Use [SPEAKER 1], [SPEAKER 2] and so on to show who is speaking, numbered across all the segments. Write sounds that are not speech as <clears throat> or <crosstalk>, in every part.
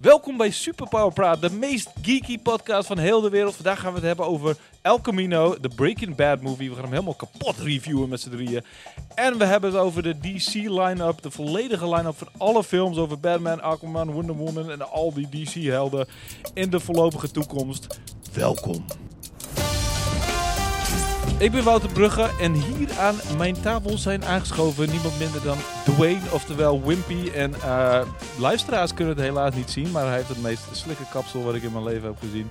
[SPEAKER 1] Welkom bij Superpower Praat, de meest geeky podcast van heel de wereld. Vandaag gaan we het hebben over El Camino, de Breaking Bad movie. We gaan hem helemaal kapot reviewen met z'n drieën. En we hebben het over de DC line-up, de volledige line-up van alle films over Batman, Aquaman, Wonder Woman en al die DC-helden in de voorlopige toekomst. Welkom. Ik ben Wouter Brugge en hier aan mijn tafel zijn aangeschoven niemand minder dan Dwayne, oftewel Wimpy. En eh luisteraars kunnen het helaas niet zien, maar hij heeft het meest slikke kapsel wat ik in mijn leven heb gezien.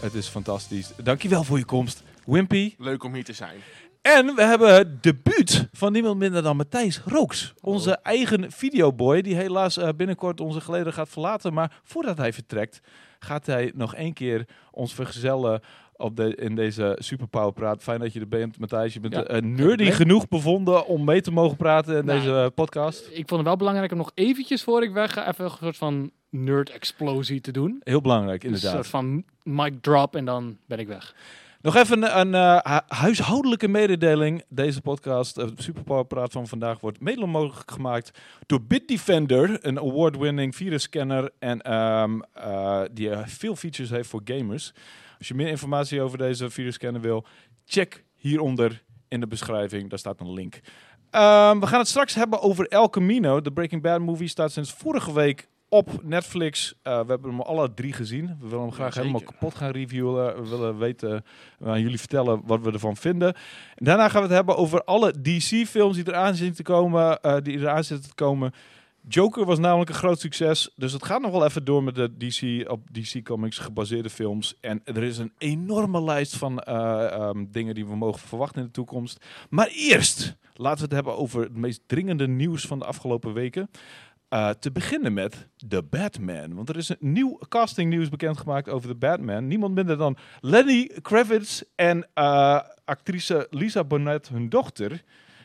[SPEAKER 1] Het is fantastisch. Dankjewel voor je komst, Wimpy.
[SPEAKER 2] Leuk om hier te zijn.
[SPEAKER 1] En we hebben het debuut van niemand minder dan Matthijs Rooks. Onze eigen videoboy, die helaas eh, binnenkort onze geleden gaat verlaten. Maar voordat hij vertrekt, gaat hij nog één keer ons vergezellen op de, in deze Superpower Praat. Fijn dat je er bent, Matthijs. Je bent
[SPEAKER 3] Ja,
[SPEAKER 1] eh, nerdy
[SPEAKER 3] ben.
[SPEAKER 1] genoeg bevonden om mee te mogen praten in
[SPEAKER 3] Nou,
[SPEAKER 1] deze eh, podcast.
[SPEAKER 3] Ik vond het wel belangrijk om nog eventjes voor ik weg ga, even een soort van nerd-explosie te doen.
[SPEAKER 1] Heel belangrijk,
[SPEAKER 3] Een
[SPEAKER 1] inderdaad.
[SPEAKER 3] soort van mic drop en dan ben ik weg.
[SPEAKER 1] Nog even een, een, eh, hu- huishoudelijke mededeling. Deze podcast, eh, Superpower Praat van vandaag, wordt mede mogelijk gemaakt door Bitdefender, een award-winning virusscanner en ehm, eh, die eh, veel features heeft voor gamers. Als je meer informatie over deze virusscanner wil, check hieronder in de beschrijving. Daar staat een link. Ehm, we gaan het straks hebben over El Camino. De Breaking Bad movie staat sinds vorige week op Netflix. Eh, we hebben hem alle drie gezien. We willen hem graag
[SPEAKER 2] Jazeker.
[SPEAKER 1] helemaal kapot gaan reviewen. We willen weten, we aan jullie vertellen wat we ervan vinden. En daarna gaan we het hebben over alle DC-films die eraan zitten te komen. eh, die eraan zitten te komen. Joker was namelijk een groot succes. Dus het gaat nog wel even door met de DC, op DC Comics gebaseerde films. En er is een enorme lijst van eh, ehm, dingen die we mogen verwachten in de toekomst. Maar eerst laten we het hebben over het meest dringende nieuws van de afgelopen weken. Eh, te beginnen met The Batman. Want er is een nieuw castingnieuws bekendgemaakt over The Batman. Niemand minder dan Lenny Kravitz en eh, actrice Lisa Bonet, hun dochter.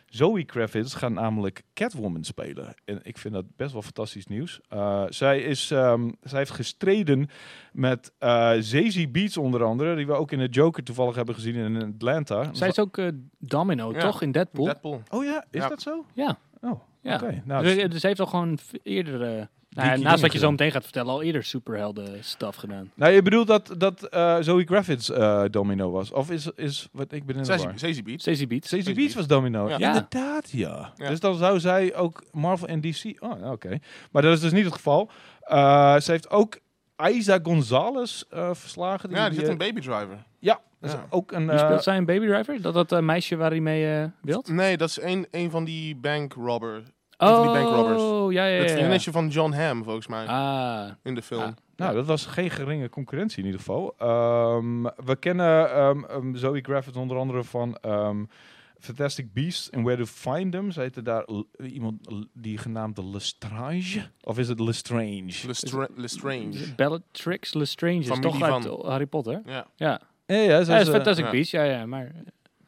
[SPEAKER 1] Zoe Kravitz gaan namelijk Catwoman spelen. En ik vind dat best wel fantastisch nieuws. Eh, zij, is, ehm, zij heeft gestreden met eh Zazie Beats onder andere. Die we ook in de Joker toevallig hebben gezien in Atlanta.
[SPEAKER 3] Zij is ook eh, Domino,
[SPEAKER 2] Ja,
[SPEAKER 3] toch? In Deadpool.
[SPEAKER 2] Deadpool.
[SPEAKER 1] Oh ja, is
[SPEAKER 2] Ja.
[SPEAKER 1] dat zo?
[SPEAKER 3] Ja.
[SPEAKER 1] Oh,
[SPEAKER 3] ja.
[SPEAKER 1] oké. Nou,
[SPEAKER 3] Dus, eh, dus hij heeft al gewoon v- eerder, eh, nou ja,
[SPEAKER 1] dingen
[SPEAKER 3] naast wat je
[SPEAKER 1] gedaan.
[SPEAKER 3] zo meteen gaat vertellen, al eerder superhelden-stuff gedaan.
[SPEAKER 1] Nou, je bedoelt dat, dat eh Zoe Kravitz eh, domino was? Of is, is wat ik ben in de war.
[SPEAKER 2] Zazie Beats.
[SPEAKER 3] Stacey Beats.
[SPEAKER 1] Stacey Beats was domino.
[SPEAKER 2] Ja.
[SPEAKER 3] Ja.
[SPEAKER 1] Inderdaad, ja.
[SPEAKER 2] Ja.
[SPEAKER 1] Dus dan zou zij ook Marvel en DC... Oh, nou, oké. Maar dat is dus niet het geval. Eh, ze heeft ook Isa Gonzalez eh, verslagen.
[SPEAKER 2] Ja, die zit
[SPEAKER 1] eh,
[SPEAKER 2] een baby driver.
[SPEAKER 1] Ja, dat is
[SPEAKER 2] Ja.
[SPEAKER 1] ook een...
[SPEAKER 3] Wie
[SPEAKER 1] eh,
[SPEAKER 3] speelt zij een Baby Driver? Is Dat dat eh, meisje waar hij mee eh, wilt?
[SPEAKER 2] Nee, dat is een, een van die bank robber. Een van die bank robbers.
[SPEAKER 3] Oh, ja, ja,
[SPEAKER 2] Het
[SPEAKER 3] ja. ja.
[SPEAKER 2] vriendinnetje van John Hamm, volgens mij,
[SPEAKER 3] Ah,
[SPEAKER 2] in de film.
[SPEAKER 3] Ah.
[SPEAKER 1] Nou, dat was geen geringe concurrentie in ieder geval. Ehm, we kennen ehm, ehm, Zoe Kravitz onder andere van ehm, Fantastic Beasts and Where to Find Them. Ze heette daar l- iemand l- die genaamd Lestrange. Of is het Lestrange?
[SPEAKER 2] Lestra- Lestrange.
[SPEAKER 3] Bellatrix Lestrange is
[SPEAKER 2] Familie
[SPEAKER 3] toch uit
[SPEAKER 2] van-
[SPEAKER 3] Harry Potter?
[SPEAKER 2] Ja.
[SPEAKER 3] Ja,
[SPEAKER 1] Ja, ja,
[SPEAKER 3] dat is
[SPEAKER 1] eh,
[SPEAKER 3] Fantastic
[SPEAKER 2] ja.
[SPEAKER 3] Beasts, ja, ja, maar...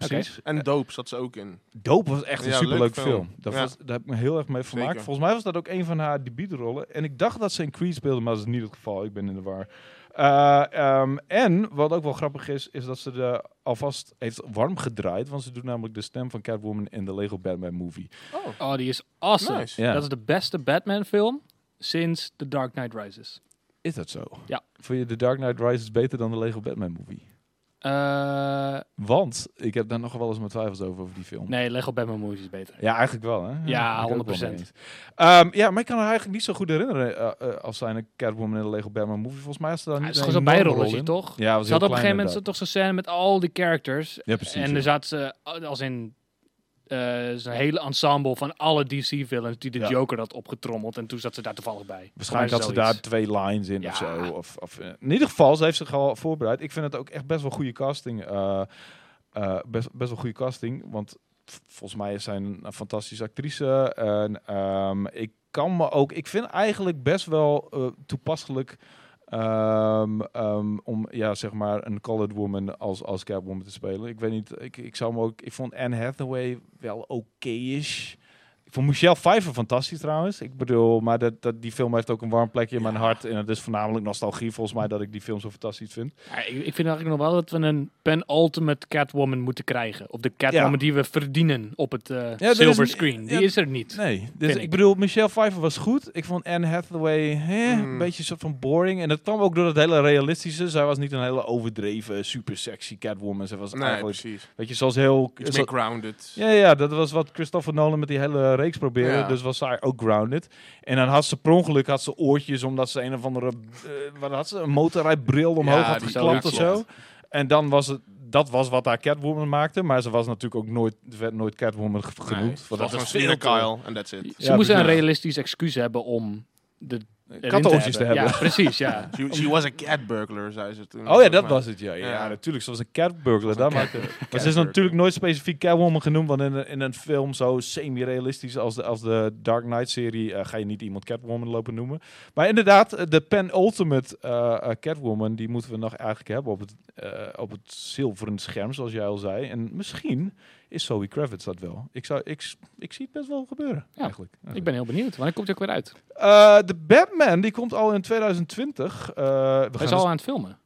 [SPEAKER 3] Oké.
[SPEAKER 1] precies.
[SPEAKER 2] En Dope zat ze ook in.
[SPEAKER 1] Dope was echt een
[SPEAKER 2] Ja,
[SPEAKER 1] superleuk
[SPEAKER 2] leuk
[SPEAKER 1] film.
[SPEAKER 2] film.
[SPEAKER 1] Dat
[SPEAKER 2] Ja.
[SPEAKER 1] was, daar heb ik me heel erg mee vermaakt.
[SPEAKER 2] Zeker.
[SPEAKER 1] Volgens mij was dat ook een van haar debuutrollen. En ik dacht dat ze in Creed speelde, maar dat is niet het geval. Ik ben in de war. Eh, ehm, en wat ook wel grappig is, is dat ze de alvast heeft warm gedraaid. Want ze doet namelijk de stem van Catwoman in de Lego Batman movie.
[SPEAKER 2] Oh,
[SPEAKER 3] Oh, die is awesome.
[SPEAKER 2] nice.
[SPEAKER 1] Ja.
[SPEAKER 3] Dat is de beste Batman-film sinds The Dark Knight Rises.
[SPEAKER 1] Is dat zo?
[SPEAKER 3] Ja.
[SPEAKER 1] Vond je The Dark Knight Rises beter dan de Lego Batman movie?
[SPEAKER 3] Eh,
[SPEAKER 1] Want ik heb daar nog wel eens mijn twijfels over, over die film.
[SPEAKER 3] nee, Lego Batman Movies is beter.
[SPEAKER 1] Ja, eigenlijk wel, hè?
[SPEAKER 3] Ja,
[SPEAKER 1] ik ook wel
[SPEAKER 3] 100%.
[SPEAKER 1] mee eens. Ehm, ja, maar ik kan haar eigenlijk niet zo goed herinneren eh, eh, als zij een Catwoman in de Lego Batman movie. Volgens mij is ze daar
[SPEAKER 3] Ja,
[SPEAKER 1] niet
[SPEAKER 3] het is gewoon zo'n
[SPEAKER 1] enorme rol
[SPEAKER 3] bijrolletje,
[SPEAKER 1] in.
[SPEAKER 3] toch?
[SPEAKER 1] Ja, was
[SPEAKER 3] Ze
[SPEAKER 1] heel
[SPEAKER 3] hadden op een
[SPEAKER 1] klein
[SPEAKER 3] gegeven moment
[SPEAKER 1] inderdaad.
[SPEAKER 3] toch zo'n scène met al die characters.
[SPEAKER 1] Ja, precies.
[SPEAKER 3] en
[SPEAKER 1] ja.
[SPEAKER 3] er zaten ze, eh, als in, eh, zo'n hele ensemble van alle DC-villains die de
[SPEAKER 1] Ja.
[SPEAKER 3] Joker had opgetrommeld. En toen zat ze daar toevallig bij.
[SPEAKER 1] Waarschijnlijk
[SPEAKER 3] Maar
[SPEAKER 1] had ze
[SPEAKER 3] zoiets.
[SPEAKER 1] daar twee lines in of
[SPEAKER 3] Ja.
[SPEAKER 1] zo. Of, of, eh, in ieder geval, ze heeft zich al voorbereid. Ik vind het ook echt best wel goede casting. eh, eh, best, best wel goede casting. Want v- volgens mij is zij een, een fantastische actrice. En ehm, ik kan me ook... Ik vind eigenlijk best wel eh, toepasselijk... ehm, ehm, om ja, zeg maar een colored woman als, als Catwoman te spelen. Ik weet niet, ik, ik zou me ook... Ik vond Anne Hathaway wel oké-ish. Ik vond Michelle Pfeiffer fantastisch trouwens. Ik bedoel, maar dat, dat, die film heeft ook een warm plekje in mijn hart. En het is voornamelijk nostalgie volgens mij dat ik die film zo fantastisch vind.
[SPEAKER 3] Ja, ik, ik vind eigenlijk nog wel dat we een penultimate Catwoman moeten krijgen. Of de Catwoman
[SPEAKER 1] Ja.
[SPEAKER 3] die we verdienen op het eh
[SPEAKER 1] er is
[SPEAKER 3] silver
[SPEAKER 1] een-
[SPEAKER 3] screen. Die
[SPEAKER 1] ja.
[SPEAKER 3] is er niet.
[SPEAKER 1] Nee, dus
[SPEAKER 3] Vind
[SPEAKER 1] ik.
[SPEAKER 3] ik.
[SPEAKER 1] bedoel, Michelle Pfeiffer was goed. Ik vond Anne Hathaway hè,
[SPEAKER 2] Mm.
[SPEAKER 1] een beetje soort van boring. En dat kwam ook door dat hele realistische. Zij was niet een hele overdreven, super sexy Catwoman. Ze was
[SPEAKER 2] Nee,
[SPEAKER 1] eigenlijk,
[SPEAKER 2] precies.
[SPEAKER 1] weet je, zoals heel...
[SPEAKER 2] Iets
[SPEAKER 1] zo-
[SPEAKER 2] meer grounded.
[SPEAKER 1] ja, ja, dat was wat Christopher Nolan met die hele reeks probeerde.
[SPEAKER 2] Ja.
[SPEAKER 1] Dus was zij ook grounded. En dan had ze per ongeluk had ze oortjes omdat ze een of andere... eh, wat had ze? Een motorrijbril omhoog
[SPEAKER 2] Ja,
[SPEAKER 1] had
[SPEAKER 2] die-
[SPEAKER 1] geklapt
[SPEAKER 3] ja,
[SPEAKER 1] of zo. En dan was het... Dat was wat haar Catwoman maakte. Maar ze was natuurlijk ook nooit, werd nooit Catwoman ge- genoemd.
[SPEAKER 2] Nee,
[SPEAKER 1] want
[SPEAKER 2] dat
[SPEAKER 1] dat is
[SPEAKER 2] was gewoon
[SPEAKER 1] veel
[SPEAKER 2] Selena
[SPEAKER 1] te
[SPEAKER 2] Kyle en that's it.
[SPEAKER 3] Ze
[SPEAKER 1] Ja,
[SPEAKER 3] moesten een
[SPEAKER 1] precies.
[SPEAKER 3] realistisch excuus hebben om de
[SPEAKER 1] Kattenoortjes te hebben.
[SPEAKER 3] Ja, precies, <laughs> ja.
[SPEAKER 2] She, she was a cat burglar, zei ze toen.
[SPEAKER 1] Oh ja, dat
[SPEAKER 2] volgens mij.
[SPEAKER 1] was het, ja. Ja,
[SPEAKER 2] Ja.
[SPEAKER 1] natuurlijk. Zoals een catburglar. Dat maakt het. Maar ze is
[SPEAKER 2] Catburglar.
[SPEAKER 1] natuurlijk nooit specifiek Catwoman genoemd, want in een, in een film zo semi-realistisch als de, als de Dark Knight-serie eh, ga je niet iemand Catwoman lopen noemen. Maar inderdaad, eh, de penultimate eh, eh, Catwoman, die moeten we nog eigenlijk hebben op het, eh, op het zilveren scherm, zoals jij al zei. En misschien is Zoe Kravitz dat wel. Ik, zou, ik, ik zie het best wel gebeuren,
[SPEAKER 3] Ja,
[SPEAKER 1] eigenlijk.
[SPEAKER 3] Ik ben heel benieuwd. Wanneer komt hij ook weer uit?
[SPEAKER 1] Eh, de Batman, die komt al in 2020. Eh, we
[SPEAKER 3] Hij
[SPEAKER 1] gaan
[SPEAKER 3] is al aan het filmen.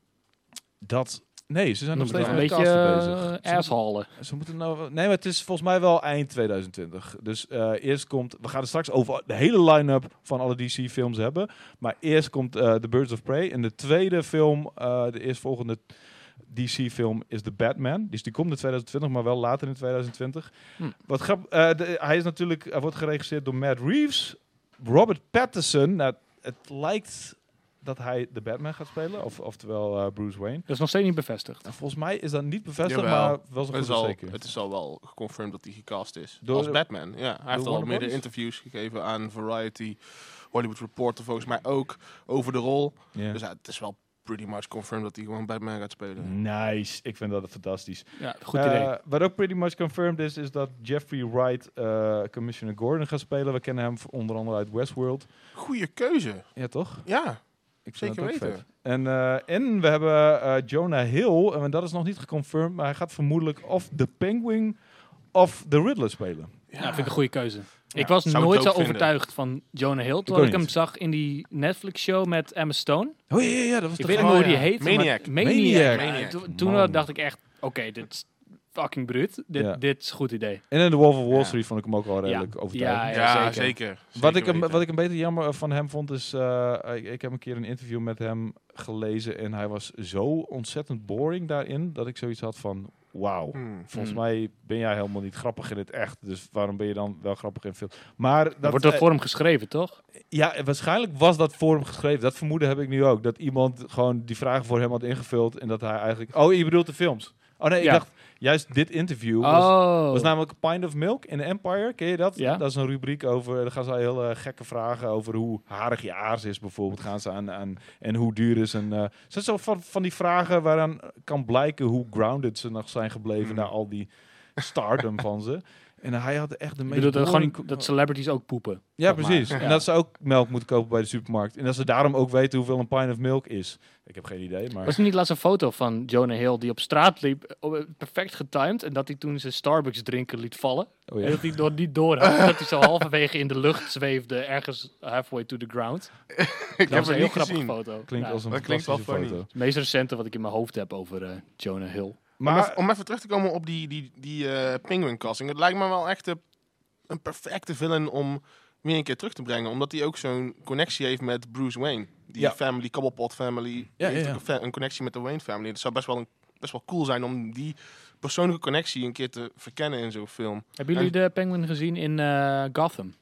[SPEAKER 1] dat. Nee, ze zijn nog
[SPEAKER 3] Dan
[SPEAKER 1] steeds
[SPEAKER 3] moeten
[SPEAKER 1] met de
[SPEAKER 3] we een
[SPEAKER 1] casten
[SPEAKER 3] beetje
[SPEAKER 1] bezig.
[SPEAKER 3] eh, <laughs> asshalen.
[SPEAKER 1] Ze moeten nou. Nee, maar het is volgens mij wel eind 2020. Dus eh, eerst komt. We gaan het straks over de hele line-up van alle DC-films hebben. Maar eerst komt eh The Birds of Prey. En de tweede film, eh, de eerstvolgende DC-film, is The Batman. Dus die komt in 2020, maar wel later in 2020.
[SPEAKER 3] Hm.
[SPEAKER 1] Wat grap, eh, de- hij is natuurlijk. Hij wordt geregisseerd door Matt Reeves. Robert Pattinson. Nou, het lijkt dat hij de Batman gaat spelen. Of, oftewel eh, Bruce Wayne.
[SPEAKER 3] Dat is nog steeds niet bevestigd.
[SPEAKER 1] Nou, volgens mij is dat niet bevestigd,
[SPEAKER 2] Jawel.
[SPEAKER 1] maar wel zo
[SPEAKER 2] Het
[SPEAKER 1] goed
[SPEAKER 2] is,
[SPEAKER 1] als
[SPEAKER 2] al,
[SPEAKER 1] zeker.
[SPEAKER 2] het is al wel geconfirmed dat hij gecast is.
[SPEAKER 1] Door-
[SPEAKER 2] als Batman, ja. Hij heeft al
[SPEAKER 1] Warner
[SPEAKER 2] meerdere
[SPEAKER 1] Brothers?
[SPEAKER 2] interviews gegeven aan Variety, Hollywood Reporter volgens mij ook, over de rol.
[SPEAKER 1] Ja.
[SPEAKER 2] Dus ja, het is wel pretty much confirmed dat hij gewoon Batman gaat spelen.
[SPEAKER 1] Mhm. Nice, ik vind dat fantastisch.
[SPEAKER 3] Ja, goed
[SPEAKER 1] Eh,
[SPEAKER 3] idee.
[SPEAKER 1] Wat ook pretty much confirmed is, is dat Jeffrey Wright eh, Commissioner Gordon gaat spelen. We kennen hem v- onder andere uit Westworld.
[SPEAKER 2] Goeie keuze,
[SPEAKER 1] Ja, toch?
[SPEAKER 2] ja.
[SPEAKER 1] Ik
[SPEAKER 2] Zeker
[SPEAKER 1] dat ook
[SPEAKER 2] weten.
[SPEAKER 1] vet. En, eh, en we hebben eh, Jonah Hill, en dat is nog niet geconfirmed, maar hij gaat vermoedelijk of The Penguin of The Riddler spelen.
[SPEAKER 3] Ja, vind ik een goede keuze.
[SPEAKER 2] Ja,
[SPEAKER 3] ik was
[SPEAKER 2] zou ik
[SPEAKER 3] nooit
[SPEAKER 2] ook
[SPEAKER 3] zo
[SPEAKER 2] vinden.
[SPEAKER 3] overtuigd van Jonah Hill.
[SPEAKER 1] ook
[SPEAKER 3] Terwijl ik hem
[SPEAKER 1] niet.
[SPEAKER 3] zag in die Netflix-show met Emma Stone.
[SPEAKER 1] Oh ja, ja, ja, dat was
[SPEAKER 3] Ik
[SPEAKER 1] de
[SPEAKER 3] weet niet
[SPEAKER 2] Oh,
[SPEAKER 3] meer hoe
[SPEAKER 2] ja.
[SPEAKER 3] die heet. maar-
[SPEAKER 2] Maniac.
[SPEAKER 3] Maniac.
[SPEAKER 1] Maniac.
[SPEAKER 3] Ja,
[SPEAKER 2] Maniac.
[SPEAKER 3] toen- Toen
[SPEAKER 1] Man.
[SPEAKER 3] wel dacht ik echt, oké, dit is fucking bruut. Dit,
[SPEAKER 1] Ja.
[SPEAKER 3] dit is een goed idee.
[SPEAKER 1] En in The Wolf of Wall
[SPEAKER 2] Ja.
[SPEAKER 1] Street vond ik hem ook al redelijk overtuigend.
[SPEAKER 3] Ja,
[SPEAKER 2] Ja,
[SPEAKER 3] ja,
[SPEAKER 2] zeker. zeker.
[SPEAKER 1] Wat ik, hem,
[SPEAKER 2] weten.
[SPEAKER 1] wat ik een beetje jammer eh, van hem vond is, eh, ik, ik heb een keer een interview met hem gelezen en hij was zo ontzettend boring daarin dat ik zoiets had van, wauw,
[SPEAKER 2] Hmm.
[SPEAKER 1] volgens
[SPEAKER 3] Hmm.
[SPEAKER 1] mij ben jij helemaal niet grappig in het echt, dus waarom ben je dan wel grappig in film? Maar dat,
[SPEAKER 3] Dat, Wordt dat
[SPEAKER 1] eh,
[SPEAKER 3] voor hem geschreven, toch?
[SPEAKER 1] ja, eh, waarschijnlijk was dat voor hem geschreven. Dat vermoeden heb ik nu ook. Dat iemand gewoon die vragen voor hem had ingevuld en dat hij eigenlijk, oh je bedoelt de films? Oh nee, ik
[SPEAKER 3] Ja.
[SPEAKER 1] dacht juist dit interview was,
[SPEAKER 3] Oh.
[SPEAKER 1] dat was namelijk een Pint of Milk in de Empire. Ken je dat?
[SPEAKER 3] Ja.
[SPEAKER 1] Dat is een rubriek over. Daar gaan ze heel eh, gekke vragen over hoe harig je aars is, bijvoorbeeld. Gaan ze aan, aan en hoe duur is een. eh ze zijn zo van, van die vragen waaraan kan blijken hoe grounded ze nog zijn gebleven
[SPEAKER 2] Hmm.
[SPEAKER 1] na al die
[SPEAKER 3] <laughs>
[SPEAKER 1] stardom van ze. En hij had echt de
[SPEAKER 3] ik
[SPEAKER 1] meest.
[SPEAKER 3] bedoel dat,
[SPEAKER 1] boring-
[SPEAKER 3] gewoon, dat celebrities ook poepen.
[SPEAKER 1] ja,
[SPEAKER 3] zeg maar.
[SPEAKER 1] precies.
[SPEAKER 3] Ja.
[SPEAKER 1] En dat ze ook melk moeten kopen bij de supermarkt. En dat ze daarom ook weten hoeveel een pint of milk is. Ik heb geen idee, maar.
[SPEAKER 3] Was er niet laatst een foto van Jonah Hill die op straat liep, eh, op- perfect getimed, en dat hij toen zijn Starbucks drinken liet vallen?
[SPEAKER 1] Oh ja.
[SPEAKER 3] En dat hij door niet door had, dat hij zo halverwege in de lucht zweefde, ergens halfway to the
[SPEAKER 2] <laughs>
[SPEAKER 3] ground.
[SPEAKER 2] ik
[SPEAKER 3] Dat
[SPEAKER 2] heb
[SPEAKER 3] was een
[SPEAKER 2] het
[SPEAKER 3] heel
[SPEAKER 2] niet
[SPEAKER 3] grappige
[SPEAKER 2] gezien.
[SPEAKER 3] foto.
[SPEAKER 1] Klinkt
[SPEAKER 3] Ja,
[SPEAKER 1] als een
[SPEAKER 2] dat klinkt wel
[SPEAKER 1] fantastische
[SPEAKER 2] funny.
[SPEAKER 1] foto.
[SPEAKER 3] Het meest recente wat ik in mijn hoofd heb over eh, Jonah Hill.
[SPEAKER 2] Maar om even, om even terug te komen op die, die, die eh penguin-casting. Het lijkt me wel echt eh, een perfecte villain om weer een keer terug te brengen. Omdat hij ook zo'n connectie heeft met Bruce Wayne. Die
[SPEAKER 1] Ja.
[SPEAKER 2] family, Cobblepot family. die
[SPEAKER 1] ja,
[SPEAKER 2] heeft
[SPEAKER 1] ja.
[SPEAKER 2] ook Een, fa- een connectie met de Wayne family. Het zou best wel, een, best wel cool zijn om die persoonlijke connectie een keer te verkennen in zo'n film.
[SPEAKER 3] Hebben jullie de Penguin gezien in eh, Gotham?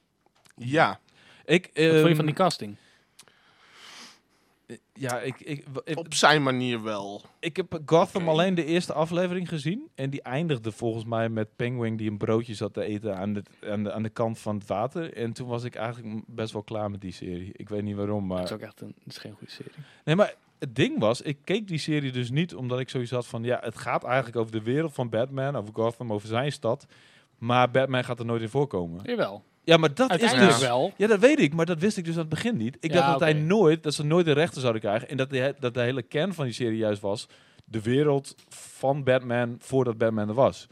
[SPEAKER 2] Ja,
[SPEAKER 1] Ik,
[SPEAKER 3] Wat vond je
[SPEAKER 1] ehm,
[SPEAKER 3] van die casting?
[SPEAKER 1] ja, ik, ik, ik,
[SPEAKER 2] op zijn manier wel.
[SPEAKER 1] Ik heb Gotham
[SPEAKER 2] Oké.
[SPEAKER 1] alleen de eerste aflevering gezien. En die eindigde volgens mij met Penguin die een broodje zat te eten aan de, aan de, aan de kant van het water. En toen was ik eigenlijk m- best wel klaar met die serie. Ik weet niet waarom,
[SPEAKER 3] Dat is
[SPEAKER 1] maar...
[SPEAKER 3] ook echt een, dat is geen goede serie.
[SPEAKER 1] Nee, maar het ding was, ik keek die serie dus niet omdat ik zoiets had van... Ja, het gaat eigenlijk over de wereld van Batman, over Gotham, over zijn stad. Maar Batman gaat er nooit in voorkomen.
[SPEAKER 3] Jawel.
[SPEAKER 1] Ja, maar dat is
[SPEAKER 3] Uiteindelijk
[SPEAKER 1] dus...
[SPEAKER 2] Ja.
[SPEAKER 3] wel.
[SPEAKER 1] Ja, dat weet ik, maar dat wist ik dus aan het begin niet. Ik
[SPEAKER 3] Ja,
[SPEAKER 1] dacht dat hij
[SPEAKER 3] oké.
[SPEAKER 1] nooit, dat ze nooit de rechten zouden krijgen. En dat de, dat de hele kern van die serie juist was de wereld van Batman voordat Batman er was.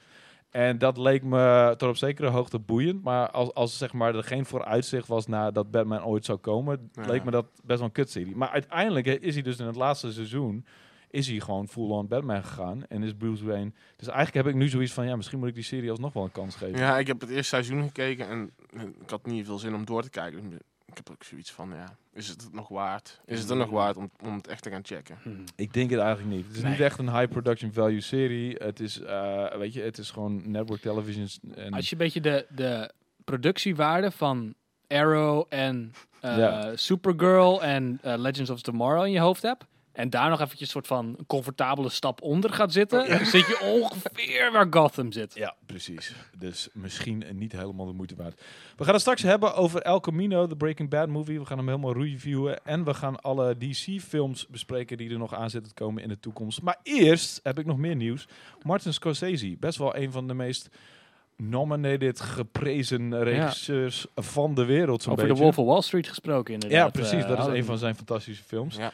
[SPEAKER 1] En dat leek me tot op zekere hoogte boeiend. Maar als, als zeg maar, er geen vooruitzicht was naar dat Batman ooit zou komen,
[SPEAKER 2] Ja.
[SPEAKER 1] leek me dat best wel een kutserie. Maar uiteindelijk hè, is hij dus in het laatste seizoen is hij gewoon full-on Batman gegaan. En is Bruce Wayne... Dus eigenlijk heb ik nu zoiets van, ja, misschien moet ik die serie alsnog wel een kans geven.
[SPEAKER 2] Ja, ik heb het eerste seizoen gekeken en eh, ik had niet veel zin om door te kijken. Ik heb ook zoiets van, ja, is het het nog waard? Is het er nog waard om, om het echt te gaan checken?
[SPEAKER 3] Hmm.
[SPEAKER 1] Ik denk het eigenlijk niet. Het is
[SPEAKER 3] Nee.
[SPEAKER 1] niet echt een high production value serie. Het is, eh, weet je, het is gewoon network television. En
[SPEAKER 3] Als je een beetje de, de productiewaarde van Arrow en eh,
[SPEAKER 1] Ja.
[SPEAKER 3] Supergirl en eh, Legends of Tomorrow in je hoofd hebt. En daar nog eventjes een soort van een comfortabele stap onder gaat zitten. Dan zit je ongeveer waar Gotham zit.
[SPEAKER 1] Oh, Ja, precies. Dus misschien niet helemaal de moeite waard. We gaan het straks hebben over El Camino, de Breaking Bad movie. We gaan hem helemaal reviewen. En we gaan alle DC-films bespreken die er nog aan zitten te komen in de toekomst. Maar eerst heb ik nog meer nieuws. Martin Scorsese, best wel een van de meest nominated, geprezen regisseurs van de wereld. Zo'n
[SPEAKER 3] Over
[SPEAKER 1] beetje.
[SPEAKER 3] de Wolf of Wall Street gesproken inderdaad.
[SPEAKER 1] Ja, precies.
[SPEAKER 3] eh,
[SPEAKER 1] dat is
[SPEAKER 3] Alan.
[SPEAKER 1] een van zijn fantastische films.
[SPEAKER 2] Ja.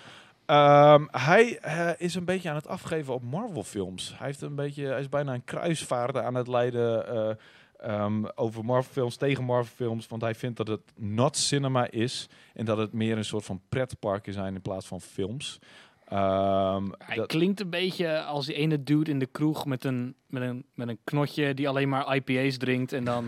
[SPEAKER 1] Ehm, hij eh, is een beetje aan het afgeven op Marvel-films. Hij, heeft een beetje, hij is bijna een kruisvaarder aan het leiden eh, ehm, over Marvel-films, tegen Marvel-films. Want hij vindt dat het not cinema is en dat het meer een soort van pretparken zijn in plaats van films. Ehm,
[SPEAKER 3] Hij
[SPEAKER 1] dat-
[SPEAKER 3] klinkt een beetje als die ene dude in de kroeg met een, met een, met een knotje die alleen maar IPA's drinkt en dan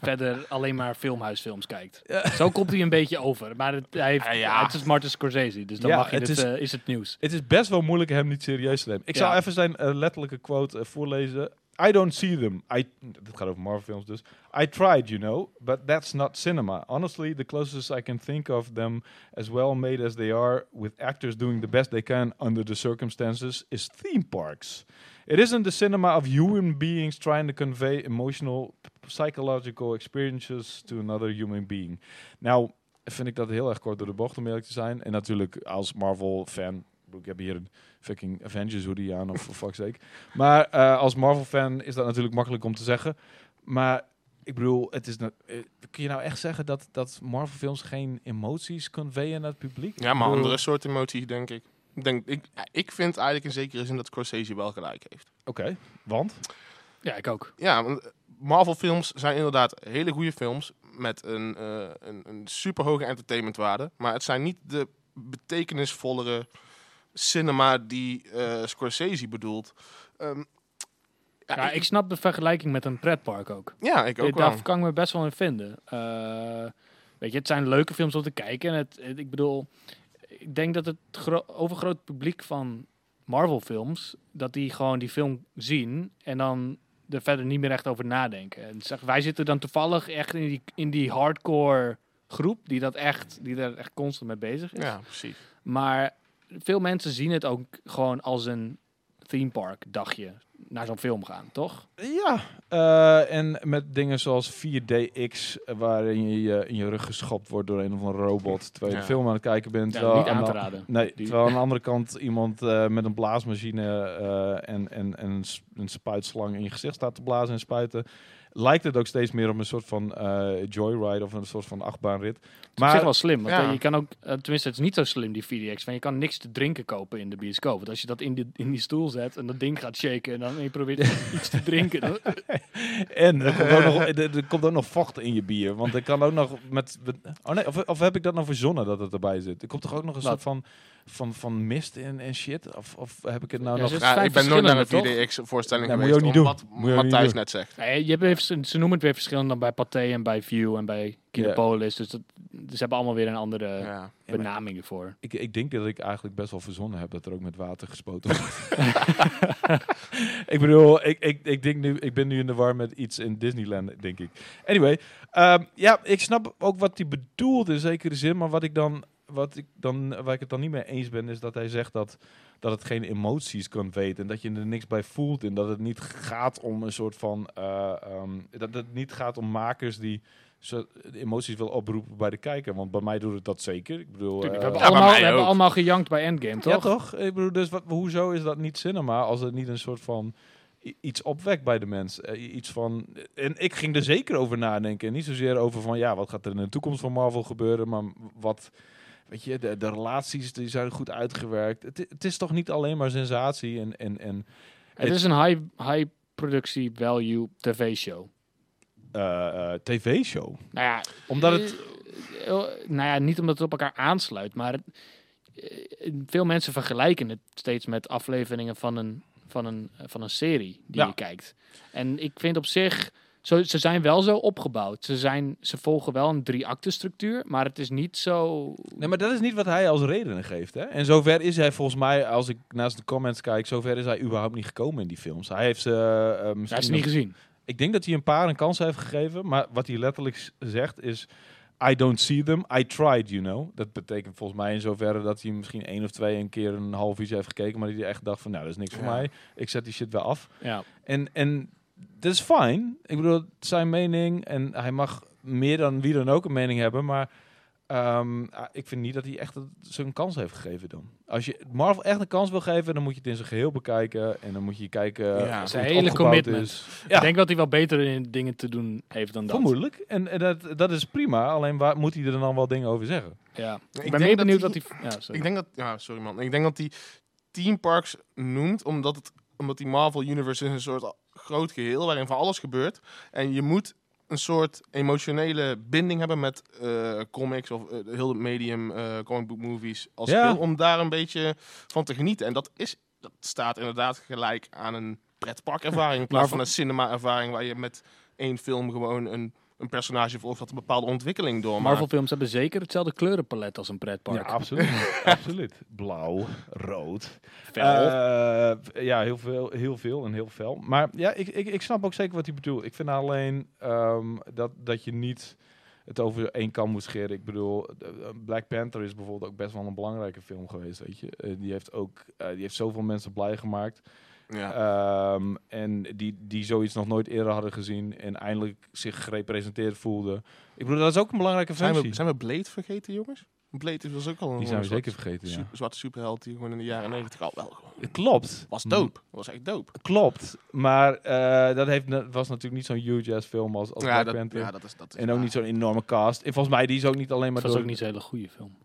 [SPEAKER 3] verder alleen maar filmhuisfilms kijkt. Zo komt hij een beetje over. Maar het, hij heeft,
[SPEAKER 2] Ah, ja.
[SPEAKER 3] het is Martin Scorsese, dus dan
[SPEAKER 1] Ja,
[SPEAKER 3] mag je
[SPEAKER 1] het
[SPEAKER 3] het,
[SPEAKER 1] is-
[SPEAKER 3] is, is het nieuws.
[SPEAKER 1] Het is best wel moeilijk hem niet serieus te nemen. Ik zou
[SPEAKER 3] Ja.
[SPEAKER 1] even zijn eh, letterlijke quote eh, voorlezen. I don't see them. I, dit gaat over Marvel films dus. I tried, you know, but that's not cinema. Honestly, the closest I can think of them as well made as they are with actors doing the best they can under the circumstances is theme parks. It isn't the cinema of human beings trying to convey emotional, psychological experiences to another human being. Nou, vind ik dat heel erg kort door de bocht om eerlijk te zijn. En natuurlijk als Marvel-fan, ik heb hier een fucking Avengers hoodie aan, of for fuck's sake. Maar eh, als Marvel-fan is dat natuurlijk makkelijk om te zeggen. Maar ik bedoel, het is na- eh, kun je nou echt zeggen dat, dat Marvel-films geen emoties conveyen naar het publiek?
[SPEAKER 2] Ja, maar
[SPEAKER 1] Ik bedoel-
[SPEAKER 2] andere soort emoties, denk ik. Ik Denk, ik, ik vind eigenlijk in zekere zin dat Scorsese wel gelijk heeft.
[SPEAKER 1] Oké, want?
[SPEAKER 3] Ja, ik ook.
[SPEAKER 2] Ja, want eh, Marvel films zijn inderdaad hele goede films met een, eh een, een super hoge entertainmentwaarde. Maar het zijn niet de betekenisvollere cinema die eh, Scorsese bedoelt. Ehm, ja,
[SPEAKER 3] Ja, ik snap de vergelijking met een pretpark ook.
[SPEAKER 2] ja, ik ook
[SPEAKER 3] Eh, daar
[SPEAKER 2] wel.
[SPEAKER 3] kan ik me best wel in vinden. Eh, weet je, het zijn leuke films om te kijken. En het, het- ik bedoel, ik denk dat het gro- overgroot publiek van Marvel-films, dat die gewoon die film zien en dan er verder niet meer echt over nadenken. En zeg, wij zitten dan toevallig echt in die, in die hardcore groep die dat echt, die daar echt constant mee bezig is.
[SPEAKER 2] Ja, precies.
[SPEAKER 3] Maar veel mensen zien het ook gewoon als een theme park dagje naar zo'n film gaan, toch?
[SPEAKER 1] Ja, eh, en met dingen zoals 4DX, eh, waarin je je in je rug geschopt wordt door een of andere robot, terwijl je
[SPEAKER 2] Ja.
[SPEAKER 1] de film aan het kijken bent.
[SPEAKER 3] Ja,
[SPEAKER 1] terwijl
[SPEAKER 3] niet
[SPEAKER 1] aan
[SPEAKER 3] aan
[SPEAKER 1] de-
[SPEAKER 3] te raden.
[SPEAKER 1] Nee,
[SPEAKER 3] Die-
[SPEAKER 1] terwijl aan de andere kant iemand eh, met een blaasmachine eh, en, en, en een s- een spuitslang in je gezicht staat te blazen en spuiten, lijkt het ook steeds meer op een soort van eh, joyride of een soort van achtbaanrit.
[SPEAKER 3] Maar, op zich
[SPEAKER 1] Maar
[SPEAKER 3] wel slim, want
[SPEAKER 2] Ja.
[SPEAKER 3] eh, je kan ook, eh, tenminste het is niet zo slim die VDX, van je kan niks te drinken kopen in de bioscoop. Want als je dat in die, in die stoel zet en dat ding gaat shaken en dan en je
[SPEAKER 2] <laughs>
[SPEAKER 3] probeert <laughs> iets te drinken. dan-
[SPEAKER 1] En er komt, ook
[SPEAKER 3] <laughs>
[SPEAKER 1] nog, er, er komt ook nog vocht in je bier. Want er kan ook nog met... met- oh nee, of, of heb ik dat nou verzonnen dat het erbij zit? Er komt toch ook nog een
[SPEAKER 3] Wat?
[SPEAKER 1] soort van, van, van mist en, en shit? Of, of heb ik het nou
[SPEAKER 3] Ja,
[SPEAKER 1] nog...
[SPEAKER 3] ze-
[SPEAKER 2] Ja,
[SPEAKER 3] vijf
[SPEAKER 2] ik ben nooit naar een
[SPEAKER 3] verschillende,
[SPEAKER 2] 4DX-voorstelling
[SPEAKER 1] Ja, moet je
[SPEAKER 2] geweest.
[SPEAKER 1] ook niet
[SPEAKER 2] om
[SPEAKER 1] doen.
[SPEAKER 2] Wat
[SPEAKER 1] Moet je ook niet
[SPEAKER 2] Matthijs
[SPEAKER 1] doen.
[SPEAKER 2] net zegt.
[SPEAKER 3] Nee, je hebt even, ze ze noemen het weer verschillend dan bij Pathé en bij View en bij Kinopolis. Dus dat, ze hebben allemaal weer een andere
[SPEAKER 2] Ja.
[SPEAKER 1] maar-
[SPEAKER 3] benaming ervoor.
[SPEAKER 1] Ik, ik denk dat ik eigenlijk best wel verzonnen heb dat er ook met water gespoten wordt. <laughs> ik bedoel, ik, ik, ik, denk nu, ik ben nu in de war met iets in Disneyland, denk ik. Anyway, ehm, ja, ik snap ook wat hij bedoelt in zekere zin. Maar wat ik dan, wat ik dan, waar ik het dan niet mee eens ben, is dat hij zegt dat, dat het geen emoties kan weten. En dat je er niks bij voelt. En dat het niet gaat om een soort van. eh, ehm, dat het niet gaat om makers die. zo- emoties wil oproepen bij de kijker, want bij mij doet het dat zeker. Ik bedoel,
[SPEAKER 3] Tuurlijk,
[SPEAKER 1] eh,
[SPEAKER 3] we hebben,
[SPEAKER 2] ja, bij
[SPEAKER 3] allemaal,
[SPEAKER 2] mij
[SPEAKER 3] we hebben
[SPEAKER 2] ook.
[SPEAKER 3] allemaal gejankt bij Endgame, toch?
[SPEAKER 1] ja, toch? Ik bedoel, dus wat, hoezo is dat niet cinema als het niet een soort van i- iets opwekt bij de mens? Eh, i- iets van... En ik ging er zeker over nadenken. En niet zozeer over van, ja, wat gaat er in de toekomst van Marvel gebeuren? Maar wat... Weet je, de, de relaties die zijn goed uitgewerkt. Het, i- het is toch niet alleen maar sensatie en... en, en
[SPEAKER 3] Het is een high, high productie value tv-show.
[SPEAKER 1] eh, eh, tv-show.
[SPEAKER 3] Nou ja,
[SPEAKER 1] Omdat
[SPEAKER 3] eh,
[SPEAKER 1] het...
[SPEAKER 3] eh, nou ja, niet omdat het op elkaar aansluit, maar het- eh, veel mensen vergelijken het steeds met afleveringen van een, van een, eh, van een serie die
[SPEAKER 1] Ja.
[SPEAKER 3] je kijkt. En ik vind op zich, zo, ze zijn wel zo opgebouwd. Ze, zijn, ze volgen wel een drie-acten structuur, maar het is niet zo.
[SPEAKER 1] Nee, maar dat is niet wat hij als redenen geeft. Hè? En zover is hij volgens mij, als ik naast de comments kijk, zover is hij überhaupt niet gekomen in die films. Hij heeft ze eh, eh,
[SPEAKER 3] Hij
[SPEAKER 1] misschien...
[SPEAKER 3] is niet gezien.
[SPEAKER 1] Ik denk dat hij een paar een kans heeft gegeven, maar wat hij letterlijk s- zegt is... I don't see them, I tried, you know. Dat betekent volgens mij in zoverre dat hij misschien één of twee een keer een half uurtje heeft gekeken, maar dat hij echt dacht van, nou, dat is niks voor
[SPEAKER 2] Ja.
[SPEAKER 1] mij. Ik zet die shit wel af.
[SPEAKER 3] Ja.
[SPEAKER 1] En, en dat is fijn. Ik bedoel, het is zijn mening en hij mag meer dan wie dan ook een mening hebben, maar ehm, ah, ik vind niet dat hij echt het- ze een kans heeft gegeven dan. Als je Marvel echt een kans wil geven, dan moet je het in zijn geheel bekijken en dan moet je kijken
[SPEAKER 2] Ja.
[SPEAKER 1] hoe
[SPEAKER 2] Het
[SPEAKER 1] het
[SPEAKER 2] is
[SPEAKER 3] een hele
[SPEAKER 1] opgebouwd
[SPEAKER 3] commitment.
[SPEAKER 1] is. Ja.
[SPEAKER 3] Ik denk dat hij wel beter in dingen te doen heeft dan dat.
[SPEAKER 1] Vermoedelijk. En, en dat, dat is prima. Alleen waar moet hij er dan wel dingen over zeggen?
[SPEAKER 3] Ja. Ik,
[SPEAKER 2] denk
[SPEAKER 3] ben meer
[SPEAKER 2] dat
[SPEAKER 3] benieuwd
[SPEAKER 2] hij-
[SPEAKER 3] wat hij. Ja, sorry.
[SPEAKER 2] Ik denk dat, ja, sorry man. Ik denk dat die Team Parks noemt, omdat, het, omdat die Marvel Universe is een soort a- groot geheel waarin van alles gebeurt. En je moet een soort emotionele binding hebben met eh, comics of eh, heel het medium, eh comic book movies als
[SPEAKER 1] Ja.
[SPEAKER 2] geheel, om daar een beetje van te genieten. En dat, is, dat staat inderdaad gelijk aan een pretparkervaring in plaats van een cinema-ervaring waar je met één film gewoon een, een personage volgt dat een bepaalde ontwikkeling doormaakt.
[SPEAKER 3] Marvel-films hebben zeker hetzelfde kleurenpalet als een pretpark.
[SPEAKER 1] Ja, <laughs> absoluut. absoluut. Blauw, rood.
[SPEAKER 3] Fel.
[SPEAKER 1] Eh, ja, heel veel, heel veel en heel fel. Maar ja, ik, ik, ik snap ook zeker wat hij bedoelt. Ik vind alleen ehm, dat, dat je niet het over één kam moet scheren. Ik bedoel, eh, Black Panther is bijvoorbeeld ook best wel een belangrijke film geweest, weet je. Eh, die heeft ook, eh, die heeft zoveel mensen blij gemaakt.
[SPEAKER 2] Ja.
[SPEAKER 1] Ehm, en die, die zoiets nog nooit eerder hadden gezien en eindelijk zich gerepresenteerd voelden. Ik bedoel, dat is ook een belangrijke
[SPEAKER 2] Zijn
[SPEAKER 1] functie.
[SPEAKER 2] we, zijn we Blade vergeten, jongens? Blade was ook al een
[SPEAKER 1] die zijn we
[SPEAKER 2] soort
[SPEAKER 1] zeker vergeten, ja.
[SPEAKER 2] super- zwarte superheld die gewoon in de jaren negentig al wel gewoon-
[SPEAKER 1] Klopt.
[SPEAKER 2] was doop. Was echt doop.
[SPEAKER 1] Klopt. Maar eh, dat heeft, na- was natuurlijk niet zo'n huge ass film als, als Black Panther.
[SPEAKER 2] dat is dat. Is
[SPEAKER 1] en ook
[SPEAKER 2] waar.
[SPEAKER 1] niet zo'n enorme cast. En volgens mij die is ook niet alleen maar
[SPEAKER 3] Het was
[SPEAKER 1] door...
[SPEAKER 3] ook niet zo'n hele goede film.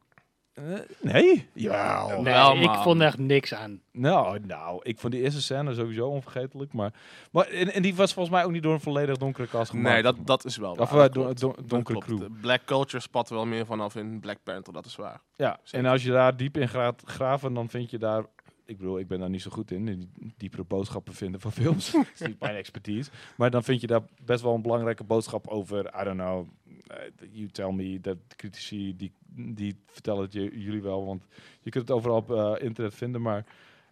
[SPEAKER 1] Eh, nee? Ja.
[SPEAKER 2] Jawel.
[SPEAKER 3] Nee,
[SPEAKER 2] Wel,
[SPEAKER 3] ik
[SPEAKER 2] man.
[SPEAKER 3] vond echt niks aan.
[SPEAKER 1] Nou, nou, ik vond die eerste scène sowieso onvergetelijk. Maar, maar, en, en die was volgens mij ook niet door een volledig donkere cast gemaakt.
[SPEAKER 2] Nee, dat, dat is wel.
[SPEAKER 1] Of
[SPEAKER 2] waar,
[SPEAKER 1] eh,
[SPEAKER 2] dat
[SPEAKER 1] don-
[SPEAKER 2] klopt.
[SPEAKER 1] don-
[SPEAKER 2] Dat
[SPEAKER 1] donkere
[SPEAKER 2] klopt.
[SPEAKER 1] crew.
[SPEAKER 2] De Black culture spat wel meer vanaf in Black Panther, dat is waar.
[SPEAKER 1] Ja,
[SPEAKER 2] Zeker.
[SPEAKER 1] en als je daar diep in gaat graven, dan vind je daar... Ik bedoel, ik ben daar niet zo goed in, in die diepere boodschappen vinden van films. <laughs> dat is niet mijn expertise. Maar dan vind je daar best wel een belangrijke boodschap over, I don't know, eh, you tell me, dat critici, die, die vertellen het je, jullie wel, want je kunt het overal op eh, internet vinden, maar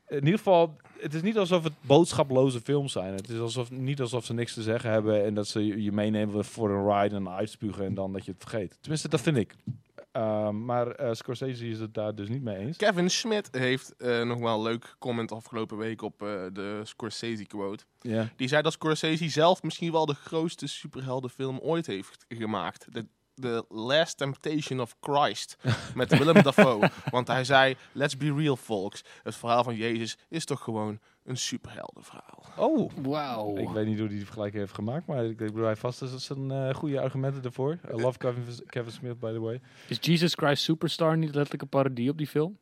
[SPEAKER 1] in ieder geval, het is niet alsof het boodschaploze films zijn. Het is alsof, niet alsof ze niks te zeggen hebben en dat ze je- je meenemen voor een ride en uitspugen en dan dat je het vergeet. Tenminste, dat vind ik. Ehm, maar eh, Scorsese is het daar dus niet mee eens.
[SPEAKER 2] Kevin Schmidt heeft eh, nog wel een leuk comment afgelopen week op eh, de Scorsese quote.
[SPEAKER 1] Ja.
[SPEAKER 2] Die zei dat Scorsese zelf misschien wel de grootste superheldenfilm ooit heeft gemaakt. De, de Last Temptation of Christ met Willem Dafoe. Want hij zei, let's be real folks. Het verhaal van Jezus is toch gewoon een superheldenverhaal.
[SPEAKER 1] Oh.
[SPEAKER 3] Wauw.
[SPEAKER 1] Ik weet niet hoe hij die vergelijking heeft gemaakt, maar ik, ik bedoel, hij vast is zijn eh, goede argumenten daarvoor. I love Kevin, Kevin Smith, by the way.
[SPEAKER 3] Is Jesus Christ Superstar niet letterlijk een parodie op die film?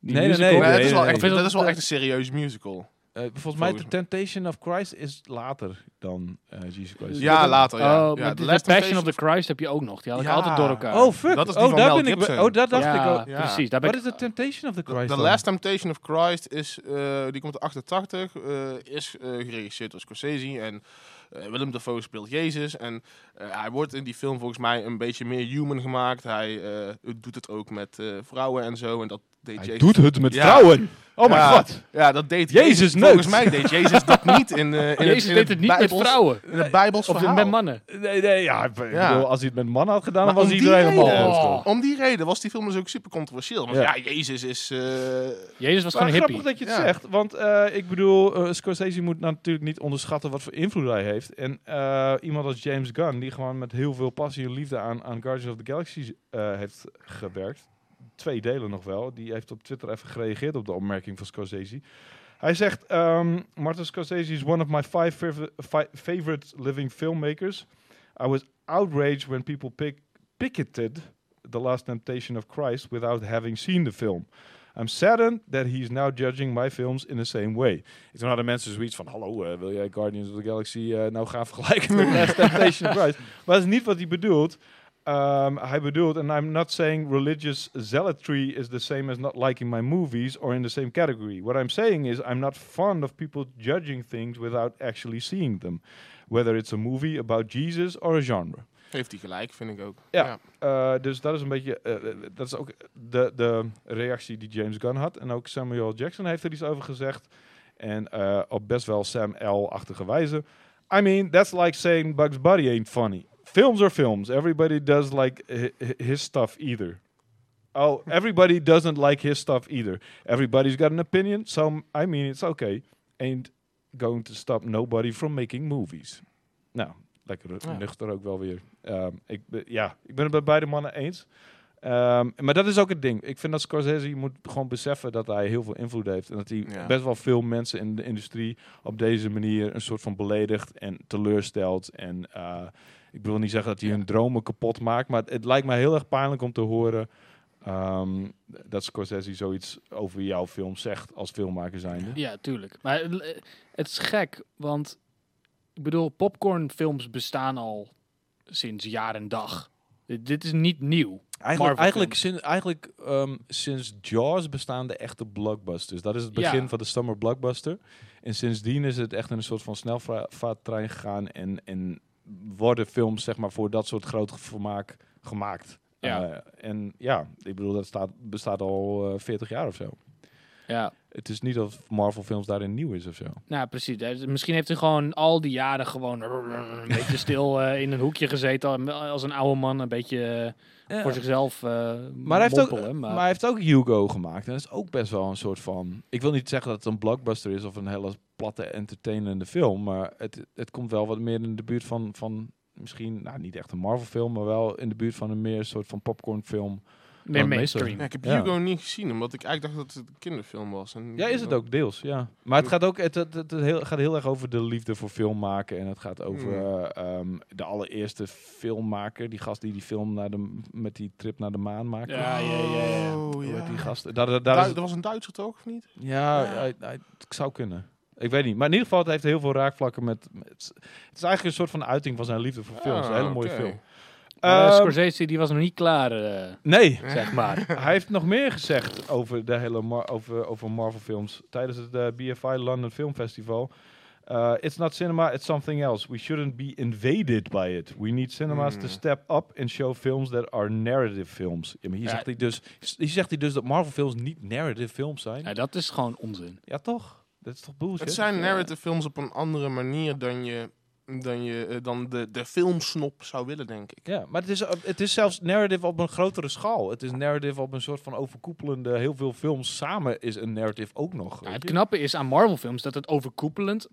[SPEAKER 3] Die
[SPEAKER 1] Nee, nee,
[SPEAKER 3] musical?
[SPEAKER 1] nee,
[SPEAKER 2] Maar dat, is wel
[SPEAKER 1] nee,
[SPEAKER 2] echt,
[SPEAKER 1] nee.
[SPEAKER 2] dat is wel echt een serieus musical.
[SPEAKER 1] Eh, volgens mij,
[SPEAKER 2] Volgens
[SPEAKER 1] The Temptation of Christ is later dan eh, Jesus Christ.
[SPEAKER 2] Ja, later, ja.
[SPEAKER 3] Oh,
[SPEAKER 2] Ja,
[SPEAKER 3] maar
[SPEAKER 2] The
[SPEAKER 3] de
[SPEAKER 2] Last
[SPEAKER 3] Passion of
[SPEAKER 2] Temptation-
[SPEAKER 3] the Christ heb je ook nog. Die had ik
[SPEAKER 2] Ja.
[SPEAKER 3] altijd door elkaar.
[SPEAKER 1] Oh, fuck.
[SPEAKER 2] Dat is die
[SPEAKER 1] oh,
[SPEAKER 2] van
[SPEAKER 1] daar
[SPEAKER 2] Mel
[SPEAKER 1] ben ik.
[SPEAKER 2] Gibson.
[SPEAKER 1] Oh, dat dacht
[SPEAKER 3] ja,
[SPEAKER 1] ik al.
[SPEAKER 2] Ja.
[SPEAKER 3] precies. Daar ben
[SPEAKER 1] Wat
[SPEAKER 3] ik,
[SPEAKER 1] is The Temptation of the Christ?
[SPEAKER 2] The
[SPEAKER 1] dan?
[SPEAKER 2] Last Temptation of Christ is, eh, die komt uit 88, eh, is eh, geregisseerd door Scorsese en eh, Willem Dafoe speelt Jezus en eh, hij wordt in die film volgens mij een beetje meer human gemaakt. Hij eh, doet het ook met eh, vrouwen en zo en dat deed
[SPEAKER 1] Hij
[SPEAKER 2] Jezus.
[SPEAKER 1] doet het met
[SPEAKER 2] Ja.
[SPEAKER 1] vrouwen. Oh
[SPEAKER 2] Ja.
[SPEAKER 1] mijn god.
[SPEAKER 2] Ja, dat deed
[SPEAKER 1] Jezus neukt.
[SPEAKER 2] Volgens mij deed Jezus dat niet in, eh in het-
[SPEAKER 3] Jezus
[SPEAKER 2] in
[SPEAKER 3] deed het niet met
[SPEAKER 2] Bijbels-
[SPEAKER 3] vrouwen.
[SPEAKER 2] In het Bijbels
[SPEAKER 3] Of
[SPEAKER 2] verhaal.
[SPEAKER 3] met mannen.
[SPEAKER 1] Nee, nee, ja, ik
[SPEAKER 2] Ja.
[SPEAKER 1] bedoel, als hij het met mannen had gedaan,
[SPEAKER 2] Maar
[SPEAKER 1] dan
[SPEAKER 2] om
[SPEAKER 1] was
[SPEAKER 2] die
[SPEAKER 1] iedereen helemaal
[SPEAKER 2] reden-
[SPEAKER 1] boos,
[SPEAKER 3] Oh.
[SPEAKER 1] toch?
[SPEAKER 2] Om die reden was die film dus ook super controversieel. Want ja,
[SPEAKER 1] Ja.
[SPEAKER 2] Jezus is... eh,
[SPEAKER 3] Jezus was gewoon
[SPEAKER 1] Maar
[SPEAKER 3] een
[SPEAKER 1] grappig
[SPEAKER 3] hippie.
[SPEAKER 1] dat je het
[SPEAKER 2] Ja.
[SPEAKER 1] zegt, want eh, ik bedoel, eh, Scorsese moet nou natuurlijk niet onderschatten wat voor invloed hij heeft. En eh, iemand als James Gunn, die gewoon met heel veel passie en liefde aan, aan Guardians of the Galaxy eh, heeft gewerkt, twee delen nog wel, die heeft op Twitter even gereageerd op de opmerking van Scorsese. Hij zegt, ehm Martin Scorsese is one of my five fav- fi- favorite living filmmakers. I was outraged when people pick picketed The Last Temptation of Christ without having seen the film. I'm saddened that he is now judging my films in the same way. En toen hadden mensen zoiets van, hallo, eh, wil jij Guardians of the Galaxy eh, nou gaan vergelijken met Last Temptation of Christ? Maar dat is niet wat hij bedoelt. Ehm, hij bedoelt, and I'm not saying religious zealotry is the same as not liking my movies or in the same category. What I'm saying is I'm not fond of people judging things without actually seeing them. Whether it's a movie about Jesus or a genre.
[SPEAKER 2] Heeft hij gelijk, vind ik ook.
[SPEAKER 1] Ja. Eh, dus dat is een beetje. eh, eh, dat is ook de, de reactie die James Gunn had. En ook Samuel Jackson heeft er iets over gezegd. En eh, op best wel Sam L-achtige wijze. I mean, that's like saying Bugs Bunny ain't funny. Films are films. Everybody does like hi- hi- his stuff either. Oh, everybody doesn't like his stuff either. Everybody's got an opinion. So, I mean, it's okay. Ain't going to stop nobody from making movies. Nou, lekker
[SPEAKER 2] Ja.
[SPEAKER 1] nuchter ook wel weer. Ehm, ik, be- ja, ik ben het bij beide mannen eens. Ehm, maar dat is ook het ding. Ik vind dat Scorsese moet gewoon beseffen dat hij heel veel invloed heeft. En dat hij
[SPEAKER 2] Ja.
[SPEAKER 1] best wel veel mensen in de industrie op deze manier een soort van beledigt en teleurstelt. En eh, ik wil niet zeggen dat hij hun dromen kapot maakt. Maar het, het lijkt mij heel erg pijnlijk om te horen ehm, dat Scorsese zoiets over jouw film zegt als filmmaker zijnde.
[SPEAKER 3] Ja, tuurlijk. Maar het- het is gek, want ik bedoel, popcornfilms bestaan al sinds jaar en dag. Dit- Dit is niet nieuw.
[SPEAKER 1] Eigenlijk,
[SPEAKER 3] Marvel
[SPEAKER 1] eigenlijk, sinds, eigenlijk ehm, sinds Jaws bestaan de echte blockbusters. Dat is het begin
[SPEAKER 3] Ja.
[SPEAKER 1] van de summer blockbuster. En sindsdien is het echt in een soort van snelvaarttrein gegaan. En, en worden films zeg maar, voor dat soort groot vermaak gemaakt.
[SPEAKER 3] Ja.
[SPEAKER 1] Eh, en ja, ik bedoel, dat staat, bestaat al eh, 40 jaar of zo.
[SPEAKER 3] Ja.
[SPEAKER 1] Het is niet dat Marvel films daarin nieuw is of zo.
[SPEAKER 3] Nou, precies. Hij- Misschien heeft hij gewoon al die jaren gewoon <laughs> een beetje stil eh, in een hoekje gezeten. eh, Als een oude man, een beetje eh, voor zichzelf eh
[SPEAKER 1] Maar hij, heeft ook,
[SPEAKER 3] mompelen,
[SPEAKER 1] maar hij heeft ook Hugo gemaakt. En dat is ook best wel een soort van... Ik wil niet zeggen dat het een blockbuster is of een hele platte, entertainende film. Maar het, het komt wel wat meer in de buurt van... van misschien, nou niet echt een Marvel film, maar wel in de buurt van een meer soort van popcorn film.
[SPEAKER 3] meer
[SPEAKER 1] maar
[SPEAKER 3] mainstream.
[SPEAKER 2] Ja, ik heb
[SPEAKER 1] Ja.
[SPEAKER 2] Hugo niet gezien, omdat ik eigenlijk dacht dat het een kinderfilm was. En
[SPEAKER 1] Ja, is het ook deels, ja. Maar het gaat ook het, het, het heel, gaat heel erg over de liefde voor film maken. En het gaat over eh, ehm, de allereerste filmmaker. Die gast die die film naar de, met die trip naar de maan maakte.
[SPEAKER 3] Ja, ja, ja, ja.
[SPEAKER 2] Oh,
[SPEAKER 1] Hoe heet
[SPEAKER 2] ja.
[SPEAKER 1] Die gast. Daar, daar, daar
[SPEAKER 2] Du-
[SPEAKER 1] is
[SPEAKER 2] er was een Duitser toch, of niet?
[SPEAKER 1] Ja, Hij, hij- het zou kunnen. Ik weet niet. Maar in ieder geval, het heeft heel veel raakvlakken met... met het is eigenlijk een soort van uiting van zijn liefde voor films. een hele mooie
[SPEAKER 2] Ah, oké.
[SPEAKER 1] film.
[SPEAKER 3] Maar, eh,
[SPEAKER 1] Ehm,
[SPEAKER 3] Scorsese die was nog niet klaar, eh, <laughs>
[SPEAKER 1] nee,
[SPEAKER 3] zeg maar.
[SPEAKER 1] <laughs> hij heeft nog meer gezegd over, de hele Mar- over, over Marvel films tijdens het eh, BFI London Film Festival. Uh, it's not cinema, it's something else. We shouldn't be invaded by it. We need cinemas to
[SPEAKER 2] Hmm.
[SPEAKER 1] step up and show films that are narrative films. Ja, maar hier,
[SPEAKER 3] Ja.
[SPEAKER 1] zegt hij dus, hier zegt hij dus dat Marvel films niet narrative films zijn.
[SPEAKER 3] Ja, Nou, dat is gewoon onzin.
[SPEAKER 1] Ja, toch? Dat is toch bullshit?
[SPEAKER 2] Het zijn
[SPEAKER 3] Ja.
[SPEAKER 2] narrative films op een andere manier dan je, dan je eh, dan de, de filmsnop zou willen, denk ik.
[SPEAKER 1] Ja, maar het is, eh, het is zelfs narrative op een grotere schaal. Het is narrative op een soort van overkoepelende... Heel veel films samen is een narrative ook nog.
[SPEAKER 3] Ja,
[SPEAKER 1] weet
[SPEAKER 3] Nou, het
[SPEAKER 1] je?
[SPEAKER 3] knappe is aan Marvel films dat het overkoepelend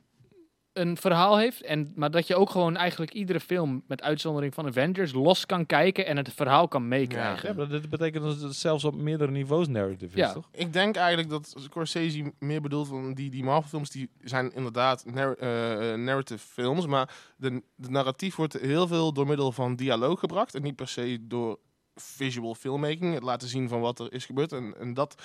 [SPEAKER 3] een verhaal heeft. En, maar dat je ook gewoon eigenlijk iedere film, met uitzondering van Avengers, los kan kijken en het verhaal kan
[SPEAKER 1] Ja,
[SPEAKER 3] meekrijgen.
[SPEAKER 1] maar dat betekent dat het zelfs op meerdere niveaus narrative is,
[SPEAKER 3] Ja.
[SPEAKER 1] toch?
[SPEAKER 2] Ik denk eigenlijk dat Scorsese meer bedoelt van die, die Marvel-films, die zijn inderdaad nar- eh, eh, narrative films, maar de, de narratief wordt heel veel door middel van dialoog gebracht en niet per se door visual filmmaking, het laten zien van wat er is gebeurd. En, en dat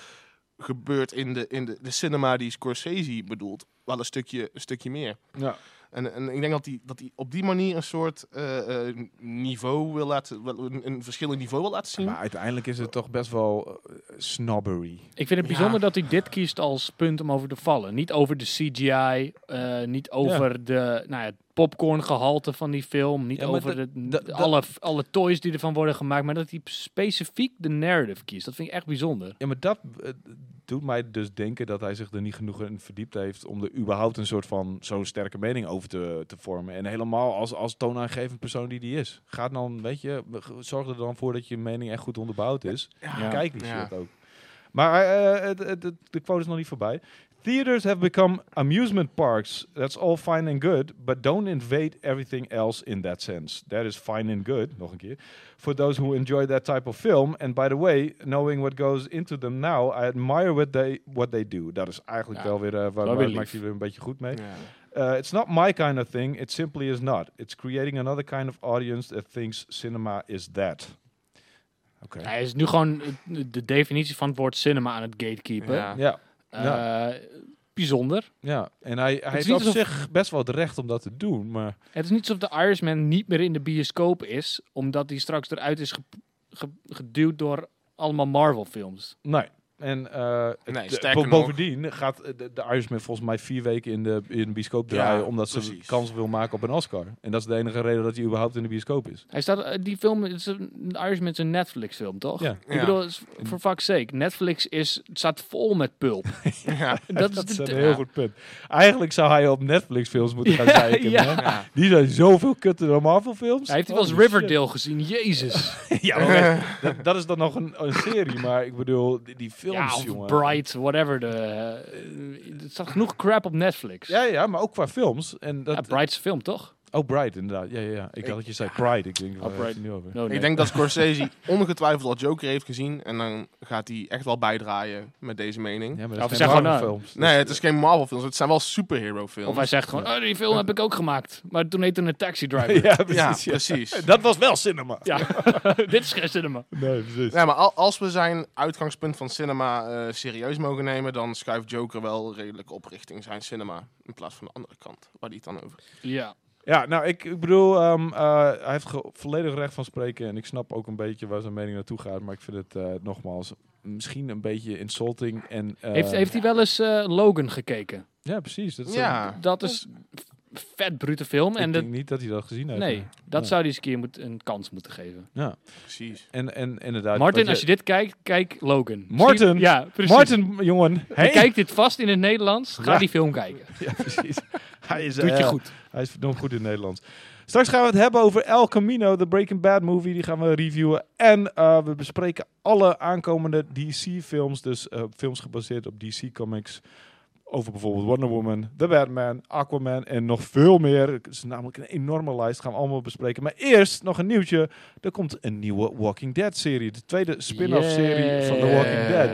[SPEAKER 2] gebeurt in, de, in de, de cinema die Scorsese bedoelt, wel een stukje, een stukje meer.
[SPEAKER 1] Ja.
[SPEAKER 2] En, en ik denk dat hij die, dat die op die manier een soort eh, eh, niveau wil laten, wel een, een verschillend niveau wil
[SPEAKER 3] Hm.
[SPEAKER 2] laten zien.
[SPEAKER 1] Maar uiteindelijk is het toch best wel eh, snobbery.
[SPEAKER 3] Ik vind het
[SPEAKER 2] Ja.
[SPEAKER 3] bijzonder dat hij dit kiest als punt om over te vallen. Niet over de CGI, eh, niet over de nou ja, het popcorngehalte van die film, niet
[SPEAKER 1] Ja, maar
[SPEAKER 3] over
[SPEAKER 1] dat-
[SPEAKER 3] de,
[SPEAKER 1] dat- dat-
[SPEAKER 3] alle, alle toys die ervan worden gemaakt, maar dat hij specifiek de narrative kiest. Dat vind ik echt bijzonder.
[SPEAKER 1] Ja, maar dat eh, doet mij dus denken dat hij zich er niet genoeg in verdiept heeft om er überhaupt een soort van zo'n sterke mening over te, te vormen. En helemaal als, als toonaangevend persoon die die is. Ga dan, weet je, zorg er dan voor dat je mening echt goed onderbouwd is.
[SPEAKER 3] Ja.
[SPEAKER 1] Kijk die
[SPEAKER 2] Ja.
[SPEAKER 1] shit ook. Maar eh, het- het- het- de quote is nog niet voorbij. Theaters have become amusement parks. That's all fine and good, but don't invade everything else in that sense. That is fine and good, nog een keer. For those who enjoy that type of film. And by the way, knowing what goes into them now, I admire what they, what they do. Dat is eigenlijk
[SPEAKER 3] Ja,
[SPEAKER 1] wel weer eh, waar
[SPEAKER 3] weer
[SPEAKER 1] waar
[SPEAKER 3] lief.
[SPEAKER 1] maakt hij weer een beetje goed mee.
[SPEAKER 2] Ja.
[SPEAKER 1] Uh, it's not my kind of thing. It simply is not. It's creating another kind of audience that thinks cinema is that. Oké.
[SPEAKER 3] Hij is nu gewoon de definitie van het woord cinema aan het gatekeeper.
[SPEAKER 2] Ja.
[SPEAKER 1] Ja,
[SPEAKER 3] Eh,
[SPEAKER 1] Ja.
[SPEAKER 3] Bijzonder.
[SPEAKER 1] ja. En hij, hij
[SPEAKER 3] is
[SPEAKER 1] heeft
[SPEAKER 3] niet
[SPEAKER 1] op
[SPEAKER 3] alsof-
[SPEAKER 1] zich best wel het recht om dat te doen, maar...
[SPEAKER 3] Het is niet alsof de Irishman niet meer in de bioscoop is, omdat hij straks eruit is gep- ge- geduwd door allemaal Marvel-films.
[SPEAKER 1] Nee. En eh,
[SPEAKER 2] Nee,
[SPEAKER 1] de-
[SPEAKER 2] sterker
[SPEAKER 1] bo-
[SPEAKER 2] nog-
[SPEAKER 1] bovendien gaat eh, de, de Irishman volgens mij vier weken in de, in de bioscoop
[SPEAKER 2] Ja,
[SPEAKER 1] draaien. omdat ze
[SPEAKER 2] precies.
[SPEAKER 1] kans wil maken op een Oscar. En dat is de enige reden dat hij überhaupt in de bioscoop is.
[SPEAKER 3] Hij staat, eh, die film, het is een, de Irishman is een Netflix-film, toch?
[SPEAKER 1] Ja.
[SPEAKER 2] Ja.
[SPEAKER 3] Ik bedoel, is- voor fuck's sake, Netflix is, staat vol met
[SPEAKER 1] <laughs>
[SPEAKER 3] pulp.
[SPEAKER 2] Ja.
[SPEAKER 3] <laughs> dat is
[SPEAKER 1] Dat is
[SPEAKER 3] de-
[SPEAKER 1] een
[SPEAKER 3] ja.
[SPEAKER 1] heel goed punt. Eigenlijk zou hij op Netflix films moeten gaan kijken.
[SPEAKER 3] <laughs> ja.
[SPEAKER 1] hè?
[SPEAKER 2] Ja.
[SPEAKER 1] Die zijn zoveel kutter dan Marvel films.
[SPEAKER 3] Hij heeft die wel
[SPEAKER 1] Holy
[SPEAKER 3] eens
[SPEAKER 1] shit.
[SPEAKER 3] Riverdale gezien, jezus.
[SPEAKER 1] ja, maar echt, dat, dat is dan nog een, een serie. Maar ik bedoel, die, die <laughs> films,
[SPEAKER 3] ja, of
[SPEAKER 1] jongen.
[SPEAKER 3] Bright, whatever. De, eh, er staat genoeg crap op Netflix.
[SPEAKER 1] Ja, ja, maar ook qua films. En dat,
[SPEAKER 3] Ja, Bright's film, toch?
[SPEAKER 1] Oh, Bright, inderdaad. Ja, ja, ja. Ik, dacht dat je zei Pride. Ik denk, waar
[SPEAKER 3] Oh,
[SPEAKER 1] heeft
[SPEAKER 3] Bright.
[SPEAKER 1] hij nu over?
[SPEAKER 3] No, nee.
[SPEAKER 2] Ik denk dat Scorsese ongetwijfeld al Joker heeft gezien. En dan gaat hij echt wel bijdraaien met deze mening.
[SPEAKER 1] Ja, dus- maar
[SPEAKER 3] Ja,
[SPEAKER 1] dat
[SPEAKER 3] we
[SPEAKER 1] zijn
[SPEAKER 3] zeggen
[SPEAKER 1] gewoon
[SPEAKER 3] gewoon,
[SPEAKER 1] films.
[SPEAKER 2] Nee, het is geen Marvel films. Het zijn wel superhero films.
[SPEAKER 3] Of hij zegt gewoon, oh, die film heb ik ook gemaakt. Maar toen heette het Taxi
[SPEAKER 1] <laughs>
[SPEAKER 3] Driver.
[SPEAKER 1] Ja,
[SPEAKER 2] ja,
[SPEAKER 1] precies. ja.
[SPEAKER 2] precies.
[SPEAKER 1] Dat was wel cinema.
[SPEAKER 3] Ja. <laughs> Dit is geen cinema.
[SPEAKER 1] Nee, precies.
[SPEAKER 2] Ja, maar al- als we zijn uitgangspunt van cinema eh, serieus mogen nemen, dan schuift Joker wel redelijk op richting zijn cinema. In plaats van de andere kant, waar die het dan over heeft.
[SPEAKER 3] Ja.
[SPEAKER 1] Ja, nou, ik, ik bedoel, ehm, eh, hij heeft ge- volledig recht van spreken. En ik snap ook een beetje waar zijn mening naartoe gaat. Maar ik vind het eh, nogmaals misschien een beetje insulting. En, eh,
[SPEAKER 3] heeft, heeft hij wel eens eh, Logan gekeken?
[SPEAKER 1] Ja, precies. Dat is een-
[SPEAKER 2] Ja,
[SPEAKER 3] Dat is een vet brute film.
[SPEAKER 1] ik
[SPEAKER 3] En dat,
[SPEAKER 1] denk niet dat hij dat gezien heeft.
[SPEAKER 3] nee, dat
[SPEAKER 1] Ja.
[SPEAKER 3] zou hij eens een keer moet, een kans moeten geven.
[SPEAKER 1] Ja.
[SPEAKER 2] precies.
[SPEAKER 1] En, en inderdaad...
[SPEAKER 3] Martin,
[SPEAKER 1] wat
[SPEAKER 3] als je dit kijkt, kijk Logan.
[SPEAKER 1] Martin?
[SPEAKER 3] Misschien- Ja, precies.
[SPEAKER 1] Martin, jongen.
[SPEAKER 3] Je
[SPEAKER 1] Hey.
[SPEAKER 3] kijkt dit vast in het Nederlands. Ga
[SPEAKER 1] Ja.
[SPEAKER 3] die film kijken.
[SPEAKER 1] <laughs> Ja, precies. Hij is,
[SPEAKER 3] Doet je
[SPEAKER 1] eh,
[SPEAKER 3] goed.
[SPEAKER 1] Hij is verdomd goed in het Nederlands. Straks gaan we het hebben over El Camino, de Breaking Bad movie. Die gaan we reviewen. En eh, we bespreken alle aankomende DC-films. Dus eh, films gebaseerd op DC-comics. Over bijvoorbeeld Wonder Woman, The Batman, Aquaman en nog veel meer. Het is namelijk een enorme lijst. Gaan we allemaal bespreken. Maar eerst nog een nieuwtje. Er komt een nieuwe Walking Dead-serie. De tweede spin-off-serie van The Walking Dead.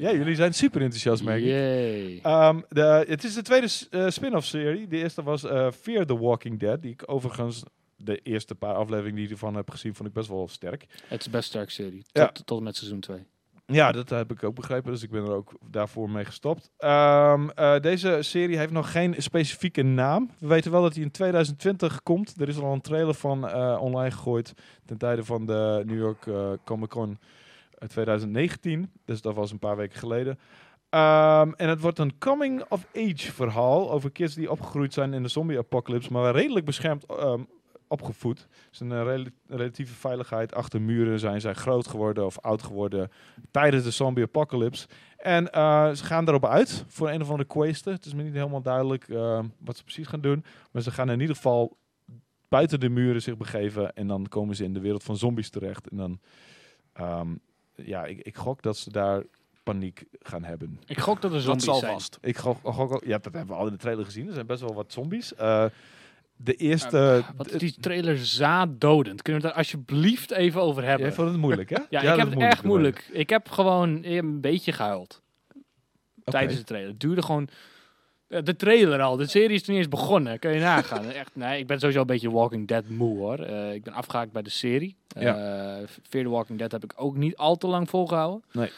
[SPEAKER 1] Ja, jullie zijn super enthousiast, merk ik.
[SPEAKER 3] Yay.
[SPEAKER 1] Ehm, de, het is de tweede s- eh, spin-off serie. De eerste was eh, Fear the Walking Dead. Die ik overigens de eerste paar afleveringen die ik ervan heb gezien, vond ik best wel sterk.
[SPEAKER 3] Het is best sterk serie. Tot,
[SPEAKER 1] Ja.
[SPEAKER 3] tot en met seizoen 2.
[SPEAKER 1] Ja, dat heb ik ook begrepen. Dus ik ben er ook daarvoor mee gestopt. Ehm, eh, deze serie heeft nog geen specifieke naam. We weten wel dat die in 2020 komt. Er is al een trailer van eh, online gegooid ten tijde van de New York eh, Comic Con eh, 2019. Dus dat was een paar weken geleden. Ehm, en het wordt een coming-of-age verhaal over kids die opgegroeid zijn in de zombie-apocalypse, maar wel redelijk beschermd ehm, opgevoed. Dus een eh, rela- relatieve veiligheid achter muren zijn zij groot geworden of oud geworden tijdens de zombie-apocalypse. En eh, ze gaan daarop uit voor een of andere queste. Het is me niet helemaal duidelijk ehm, wat ze precies gaan doen, maar ze gaan in ieder geval buiten de muren zich begeven en dan komen ze in de wereld van zombies terecht. En dan, ehm, ja, ik, ik gok dat ze daar paniek gaan hebben.
[SPEAKER 3] Ik gok dat er
[SPEAKER 2] Dat
[SPEAKER 3] zombies
[SPEAKER 2] zal
[SPEAKER 3] zijn.
[SPEAKER 2] vast.
[SPEAKER 1] Ik gok, gok ook- ja, dat hebben we al in de trailer gezien. Er zijn best wel wat zombies. Eh, de eerste...
[SPEAKER 3] Wat is die trailer zaaddodend? Kunnen we het daar alsjeblieft even over hebben?
[SPEAKER 1] Jij vond het moeilijk, hè?
[SPEAKER 3] Ja,
[SPEAKER 1] dat
[SPEAKER 3] ik heb
[SPEAKER 1] is
[SPEAKER 3] het echt
[SPEAKER 1] te
[SPEAKER 3] moeilijk. Ik heb gewoon eh, een beetje gehuild
[SPEAKER 1] Oké.
[SPEAKER 3] tijdens de trailer. Het duurde gewoon... eh, De trailer al. De serie is toen niet eens begonnen. Kun
[SPEAKER 1] <laughs>
[SPEAKER 3] je nagaan. Echt, nee, ik ben sowieso een beetje Walking Dead moe, hoor. Eh, ik ben afgehaakt bij de serie. Eh Fear the Walking Dead heb ik ook niet al te lang volgehouden.
[SPEAKER 1] Nee.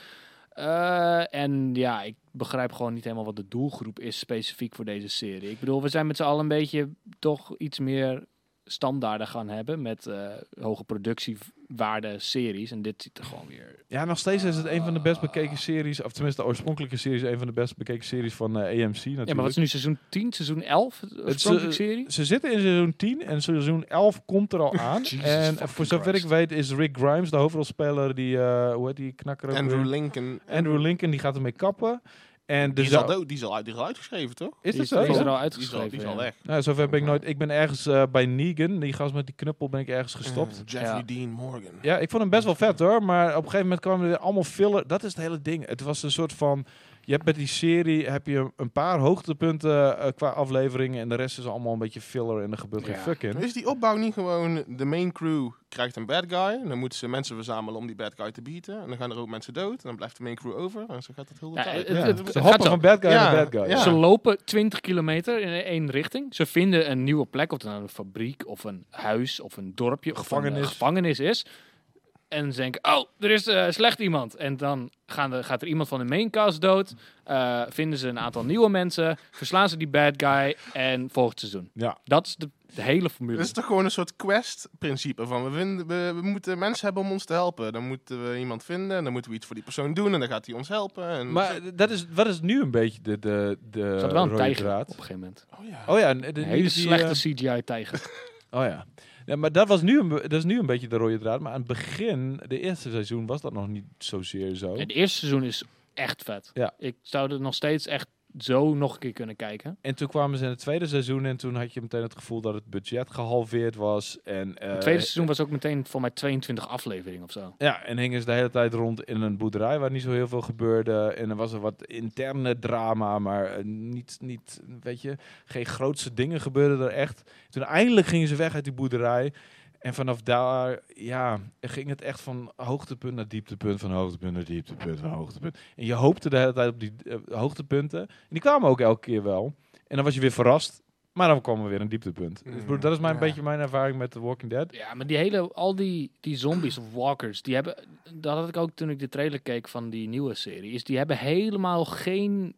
[SPEAKER 3] Eh, en ja, ik begrijp gewoon niet helemaal wat de doelgroep is specifiek voor deze serie. Ik bedoel, we zijn met z'n allen een beetje toch iets meer standaarden gaan hebben met eh, hoge productiewaarde series. En dit ziet er gewoon weer
[SPEAKER 1] Ja, nog steeds is het een van de best bekeken series. Of tenminste, de oorspronkelijke series. Een van de best bekeken series van eh, AMC natuurlijk. eh,
[SPEAKER 3] Ja, maar wat is nu seizoen 10, seizoen eh, 11? De oorspronkelijke serie?
[SPEAKER 1] Ze zitten in seizoen 10 en seizoen 11 komt er
[SPEAKER 3] <laughs>
[SPEAKER 1] al aan.
[SPEAKER 3] Jesus
[SPEAKER 1] en
[SPEAKER 3] fucking
[SPEAKER 1] voor zover
[SPEAKER 3] Christ.
[SPEAKER 1] ik weet is Rick Grimes, de hoofdrolspeler, die, eh, hoe heet die knakker ook
[SPEAKER 2] Andrew
[SPEAKER 1] weer?
[SPEAKER 2] Lincoln.
[SPEAKER 1] Andrew Lincoln, die gaat ermee kappen. En
[SPEAKER 2] Die
[SPEAKER 1] dus
[SPEAKER 2] is, al, dood, die is, al, die is al uitgeschreven, toch?
[SPEAKER 1] is
[SPEAKER 3] Die
[SPEAKER 1] dat zo?
[SPEAKER 3] Die is er al
[SPEAKER 2] Die is al,
[SPEAKER 3] uitgeschreven.
[SPEAKER 2] die is al
[SPEAKER 3] ja.
[SPEAKER 2] weg.
[SPEAKER 1] Nou, zover ben ik nooit. Ik ben ergens eh, bij Negan, die gast met die knuppel, ben ik ergens gestopt.
[SPEAKER 2] Eh, Jeffrey
[SPEAKER 3] Ja.
[SPEAKER 2] Dean Morgan.
[SPEAKER 1] Ja, ik vond hem best wel vet hoor. Maar op een gegeven moment kwamen er allemaal filler. Dat is het hele ding. Het was een soort van. Je hebt met die serie heb je een paar hoogtepunten eh, qua afleveringen. En de rest is allemaal een beetje filler. En er gebeurt geen
[SPEAKER 3] Ja.
[SPEAKER 1] fuck in.
[SPEAKER 2] Is die opbouw niet gewoon de main crew krijgt een bad guy. En dan moeten ze mensen verzamelen om die bad guy te bieten. En dan gaan er ook mensen dood. En dan blijft de main crew over. En zo gaat het heel de
[SPEAKER 3] Ja,
[SPEAKER 2] tijd. Dus
[SPEAKER 3] het-
[SPEAKER 1] Ja,
[SPEAKER 3] het- het
[SPEAKER 1] Ze
[SPEAKER 3] gaat
[SPEAKER 1] hoppen
[SPEAKER 3] zo.
[SPEAKER 1] van bad guy
[SPEAKER 2] Ja,
[SPEAKER 1] naar bad guy.
[SPEAKER 2] ja.
[SPEAKER 3] Ze lopen 20 kilometer in één richting. Ze vinden een nieuwe plek, of het nou een fabriek of een huis of een dorpje of een eh,
[SPEAKER 1] Gevangenis.
[SPEAKER 3] gevangenis is. En ze denken, oh, er is eh, slecht iemand. En dan gaan de, gaat er iemand van de maincast dood. eh, vinden ze een aantal nieuwe mensen. Verslaan ze die bad guy. En volgend seizoen.
[SPEAKER 1] Ja.
[SPEAKER 3] Dat is de, de hele formule.
[SPEAKER 2] Dat is toch gewoon een soort quest-principe van we, vinden, we, we moeten mensen hebben om ons te helpen. Dan moeten we iemand vinden en dan moeten we iets voor die persoon doen en dan gaat hij ons helpen. En
[SPEAKER 1] Maar dat is, wat is nu een beetje de, de, de eh,
[SPEAKER 3] er zat wel een
[SPEAKER 1] rode
[SPEAKER 3] tijger op
[SPEAKER 1] draad?
[SPEAKER 3] een gegeven moment.
[SPEAKER 2] oh ja.
[SPEAKER 1] Oh ja, de,
[SPEAKER 3] Een
[SPEAKER 1] nu
[SPEAKER 3] hele
[SPEAKER 1] is die,
[SPEAKER 3] slechte
[SPEAKER 1] eh,
[SPEAKER 3] CGI-tijger.
[SPEAKER 1] Oh ja. Ja, maar dat, was nu een, be- dat is nu een beetje de rode draad. Maar aan het begin, de eerste seizoen, was dat nog niet zozeer zo.
[SPEAKER 3] Het eerste seizoen is echt vet.
[SPEAKER 1] Oh. Ja.
[SPEAKER 3] Ik zou er nog steeds echt zo nog een keer kunnen kijken.
[SPEAKER 1] En toen kwamen ze in het tweede seizoen en toen had je meteen het gevoel dat het budget gehalveerd was. En, eh,
[SPEAKER 3] Het tweede seizoen was ook meteen voor mij 22 afleveringen of zo.
[SPEAKER 1] Ja, en hingen ze de hele tijd rond in een boerderij waar niet zo heel veel gebeurde. En er was er wat interne drama, maar eh, niet, niet, weet je, geen grootse dingen gebeurden er echt. Toen eindelijk gingen ze weg uit die boerderij. En vanaf daar, ja, ging het echt van hoogtepunt naar dieptepunt, van hoogtepunt naar dieptepunt, van hoogtepunt. En je hoopte de hele tijd op die eh, hoogtepunten. En die kwamen ook elke keer wel. En dan was je weer verrast, maar dan kwam er weer een dieptepunt. Dus ik bedoel, dat is mijn,
[SPEAKER 2] Ja.
[SPEAKER 1] beetje mijn ervaring met The Walking Dead.
[SPEAKER 3] Ja, maar die hele, al die, die zombies <clears throat> of walkers, die hebben, dat had ik ook toen ik de trailer keek van die nieuwe serie, is die hebben helemaal geen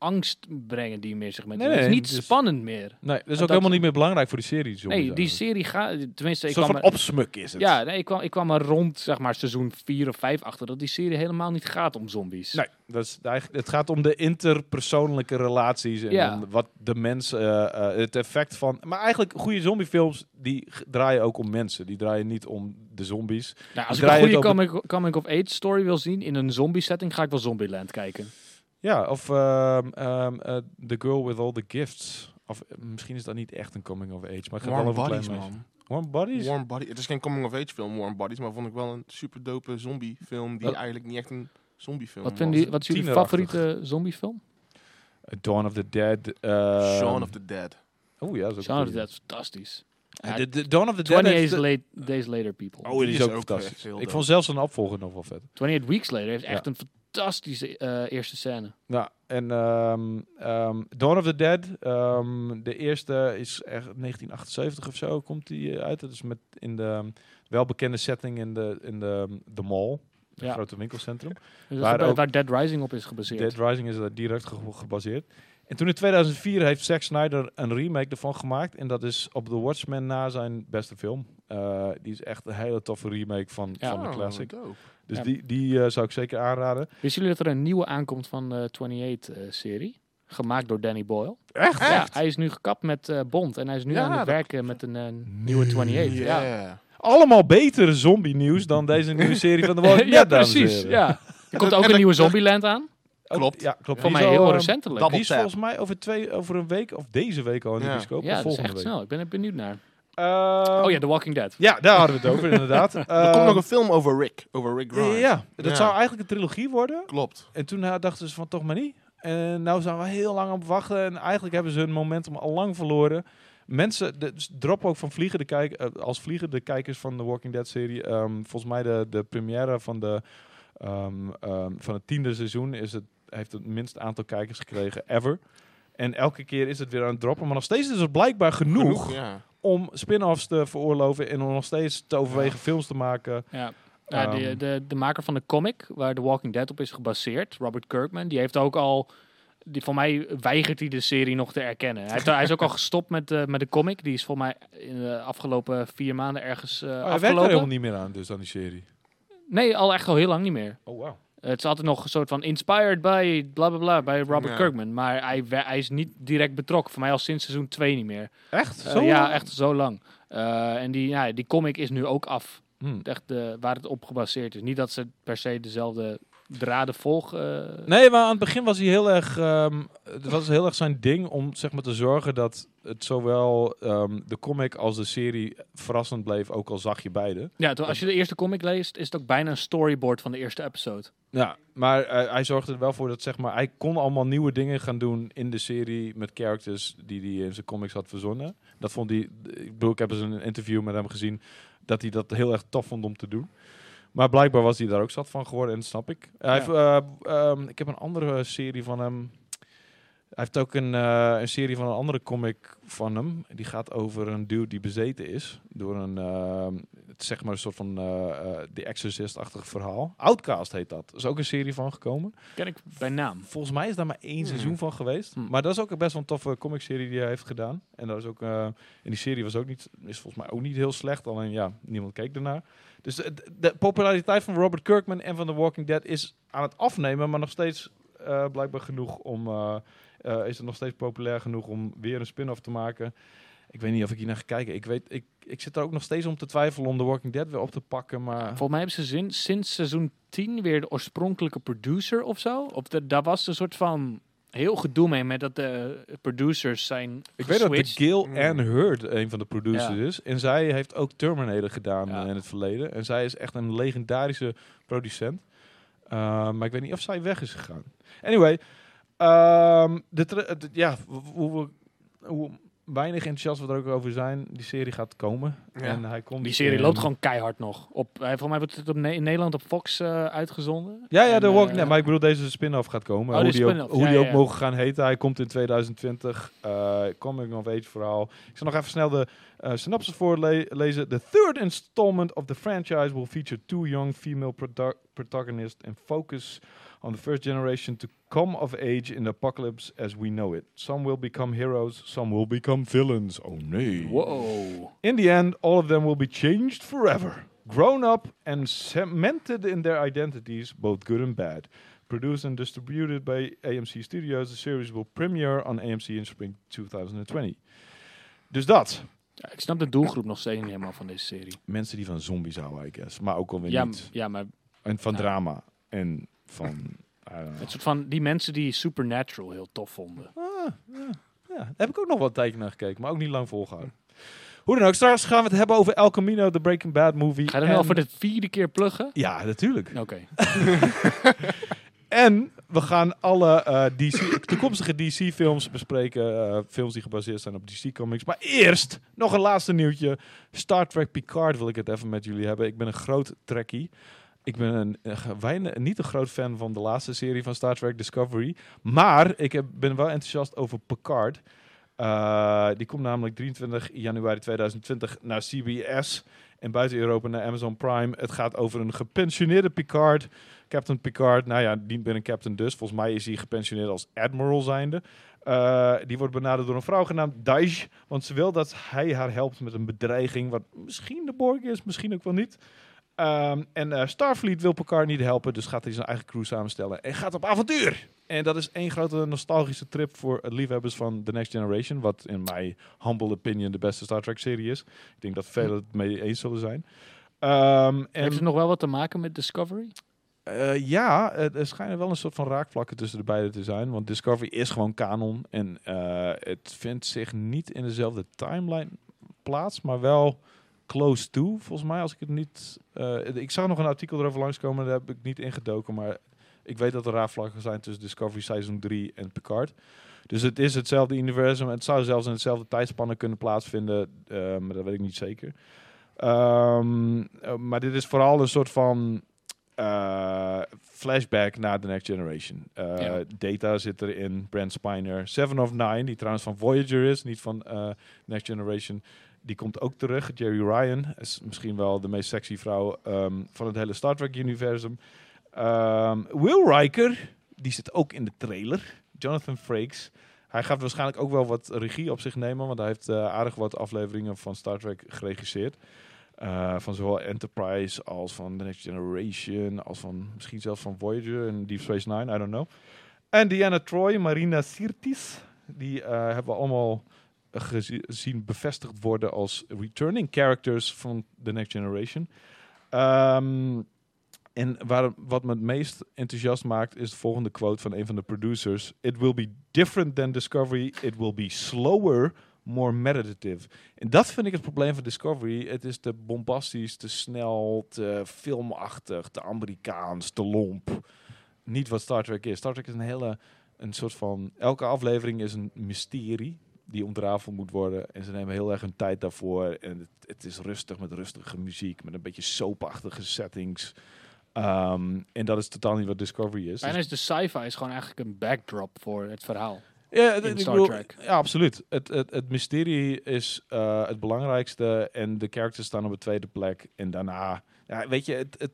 [SPEAKER 3] angst brengen die meer zich met.
[SPEAKER 1] Nee,
[SPEAKER 3] het is
[SPEAKER 1] nee,
[SPEAKER 3] niet
[SPEAKER 1] dus-
[SPEAKER 3] spannend meer.
[SPEAKER 1] Nee, dat is ook
[SPEAKER 3] dat-
[SPEAKER 1] helemaal niet meer belangrijk voor die serie. die zombies
[SPEAKER 3] Nee, die
[SPEAKER 1] eigenlijk.
[SPEAKER 3] serie gaat, tenminste,
[SPEAKER 1] Een
[SPEAKER 3] ik
[SPEAKER 1] soort
[SPEAKER 3] kwam,
[SPEAKER 1] van
[SPEAKER 3] er,
[SPEAKER 1] opsmuk is het.
[SPEAKER 3] ja, nee, ik, kwam, ik kwam er rond, zeg maar, seizoen 4 of 5 achter, dat die serie helemaal niet gaat om zombies.
[SPEAKER 1] Nee, dat is, eigenlijk- het gaat om de interpersoonlijke relaties en
[SPEAKER 3] Ja.
[SPEAKER 1] om wat de mens, eh, eh, het effect van... Maar eigenlijk, goede zombiefilms, die g- draaien ook om mensen. Die draaien niet om de zombies.
[SPEAKER 3] Nou, als
[SPEAKER 1] Die
[SPEAKER 3] ik een
[SPEAKER 1] draaien
[SPEAKER 3] goede
[SPEAKER 1] het
[SPEAKER 3] coming, coming of age story wil zien in een zombie setting, ga ik wel Zombieland kijken.
[SPEAKER 1] Ja, of ehm, ehm, eh, The Girl With All The Gifts. Of eh, misschien is dat niet echt een coming-of-age, maar het gaat wel
[SPEAKER 2] Warm
[SPEAKER 1] over een
[SPEAKER 2] Bodies,
[SPEAKER 1] klein meisje.
[SPEAKER 2] man.
[SPEAKER 1] Warm Bodies?
[SPEAKER 2] Warm Bodies. Het is geen coming-of-age film, Warm Bodies, maar vond ik wel een super dope zombiefilm die
[SPEAKER 1] Wat-
[SPEAKER 2] eigenlijk niet echt een zombiefilm
[SPEAKER 3] Wat,
[SPEAKER 2] was.
[SPEAKER 3] vinden jullie, wat is jullie
[SPEAKER 1] tienerachtig.
[SPEAKER 3] favoriete zombiefilm?
[SPEAKER 1] Eh, Dawn of the Dead. ehm,
[SPEAKER 2] Shaun of the Dead.
[SPEAKER 1] Oeh, ja, dat is ook
[SPEAKER 3] Shaun
[SPEAKER 1] een
[SPEAKER 3] of
[SPEAKER 1] goeie.
[SPEAKER 3] the Dead is fantastisch.
[SPEAKER 1] Eh, de- de Dawn of the Dead
[SPEAKER 3] 28
[SPEAKER 1] heeft
[SPEAKER 3] days,
[SPEAKER 1] de-
[SPEAKER 3] late- days Later People.
[SPEAKER 1] Oh, die is ook
[SPEAKER 2] eh,
[SPEAKER 1] fantastisch.
[SPEAKER 2] heel
[SPEAKER 1] Ik
[SPEAKER 2] dope.
[SPEAKER 1] vond zelfs een opvolger nog wel vet.
[SPEAKER 3] 28 Weeks Later heeft echt
[SPEAKER 1] Ja.
[SPEAKER 3] een fantastische eh, eerste scène.
[SPEAKER 1] Ja, en ehm, ehm, Dawn of the Dead, ehm, de eerste is echt 1978 of zo, komt die eh, uit. Dat is met in de ehm, welbekende setting in de, in de, de mall, het
[SPEAKER 3] Ja.
[SPEAKER 1] grote winkelcentrum.
[SPEAKER 3] Dus
[SPEAKER 1] Waar
[SPEAKER 3] waar,
[SPEAKER 1] ook-
[SPEAKER 3] waar Dead Rising op is gebaseerd.
[SPEAKER 1] Dead Rising is daar direct ge- gebaseerd. En toen in 2004 heeft Zack Snyder een remake ervan gemaakt. En dat is op The Watchmen na zijn beste film. Eh, die is echt een hele toffe remake van,
[SPEAKER 3] Ja.
[SPEAKER 1] van de
[SPEAKER 2] Oh,
[SPEAKER 1] classic.
[SPEAKER 2] dope.
[SPEAKER 1] Dus
[SPEAKER 3] Ja.
[SPEAKER 1] die, die eh, zou ik zeker aanraden.
[SPEAKER 3] Wisten jullie dat er een nieuwe aankomt van eh, de 28-serie? Gemaakt door Danny Boyle.
[SPEAKER 1] Echt?
[SPEAKER 3] Ja, hij is nu gekapt met eh, Bond en hij is nu
[SPEAKER 2] Ja,
[SPEAKER 3] aan het
[SPEAKER 2] dat-
[SPEAKER 3] werken met een eh, nieuwe 28. Ja,
[SPEAKER 2] Yeah.
[SPEAKER 1] Allemaal betere zombie nieuws dan deze
[SPEAKER 3] <laughs>
[SPEAKER 1] nieuwe serie van The Walking Dead.
[SPEAKER 3] ja
[SPEAKER 1] dames en
[SPEAKER 3] precies.
[SPEAKER 1] heren.
[SPEAKER 3] Ja. Er komt
[SPEAKER 2] En
[SPEAKER 3] ook een
[SPEAKER 2] dat-
[SPEAKER 3] nieuwe
[SPEAKER 2] dat-
[SPEAKER 3] Zombieland aan.
[SPEAKER 1] Ook-
[SPEAKER 2] Klopt.
[SPEAKER 1] Ja, klopt.
[SPEAKER 3] Voor
[SPEAKER 1] Die
[SPEAKER 3] mij
[SPEAKER 1] is al,
[SPEAKER 3] heel
[SPEAKER 1] ehm,
[SPEAKER 3] recentelijk.
[SPEAKER 2] Double
[SPEAKER 1] Die is
[SPEAKER 2] tap.
[SPEAKER 1] volgens mij over, twee, over een week of deze week al in de
[SPEAKER 2] Ja.
[SPEAKER 1] bioscoop.
[SPEAKER 3] Ja,
[SPEAKER 1] of
[SPEAKER 3] dat is
[SPEAKER 1] volgende
[SPEAKER 3] echt snel. Ik ben er benieuwd naar.
[SPEAKER 1] week. Ehm,
[SPEAKER 3] Oh ja, The Walking Dead.
[SPEAKER 1] ja, daar hadden we het over inderdaad.
[SPEAKER 2] <laughs> Er komt nog een film over Rick. Over Rick Grimes.
[SPEAKER 1] Ehm, Ja, dat
[SPEAKER 2] Ja.
[SPEAKER 1] zou eigenlijk een trilogie worden.
[SPEAKER 2] Klopt.
[SPEAKER 1] En toen eh, dachten ze van toch maar niet. En nou zijn we heel lang op wachten. En eigenlijk hebben ze hun momentum al lang verloren. Mensen, de dus drop ook van vliegen de kijk, eh, als vliegen de kijkers van de Walking Dead serie. ehm, volgens mij de, de première van, de, ehm, ehm, van het tiende seizoen is het, heeft het minst aantal kijkers gekregen ever. En elke keer is het weer aan het droppen. Maar nog steeds is het blijkbaar genoeg,
[SPEAKER 2] ja.
[SPEAKER 1] om spin-offs te veroorloven. En om nog steeds te overwegen films te maken.
[SPEAKER 3] Ja. Ja, de,
[SPEAKER 1] Ehm.
[SPEAKER 3] de, de maker van de comic waar The Walking Dead op is gebaseerd, Robert Kirkman, die heeft ook al. Die, voor mij weigert hij de serie nog te erkennen. Hij, heeft- hij is ook
[SPEAKER 1] <laughs>
[SPEAKER 3] al gestopt met, de met de comic. Die is voor mij in de afgelopen vier maanden ergens eh
[SPEAKER 1] Oh, hij werkt er
[SPEAKER 3] afgelopen.
[SPEAKER 1] helemaal niet meer aan, dus aan die serie.
[SPEAKER 3] Nee, al echt al heel lang niet meer. Eh,
[SPEAKER 1] Oh, wauw.
[SPEAKER 3] Het is altijd nog een soort van inspired by bla bla bla bij Robert
[SPEAKER 2] Ja.
[SPEAKER 3] Kirkman. Maar hij, we- hij is niet direct betrokken. Voor mij al sinds seizoen 2 niet meer.
[SPEAKER 1] Echt?
[SPEAKER 3] Eh,
[SPEAKER 1] Zo
[SPEAKER 3] ja,
[SPEAKER 1] lang?
[SPEAKER 3] echt zo lang. Eh, en die, ja, die comic is nu ook af.
[SPEAKER 1] Hmm.
[SPEAKER 3] echt de, waar het op gebaseerd is. Niet dat ze per se dezelfde draden volgen. eh.
[SPEAKER 1] Nee, maar aan het begin was hij heel erg. ehm, het was heel erg zijn ding om zeg maar, te zorgen dat het zowel ehm, de comic als de serie verrassend bleef, ook al zag je beide.
[SPEAKER 3] Ja, terwijl als je de eerste comic leest, is het ook bijna een storyboard van de eerste episode.
[SPEAKER 1] Ja, maar eh, hij zorgde er wel voor dat zeg maar, hij kon allemaal nieuwe dingen gaan doen in de serie met characters die hij in zijn comics had verzonnen. Dat vond hij. Ik bedoel, ik heb eens een interview met hem gezien dat hij dat heel erg tof vond om te doen. Maar blijkbaar was hij daar ook zat van geworden en dat snap ik. Hij
[SPEAKER 3] Ja.
[SPEAKER 1] heeft, eh, ehm, ik heb een andere serie van hem. Hij heeft ook een, eh, een serie van een andere comic van hem. Die gaat over een dude die bezeten is door een, eh, het is zeg maar een soort van eh, eh, The Exorcist-achtig verhaal. Outcast heet dat. Er is ook een serie van gekomen.
[SPEAKER 3] Ken ik bij naam.
[SPEAKER 1] Volgens mij is daar maar één
[SPEAKER 2] Hmm.
[SPEAKER 1] seizoen van geweest.
[SPEAKER 3] Hmm.
[SPEAKER 1] Maar dat is ook best wel een toffe comic-serie die hij heeft gedaan. En dat is ook, eh, en die serie was ook niet, is volgens mij ook niet heel slecht. Alleen ja, niemand keek ernaar. Dus de, de- de populariteit van Robert Kirkman en van The Walking Dead is aan het afnemen, maar nog steeds eh, blijkbaar genoeg om. eh, eh, is het nog steeds populair genoeg om weer een spin-off te maken? Ik weet niet of ik hier naar ga kijken. Ik, weet, ik, ik zit er ook nog steeds om te twijfelen om The Walking Dead weer op te pakken. Maar
[SPEAKER 3] Volgens mij hebben ze zin, sinds seizoen 10 weer de oorspronkelijke producer of zo. Of de, daar was een soort van heel gedoe mee met dat de producers zijn
[SPEAKER 1] Ik weet dat de
[SPEAKER 3] geswitcht.
[SPEAKER 1] Gil
[SPEAKER 2] Mm.
[SPEAKER 1] Ann Hurd een van de producers
[SPEAKER 3] Ja.
[SPEAKER 1] is. En zij heeft ook Terminator gedaan
[SPEAKER 3] Ja.
[SPEAKER 1] eh, in het verleden. En zij is echt een legendarische producent. Uh, maar ik weet niet of zij weg is gegaan. Anyway, ehm, de tra- eh, de- ja, w- w- hoe, we- hoe weinig enthousiast we er ook over zijn, die serie gaat komen.
[SPEAKER 2] Ja.
[SPEAKER 1] En hij komt
[SPEAKER 3] Die serie
[SPEAKER 1] in-
[SPEAKER 3] loopt gewoon keihard nog. Op, eh, volgens mij wordt het op Ne- in Nederland op Fox eh, uitgezonden.
[SPEAKER 1] Ja, ja, de
[SPEAKER 3] En,
[SPEAKER 1] Walking
[SPEAKER 3] eh,
[SPEAKER 1] Dead. Maar ik bedoel, deze spin-off gaat komen.
[SPEAKER 3] Oh,
[SPEAKER 1] hoe
[SPEAKER 3] die
[SPEAKER 1] die ook,
[SPEAKER 3] spin-off.
[SPEAKER 1] hoe
[SPEAKER 3] Ja,
[SPEAKER 1] die
[SPEAKER 3] ja,
[SPEAKER 1] ook
[SPEAKER 3] ja.
[SPEAKER 1] mogen gaan heten. Hij komt in 2020. eh coming of age verhaal. Ik zal nog even snel de eh synopsis voorlezen. The third installment of the franchise will feature two young female produ- protagonists and focus on the first generation to come of age in the apocalypse as we know it. Some will become heroes, some will become villains. Oh nee.
[SPEAKER 3] Wow.
[SPEAKER 1] In the end, all of them will be changed forever, grown up and cemented in their identities, both good and bad. Produced and distributed by AMC Studios, the series will premiere on AMC in spring 2020. Dus dat.
[SPEAKER 3] Ja, ik snap de doelgroep nog steeds niet helemaal van deze serie.
[SPEAKER 1] Mensen die van zombies houden, I guess. Maar ook alweer
[SPEAKER 3] Ja, m-
[SPEAKER 1] niet.
[SPEAKER 3] ja, maar
[SPEAKER 1] En van
[SPEAKER 3] Ja.
[SPEAKER 1] drama. En van... I don't know.
[SPEAKER 3] het soort van die mensen die Supernatural heel tof vonden.
[SPEAKER 1] Ah, ja. Ja, daar heb ik ook nog wel een tijdje naar gekeken, maar ook niet lang volgehouden. Hoe dan ook, straks gaan we het hebben over El Camino, de Breaking Bad movie.
[SPEAKER 3] Ga je dan
[SPEAKER 1] en-
[SPEAKER 3] wel voor de vierde keer pluggen?
[SPEAKER 1] Ja, natuurlijk.
[SPEAKER 3] Oké.
[SPEAKER 1] En we gaan alle eh, DC, toekomstige DC-films bespreken. eh, films die gebaseerd zijn op DC-comics. Maar eerst nog een laatste nieuwtje. Star Trek Picard wil ik het even met jullie hebben. Ik ben een groot trekkie. Ik ben een, eh, ge- weinig, niet een groot fan van de laatste serie van Star Trek Discovery. Maar ik heb, ben wel enthousiast over Picard. Eh, die komt namelijk 23 januari 2020 naar CBS en buiten Europa naar Amazon Prime. Het gaat over een gepensioneerde Picard, Captain Picard. Nou ja, niet meer een captain dus. Volgens mij is hij gepensioneerd als admiral zijnde. Eh, die wordt benaderd door een vrouw genaamd Daesh, want ze wil dat hij haar helpt met een bedreiging wat misschien de Borg is, misschien ook wel niet. Ehm, en eh, Starfleet wil Picard niet helpen, dus gaat hij zijn eigen crew samenstellen en gaat op avontuur. En dat is één grote nostalgische trip voor het liefhebbers van The Next Generation, wat in mijn humble opinion de beste Star Trek serie is. Ik denk dat velen het mee eens zullen zijn. Ehm, en
[SPEAKER 3] Heeft het nog wel wat te maken met Discovery?
[SPEAKER 1] eh, ja, het- er schijnen wel een soort van raakvlakken tussen de beide te zijn. Want Discovery is gewoon kanon. En eh, het vindt zich niet in dezelfde timeline plaats, maar wel close to, volgens mij. Als ik het niet. eh, ik zag nog een artikel erover langskomen, daar heb ik niet ingedoken. Maar ik weet dat er raakvlakken zijn tussen Discovery Season 3 en Picard. Dus het is hetzelfde universum. Het zou zelfs in hetzelfde tijdspanne kunnen plaatsvinden. eh, maar dat weet ik niet zeker. Ehm, eh, maar dit is vooral een soort van eh, flashback naar The Next Generation. Eh,
[SPEAKER 3] Ja.
[SPEAKER 1] Data zit erin, Brent Spiner. Seven of Nine, die trouwens van Voyager is, niet van eh, Next Generation. Die komt ook terug. Jerry Ryan is misschien wel de meest sexy vrouw ehm, van het hele Star Trek-universum. Ehm, Will Riker, die zit ook in de trailer. Jonathan Frakes. Hij gaat waarschijnlijk ook wel wat regie op zich nemen, want hij heeft eh, aardig wat afleveringen van Star Trek geregisseerd. Eh, van zowel Enterprise als van The Next Generation, als van misschien zelfs van Voyager en Deep Space Nine, I don't know. En Diana Troy, Marina Sirtis, die eh, hebben we allemaal gezi- zien bevestigd worden als returning characters van The Next Generation. Ehm, en waar, wat me het meest enthousiast maakt is de volgende quote van een van de producers. It will be different than Discovery. It will be slower, more meditative. En dat vind ik het probleem van Discovery. Het is te bombastisch, te snel, te filmachtig, te Amerikaans, te lomp. Niet wat Star Trek is. Star Trek is een hele, een soort van, elke aflevering is een mysterie die ontrafeld moet worden. En ze nemen heel erg hun tijd daarvoor. En het, het is rustig met rustige muziek, met een beetje soapachtige settings. Ehm, en dat is totaal niet wat Discovery is.
[SPEAKER 3] Bijna is de sci-fi is gewoon eigenlijk een backdrop voor het verhaal.
[SPEAKER 1] Ja, het-
[SPEAKER 3] in
[SPEAKER 1] ik
[SPEAKER 3] Star
[SPEAKER 1] bedoel,
[SPEAKER 3] Trek.
[SPEAKER 1] ja absoluut. Het, het, het mysterie is eh, het belangrijkste en de characters staan op de tweede plek. En daarna, ja, weet je, het, het,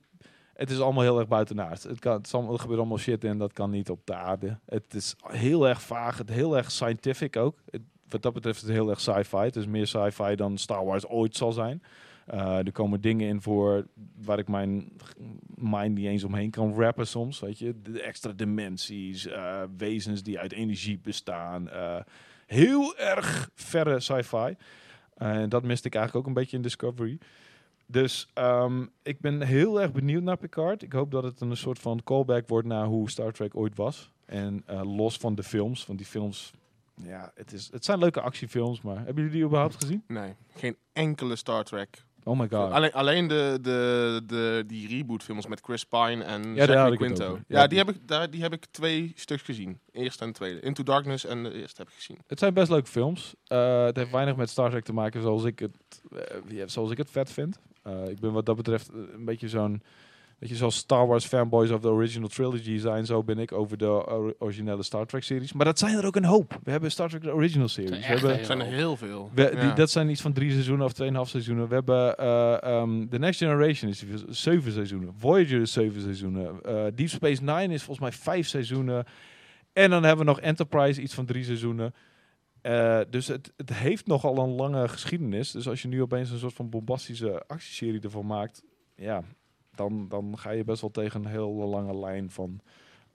[SPEAKER 1] het is allemaal heel erg buitenaard. Het, kan, het is allemaal- er gebeurt allemaal shit en dat kan niet op de aarde. Het is heel erg vaag, het heel erg scientific ook. Het- wat dat betreft is het heel erg sci-fi. Het is meer sci-fi dan Star Wars ooit zal zijn. Eh, er komen dingen in voor waar ik mijn g- mind niet eens omheen kan rappen soms. Weet je, de extra dimensies, eh, wezens die uit energie bestaan. eh, heel erg verre sci-fi. En dat miste ik eigenlijk ook een beetje in Discovery. Dus ehm, ik ben heel erg benieuwd naar Picard. Ik hoop dat het een soort van callback wordt naar hoe Star Trek ooit was. En eh, los van de films, want die films, ja, het, is, het zijn leuke actiefilms, maar hebben jullie die überhaupt gezien?
[SPEAKER 2] Nee, geen enkele Star Trek.
[SPEAKER 1] Oh my god.
[SPEAKER 2] Alleen, alleen de, de, de, die rebootfilms met Chris Pine en
[SPEAKER 1] daar had
[SPEAKER 2] Zachary
[SPEAKER 1] ik het
[SPEAKER 2] Quinto.
[SPEAKER 1] over.
[SPEAKER 2] Ja,
[SPEAKER 1] Ja,
[SPEAKER 2] die, heb ik, daar, die heb ik twee stuks gezien. Eerst en tweede. Into Darkness en de eerste heb ik gezien.
[SPEAKER 1] Het zijn best leuke films. Eh, het heeft weinig met Star Trek te maken zoals ik het, eh, ja, zoals ik het vet vind. Eh, ik ben wat dat betreft eh, een beetje zo'n... Weet je, zoals Star Wars fanboys of de original trilogy zijn, zo ben ik over de or- originele Star Trek series. Maar dat zijn er ook een hoop. We hebben Star Trek de original series. We
[SPEAKER 3] Echt
[SPEAKER 1] hebben,
[SPEAKER 2] Er zijn er heel veel.
[SPEAKER 1] we- die-
[SPEAKER 2] Ja.
[SPEAKER 1] dat zijn iets van drie seizoenen of tweeënhalf seizoenen. We hebben eh, ehm, The Next Generation is zeven seizoenen. Voyager is zeven seizoenen. Eh, Deep Space Nine is volgens mij vijf seizoenen. En dan hebben we nog Enterprise, iets van drie seizoenen. Eh, dus het, het heeft nogal een lange geschiedenis. Dus als je nu opeens een soort van bombastische actieserie ervan maakt, ja, dan, dan ga je best wel tegen een hele lange lijn van.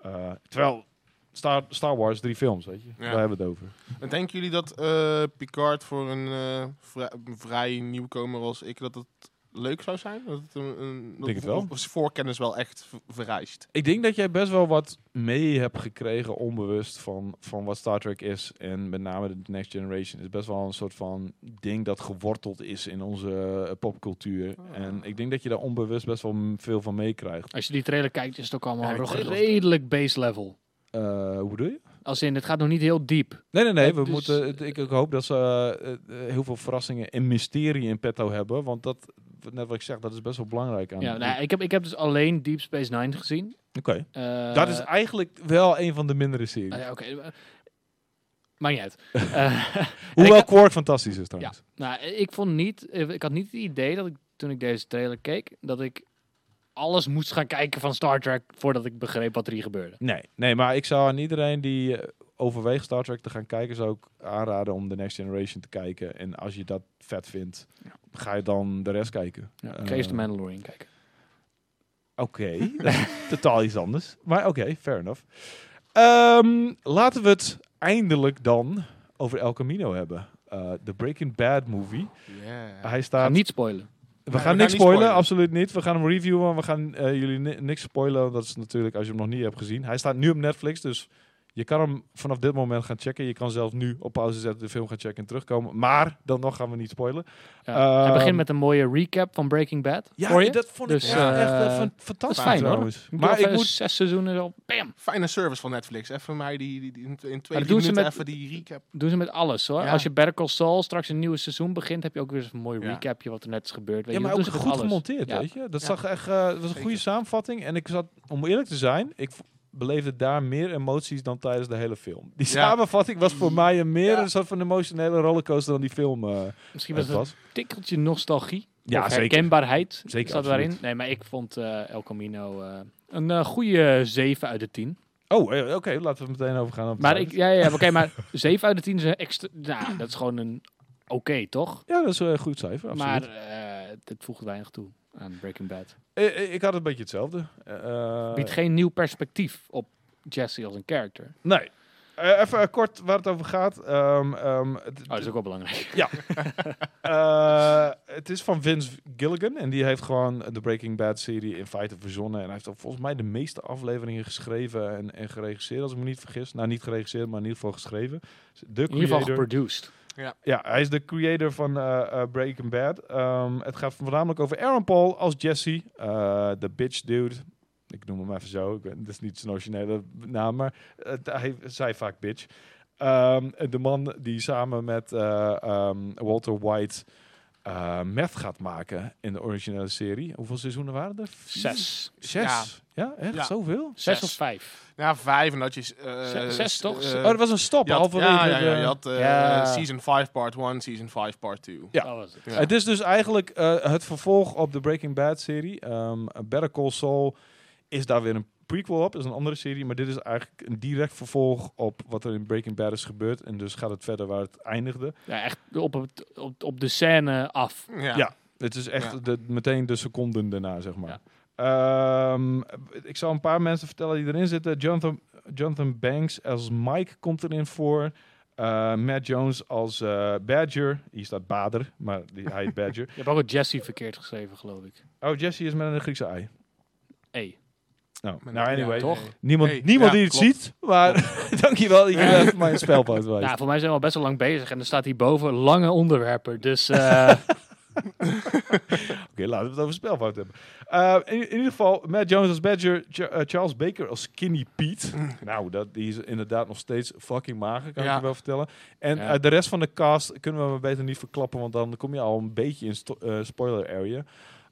[SPEAKER 1] eh, terwijl Star, Star Wars drie films, weet je.
[SPEAKER 2] Ja.
[SPEAKER 1] Daar hebben we het over.
[SPEAKER 2] En denken jullie dat eh, Picard voor een eh, vrij- een vrij nieuwkomer als ik, dat het leuk zou zijn? Dat het een, een, dat
[SPEAKER 1] Denk het wel.
[SPEAKER 2] of- of zijn voorkennis wel echt v- vereist?
[SPEAKER 1] Ik denk dat jij best wel wat mee hebt gekregen onbewust van, van wat Star Trek is. En met name de Next Generation is best wel een soort van ding dat geworteld is in onze eh, popcultuur.
[SPEAKER 3] Oh.
[SPEAKER 2] Ah.
[SPEAKER 1] En ik denk dat je daar onbewust best wel m- veel van meekrijgt.
[SPEAKER 3] Als je die trailer kijkt, is het ook allemaal
[SPEAKER 2] Ja, die
[SPEAKER 3] nog
[SPEAKER 2] trailer was-
[SPEAKER 3] redelijk base level.
[SPEAKER 1] Eh, hoe bedoel je?
[SPEAKER 3] Als in, het gaat nog niet heel diep.
[SPEAKER 1] Nee, nee, nee.
[SPEAKER 3] Eh,
[SPEAKER 1] We
[SPEAKER 3] dus,
[SPEAKER 1] moeten, het- ik, ik hoop dat ze eh, eh, heel veel verrassingen en mysterie in petto hebben. Want dat, net wat ik zeg, dat is best wel belangrijk. Aan
[SPEAKER 3] Ja, nou, ja, ik, heb, ik heb dus alleen Deep Space Nine gezien.
[SPEAKER 1] Oké.
[SPEAKER 3] Eh,
[SPEAKER 1] dat is eigenlijk wel een van de mindere series.
[SPEAKER 3] nou ja, Oké. eh, Maakt niet uit. Eh, <laughs>
[SPEAKER 1] Hoewel
[SPEAKER 3] ik-
[SPEAKER 1] Quark fantastisch is trouwens.
[SPEAKER 3] nou, ik vond niet... eh, Ik had niet het idee dat ik, toen ik deze trailer keek, dat ik alles moest gaan kijken van Star Trek voordat ik begreep wat er hier gebeurde.
[SPEAKER 1] Nee, nee, maar ik zou aan iedereen die eh, overweegt Star Trek te gaan kijken, zou ik aanraden om The Next Generation te kijken. En als je dat vet vindt,
[SPEAKER 3] Ja.
[SPEAKER 1] ga je dan de rest kijken.
[SPEAKER 3] Ja, ik
[SPEAKER 1] Eh,
[SPEAKER 3] ga eerst de Mandalorian kijken.
[SPEAKER 1] Oké, <laughs> dat is totaal iets anders. Maar oké, fair enough. Ehm, laten we het eindelijk dan over El Camino hebben. Eh, de Breaking Bad movie.
[SPEAKER 2] Yeah.
[SPEAKER 1] Hij
[SPEAKER 3] Ga
[SPEAKER 1] staat
[SPEAKER 3] niet spoilen.
[SPEAKER 1] we
[SPEAKER 2] Nee,
[SPEAKER 1] gaan niks
[SPEAKER 2] we gaan niet
[SPEAKER 1] spoilen,
[SPEAKER 2] spoilen.
[SPEAKER 1] absoluut niet. We gaan hem reviewen. We gaan eh, jullie ni- niks spoilen. want Dat is natuurlijk als je hem nog niet hebt gezien. Hij staat nu op Netflix, dus je kan hem vanaf dit moment gaan checken. Je kan zelf nu op pauze zetten, de film gaan checken en terugkomen. Maar dan nog gaan we niet spoilen.
[SPEAKER 3] Ja. Hij begint
[SPEAKER 1] Ehm,
[SPEAKER 3] met een mooie recap van Breaking Bad. voor je.
[SPEAKER 1] dat vond
[SPEAKER 3] Dus, eh,
[SPEAKER 1] eh, fan-
[SPEAKER 3] dat is
[SPEAKER 1] fantastisch.
[SPEAKER 3] fijn, hoor.
[SPEAKER 1] trouwens.
[SPEAKER 3] Maar
[SPEAKER 1] Maar ik moet.
[SPEAKER 3] zes seizoenen zo, bam!
[SPEAKER 2] Fijne service van Netflix. Even mij die, die, die in twee drie
[SPEAKER 3] doen ze
[SPEAKER 2] minuten
[SPEAKER 3] met-
[SPEAKER 2] even die recap.
[SPEAKER 3] Doen ze met alles hoor.
[SPEAKER 2] Ja.
[SPEAKER 3] Als je Better Call Saul straks een nieuwe seizoen begint, heb je ook weer eens een mooi
[SPEAKER 2] Ja.
[SPEAKER 3] recapje wat er net is gebeurd. Weet
[SPEAKER 1] Ja,
[SPEAKER 3] je,
[SPEAKER 1] maar
[SPEAKER 3] dat
[SPEAKER 1] ook
[SPEAKER 3] doen ze met
[SPEAKER 1] goed
[SPEAKER 3] alles.
[SPEAKER 1] gemonteerd,
[SPEAKER 3] Ja.
[SPEAKER 1] weet je. Dat
[SPEAKER 2] Ja.
[SPEAKER 1] zag echt, eh, dat was een
[SPEAKER 2] Zeker.
[SPEAKER 1] goede samenvatting. En ik zat, om eerlijk te zijn, ik v- beleefde daar meer emoties dan tijdens de hele film. Die
[SPEAKER 2] Ja.
[SPEAKER 1] samenvatting was voor mij een meer
[SPEAKER 2] Ja.
[SPEAKER 1] een soort van emotionele rollercoaster dan die film eh,
[SPEAKER 3] Misschien was
[SPEAKER 1] het
[SPEAKER 3] het een
[SPEAKER 1] was.
[SPEAKER 3] tikkeltje nostalgie.
[SPEAKER 1] Ja,
[SPEAKER 3] Ja, of
[SPEAKER 1] zeker.
[SPEAKER 3] herkenbaarheid
[SPEAKER 1] Zeker,
[SPEAKER 3] zat
[SPEAKER 1] absoluut.
[SPEAKER 3] daarin. Nee, maar ik vond eh, El Camino eh, een eh, goede 7 uit de 10.
[SPEAKER 1] Oh, eh, oké, laten we er meteen overgaan. op de
[SPEAKER 3] Maar ik,
[SPEAKER 1] cijfers.
[SPEAKER 3] ja, ja, ja, oké,
[SPEAKER 1] <laughs>
[SPEAKER 3] maar 7 uit de 10 is een extra. Nou, dat is gewoon een oké, toch?
[SPEAKER 1] Ja, dat is eh, een goed cijfer, absoluut.
[SPEAKER 3] Maar eh het voegt weinig toe aan Breaking Bad.
[SPEAKER 1] Eh, eh, ik had een beetje hetzelfde. Eh,
[SPEAKER 3] Biedt geen nieuw perspectief op Jesse als een character. Oh,
[SPEAKER 1] nee. Eh, even eh, kort waar het over gaat. Ehm, ehm, het-
[SPEAKER 3] Oh, dat is ook wel belangrijk.
[SPEAKER 1] Eh, het is van Vince Gilligan. En die heeft gewoon de Breaking Bad serie in feite verzonnen. En hij heeft ook volgens mij de meeste afleveringen geschreven en, en geregisseerd, als ik me niet vergis. Nou, niet geregisseerd, maar in ieder geval geschreven. De
[SPEAKER 3] In ieder geval
[SPEAKER 1] creator.
[SPEAKER 3] geproduced.
[SPEAKER 1] Ja, hij is de creator van eh, eh, Breaking Bad. Ehm, het gaat voornamelijk over Aaron Paul als Jesse. eh, De bitch dude. Ik noem hem even zo. Ik weet, dat is niet zijn originele naam, maar het- hij zei vaak bitch. Ehm, de man die samen met eh, ehm, Walter White eh meth gaat maken in de originele serie. Hoeveel seizoenen waren er? Vier?
[SPEAKER 3] Zes.
[SPEAKER 1] Zes? Ja, echt?
[SPEAKER 2] Ja.
[SPEAKER 1] Zoveel?
[SPEAKER 3] Zes
[SPEAKER 2] Zes.
[SPEAKER 3] of vijf.
[SPEAKER 2] Ja, vijf en dat je... eh,
[SPEAKER 3] Zes- zes, toch?
[SPEAKER 2] eh,
[SPEAKER 1] oh, er was een stop.
[SPEAKER 2] je had,
[SPEAKER 1] halverwege
[SPEAKER 2] ja, ja, ja,
[SPEAKER 1] de-
[SPEAKER 2] je had eh,
[SPEAKER 3] Ja.
[SPEAKER 2] season 5 part 1, season 5 part 2.
[SPEAKER 1] Ja.
[SPEAKER 3] Dat was het.
[SPEAKER 1] Het is dus eigenlijk eh, het vervolg op de Breaking Bad serie. Ehm, Better Call Saul is daar weer een prequel op. is een andere serie, maar dit is eigenlijk een direct vervolg op wat er in Breaking Bad is gebeurd. En dus gaat het verder waar het eindigde.
[SPEAKER 3] Ja, echt op, het, op, op de scène af.
[SPEAKER 2] Ja.
[SPEAKER 1] Ja. Het is echt
[SPEAKER 2] Ja.
[SPEAKER 1] de, meteen de seconden daarna, zeg maar. Ehm, ik zal een paar mensen vertellen die erin zitten. Jonathan, Jonathan Banks als Mike komt erin voor. Eh, Matt Jones als eh, Badger. Hier staat Bader, maar die, hij heet Badger.
[SPEAKER 3] <laughs> Je hebt ook het Jesse verkeerd geschreven, geloof ik.
[SPEAKER 1] Oh, Jesse is met een Griekse ei.
[SPEAKER 3] Hey.
[SPEAKER 1] Nou,
[SPEAKER 2] Maar
[SPEAKER 1] nou
[SPEAKER 2] nee,
[SPEAKER 1] anyway.
[SPEAKER 2] ja,
[SPEAKER 3] toch?
[SPEAKER 2] nee.
[SPEAKER 1] Niemand,
[SPEAKER 2] Hey,
[SPEAKER 1] niemand
[SPEAKER 2] ja,
[SPEAKER 1] die het
[SPEAKER 2] klopt.
[SPEAKER 1] ziet,
[SPEAKER 2] <laughs>
[SPEAKER 1] maar <laughs> dankjewel dat je wel even mijn spelpoot wijst.
[SPEAKER 3] Nou, voor mij zijn we al best wel lang bezig. En er staat hierboven lange onderwerpen. Dus eh,
[SPEAKER 1] Oké, laten we het over spelfout hebben. Eh, in, in ieder geval, Matt Jones als Badger, Ch- eh, Charles Baker als Skinny Pete. nou, dat, die is inderdaad nog steeds fucking mager, kan ik
[SPEAKER 2] Ja.
[SPEAKER 1] je wel vertellen. En
[SPEAKER 3] Ja.
[SPEAKER 1] eh, de rest van de cast kunnen we maar beter niet verklappen, want dan kom je al een beetje in sto- eh, spoiler area.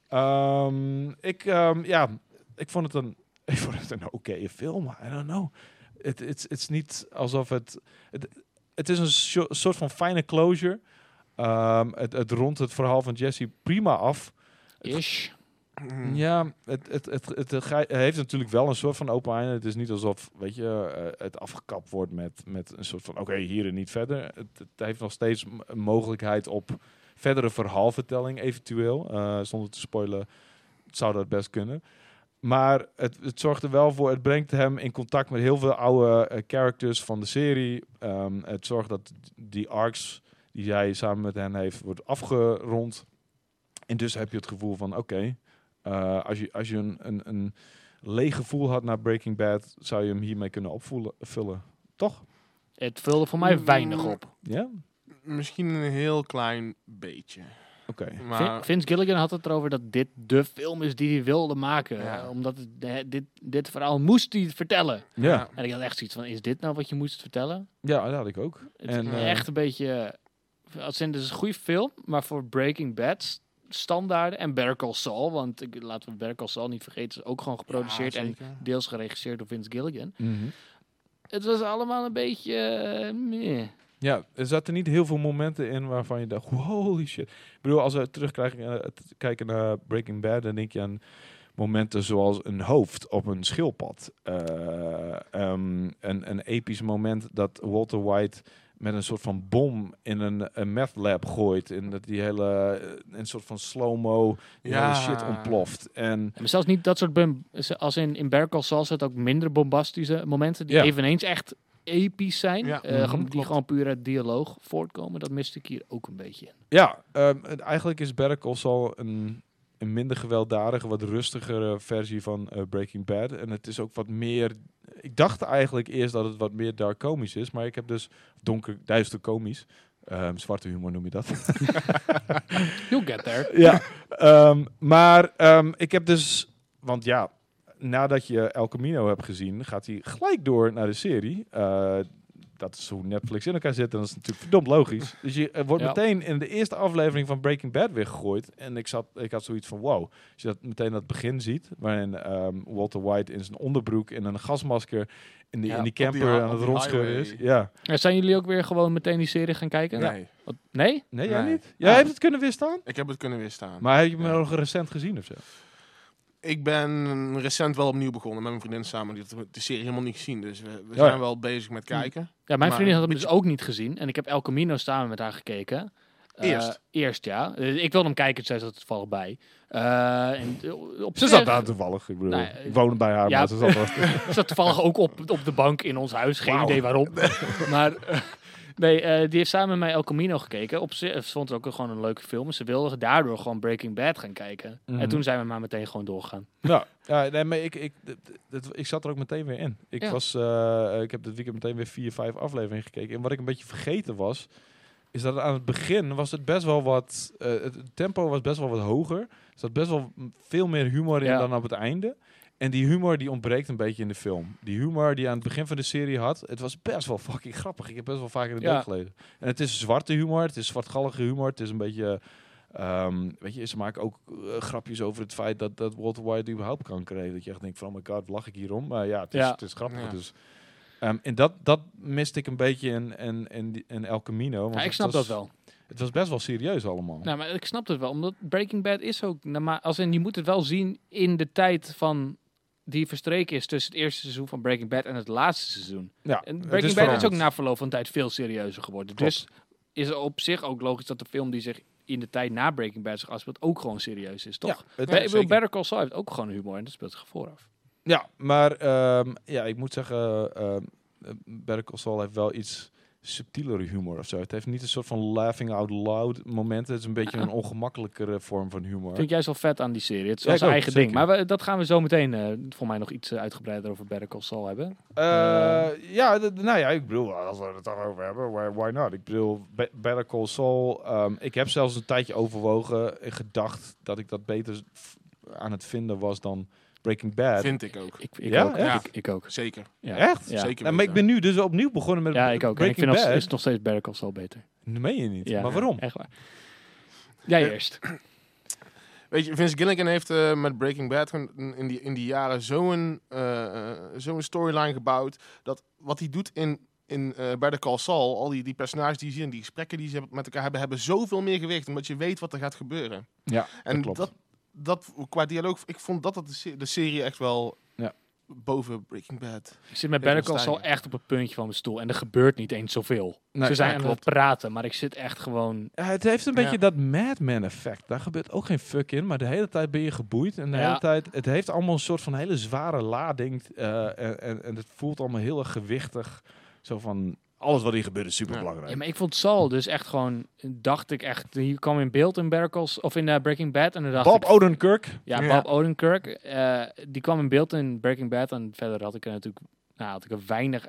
[SPEAKER 1] Ehm, ik, ehm, ja, ik vond het een, <laughs> ik vond het een oké film. I don't know. Het het- het is niet alsof het... Het, het is een sho- soort van fijne closure. Ehm, het, het rondt het verhaal van Jesse prima af.
[SPEAKER 3] ish.
[SPEAKER 2] Mhm.
[SPEAKER 1] Ja, het, het, het, het, eh, gij- heeft natuurlijk wel een soort van open einde. Het is niet alsof weet je, eh, het afgekapt wordt met, met een soort van oké, hier en niet verder. Het, het heeft nog steeds m- een mogelijkheid op verdere verhaalvertelling, eventueel. Eh, zonder te spoilen zou dat best kunnen. Maar het, het zorgt er wel voor, het brengt hem in contact met heel veel oude eh, characters van de serie. Ehm, het zorgt dat die arcs die hij samen met hen heeft, wordt afgerond. En dus heb je het gevoel van, oké, eh, als je, als je een, een, een leeg gevoel had naar Breaking Bad, zou je hem hiermee kunnen opvullen. vullen. Toch?
[SPEAKER 3] Het vulde voor mij weinig op.
[SPEAKER 1] Ja?
[SPEAKER 2] Misschien een heel klein beetje.
[SPEAKER 1] Oké.
[SPEAKER 2] Maar,
[SPEAKER 3] Vin- Vince Gilligan had het erover dat dit de film is die hij wilde maken.
[SPEAKER 2] Ja.
[SPEAKER 3] Eh, Omdat het, eh, dit, dit verhaal moest hij vertellen.
[SPEAKER 2] Mm.
[SPEAKER 1] Ja.
[SPEAKER 3] En ik had echt zoiets van, is dit nou wat je moest vertellen?
[SPEAKER 1] ja, dat had ik ook.
[SPEAKER 3] Het
[SPEAKER 1] En,
[SPEAKER 3] is
[SPEAKER 2] eh,
[SPEAKER 3] echt een beetje... eh, Als in, dit is een goede film, maar voor Breaking Bad standaarden en Better Call Saul. Want ik, laten we Better Call Saul niet vergeten, is ook gewoon geproduceerd
[SPEAKER 2] Ja,
[SPEAKER 3] en
[SPEAKER 2] zeker.
[SPEAKER 3] deels geregisseerd door Vince Gilligan.
[SPEAKER 1] Mhm.
[SPEAKER 3] Het was allemaal een beetje... eh, meh.
[SPEAKER 1] Ja, er zaten niet heel veel momenten in waarvan je dacht, holy shit. Ik bedoel, als we terugkijken eh, t- kijken naar Breaking Bad, dan denk je aan momenten zoals een hoofd op een schildpad. Eh, ehm, een, een episch moment dat Walter White met een soort van bom in een, een meth lab gooit. En dat die hele, eh, een soort van slow-mo, die
[SPEAKER 2] Ja.
[SPEAKER 1] hele shit ontploft. En
[SPEAKER 3] Maar zelfs niet dat soort... bum- Als in, in Better Call Saul zit ook minder bombastische momenten... die
[SPEAKER 1] Ja.
[SPEAKER 3] eveneens echt episch zijn.
[SPEAKER 2] Ja.
[SPEAKER 3] eh,
[SPEAKER 1] Mhm,
[SPEAKER 3] gewoon- die
[SPEAKER 1] klopt.
[SPEAKER 3] gewoon puur uit dialoog voortkomen. Dat miste ik hier ook een beetje in.
[SPEAKER 1] Ja, ehm, het- eigenlijk is Better Call Saul een, een minder gewelddadige, wat rustigere versie van eh, Breaking Bad. En het is ook wat meer... Ik dacht eigenlijk eerst dat het wat meer dark komisch is, maar ik heb dus donker, duister komisch. Ehm, zwarte humor noem je dat.
[SPEAKER 3] You'll get there.
[SPEAKER 1] ja, ehm, maar ehm, ik heb dus, want ja, nadat je El Camino hebt gezien, gaat hij gelijk door naar de serie. Eh, dat is hoe Netflix in elkaar zit en dat is natuurlijk verdomd logisch. Dus je eh, wordt
[SPEAKER 3] Ja.
[SPEAKER 1] meteen in de eerste aflevering van Breaking Bad weer gegooid. En ik, zat, ik had zoiets van, wow, als je dat meteen dat begin ziet, waarin ehm, Walter White in zijn onderbroek en een gasmasker in die,
[SPEAKER 3] Ja,
[SPEAKER 1] in die
[SPEAKER 2] op die
[SPEAKER 1] camper
[SPEAKER 2] hi-
[SPEAKER 1] aan
[SPEAKER 2] op
[SPEAKER 1] het
[SPEAKER 2] die
[SPEAKER 1] rondscheuren is.
[SPEAKER 2] highway.
[SPEAKER 1] Ja.
[SPEAKER 3] En zijn jullie ook weer gewoon meteen die serie gaan kijken?
[SPEAKER 2] nee,
[SPEAKER 3] Wat- Nee?
[SPEAKER 1] Nee, jij
[SPEAKER 2] Nee.
[SPEAKER 1] niet? Jij
[SPEAKER 2] Ja.
[SPEAKER 1] hebt het kunnen weerstaan?
[SPEAKER 2] ik heb het kunnen weerstaan.
[SPEAKER 1] Maar heb je hem
[SPEAKER 2] Ja.
[SPEAKER 1] nog recent gezien of zo?
[SPEAKER 2] Ik ben recent wel opnieuw begonnen met mijn vriendin samen. Die had de serie helemaal niet gezien, dus we, we
[SPEAKER 1] Ja.
[SPEAKER 2] zijn wel bezig met kijken.
[SPEAKER 3] Ja, mijn
[SPEAKER 2] Maar
[SPEAKER 3] vriendin had hem
[SPEAKER 2] een
[SPEAKER 3] dus ook niet gezien. En ik heb El Camino samen met haar gekeken. Eh,
[SPEAKER 2] Eerst?
[SPEAKER 3] eerst, ja. Eh, ik wilde hem kijken, zij zat er toevallig bij. Eh, en, eh, op
[SPEAKER 1] Ze
[SPEAKER 3] zich-
[SPEAKER 1] zat daar toevallig. Ik bedoel,
[SPEAKER 3] Nou, eh,
[SPEAKER 1] ik woonde bij haar,
[SPEAKER 3] ja.
[SPEAKER 1] maar ze zat
[SPEAKER 3] <laughs>
[SPEAKER 1] daar.
[SPEAKER 3] Ik zat toevallig ook op, op de bank in ons huis. Geen
[SPEAKER 1] Wauw.
[SPEAKER 3] idee waarom. <laughs> Maar eh, nee, eh, die heeft samen met mij El Camino gekeken. Op zich ze vond het ook gewoon een leuke film. En ze wilde daardoor gewoon Breaking Bad gaan kijken.
[SPEAKER 1] Mhm.
[SPEAKER 3] En toen zijn we maar meteen gewoon doorgegaan.
[SPEAKER 1] nou, ja, nee, maar ik, ik, d- d- dat- ik zat er ook meteen weer in. Ik,
[SPEAKER 3] Ja.
[SPEAKER 1] was, eh, ik heb dit weekend meteen weer vier, vijf afleveringen gekeken. En wat ik een beetje vergeten was, is dat aan het begin was het best wel wat... eh, het tempo was best wel wat hoger. Er zat best wel m- veel meer humor in
[SPEAKER 3] Ja.
[SPEAKER 1] dan op het einde. En die humor die ontbreekt een beetje in de film. Die humor die je aan het begin van de serie had, het was best wel fucking grappig. Ik heb best wel vaak in de
[SPEAKER 3] Ja.
[SPEAKER 1] dood geleden. En het is zwarte humor, het is zwartgallige humor, het is een beetje eh, Ehm, weet je, ze maken ook eh, grapjes over het feit dat, dat Walter White überhaupt kanker heeft. Dat je echt denkt van, oh my god, lach ik hierom? Maar ja, het is,
[SPEAKER 3] Ja.
[SPEAKER 1] Het is grappig.
[SPEAKER 2] Ja.
[SPEAKER 1] Dus, ehm, en dat, dat miste ik een beetje in, in, in, die- in El Camino. want
[SPEAKER 3] Ja, ik
[SPEAKER 1] het dus-
[SPEAKER 3] snap
[SPEAKER 1] was-
[SPEAKER 3] dat wel.
[SPEAKER 1] Het was best wel serieus allemaal.
[SPEAKER 3] Nou, maar ik snap het wel, omdat Breaking Bad is ook... nou, maar als in, je moet het wel zien in de tijd van die verstreken is tussen het eerste seizoen van Breaking Bad en het laatste seizoen.
[SPEAKER 1] Ja,
[SPEAKER 3] En
[SPEAKER 1] het
[SPEAKER 3] Breaking Bad is ook
[SPEAKER 1] veranderd.
[SPEAKER 3] na verloop van tijd veel serieuzer geworden.
[SPEAKER 1] Klopt.
[SPEAKER 3] Dus is het op zich ook logisch dat de film die zich in de tijd na Breaking Bad zich afspeelt ook gewoon serieus is, toch?
[SPEAKER 1] Ja, het-
[SPEAKER 3] Be- ik bedoel,
[SPEAKER 2] zeker.
[SPEAKER 3] Better Call Saul heeft ook gewoon humor en dat speelt zich vooraf.
[SPEAKER 1] Ja, maar ehm, ja, ik moet zeggen, ehm Better Call Saul heeft wel iets subtielere humor of zo. Het heeft niet een soort van laughing out loud moment. Het is een beetje
[SPEAKER 3] <laughs>
[SPEAKER 1] een ongemakkelijkere vorm van humor.
[SPEAKER 3] Vind ik juist wel vet aan die serie. Het is
[SPEAKER 1] Ja,
[SPEAKER 3] wel
[SPEAKER 1] ik
[SPEAKER 3] zijn
[SPEAKER 1] ook,
[SPEAKER 3] eigen
[SPEAKER 1] zeker.
[SPEAKER 3] ding. Maar we- dat gaan we zo meteen eh voor mij nog iets eh, uitgebreider over Better Call Saul hebben.
[SPEAKER 1] Eh, ja, d- nou ja, ik bedoel, als we het daarover hebben, why, why not? Ik bedoel, Be- Better Call Saul, ehm, ik heb zelfs een tijdje overwogen en gedacht dat ik dat beter f- aan het vinden was dan Breaking Bad.
[SPEAKER 2] Vind ik ook.
[SPEAKER 3] Ik, ik
[SPEAKER 1] Ja?
[SPEAKER 3] ook.
[SPEAKER 2] Ja.
[SPEAKER 3] Ik, ik ook.
[SPEAKER 2] Zeker.
[SPEAKER 3] Ja.
[SPEAKER 1] Echt?
[SPEAKER 3] Ja.
[SPEAKER 2] Zeker
[SPEAKER 1] Ja, maar ik ben
[SPEAKER 2] weten.
[SPEAKER 1] nu dus opnieuw begonnen met
[SPEAKER 3] Ja, ik ook. En ik
[SPEAKER 1] Breaking
[SPEAKER 3] vind nog,
[SPEAKER 1] Bad.
[SPEAKER 3] is nog steeds Better Call Saul beter.
[SPEAKER 1] Dat meen je niet.
[SPEAKER 3] Ja.
[SPEAKER 1] Maar waarom?
[SPEAKER 3] Echt waar. Jij eerst.
[SPEAKER 2] Weet je, Vince Gilligan heeft eh, met Breaking Bad gewoon in die, in die jaren zo'n eh, eh, zo'n storyline gebouwd. Dat wat hij doet in, in eh Better Call Saul, al die, die personages die je ziet en die gesprekken die ze met elkaar hebben, hebben zoveel meer gewicht. Omdat je weet wat er gaat gebeuren.
[SPEAKER 1] Ja,
[SPEAKER 2] En
[SPEAKER 1] klopt.
[SPEAKER 2] dat, dat qua dialoog, ik vond dat, dat de, se- de serie echt wel
[SPEAKER 1] Ja.
[SPEAKER 2] boven Breaking Bad.
[SPEAKER 3] Ik zit met
[SPEAKER 2] Ik wil
[SPEAKER 3] Better Call Saul
[SPEAKER 2] stijgen.
[SPEAKER 3] echt op het puntje van mijn stoel. En er gebeurt niet eens zoveel.
[SPEAKER 1] Nee,
[SPEAKER 3] Ze zijn
[SPEAKER 2] ja,
[SPEAKER 3] aan het
[SPEAKER 2] klopt.
[SPEAKER 3] praten, maar ik zit echt gewoon...
[SPEAKER 1] Ja, Eh, het heeft een
[SPEAKER 2] Ja.
[SPEAKER 1] beetje dat Mad Men effect. Daar gebeurt ook geen fuck in, maar de hele tijd ben je geboeid. En de
[SPEAKER 3] Ja.
[SPEAKER 1] hele tijd, het heeft allemaal een soort van hele zware lading. eh, en, en, en het voelt allemaal heel erg gewichtig. Zo van, alles wat hier gebeurt is superbelangrijk.
[SPEAKER 3] Ja, maar ik vond Saul dus echt gewoon... Dacht ik echt... Die kwam in beeld in Better Call Saul- Of in eh, Breaking Bad. En dan dacht
[SPEAKER 1] Bob
[SPEAKER 3] ik...
[SPEAKER 1] Odenkirk.
[SPEAKER 3] Ja,
[SPEAKER 2] Ja.
[SPEAKER 3] Bob Odenkirk. eh, die kwam in beeld in Breaking Bad. En verder had ik er natuurlijk nou, had ik er weinig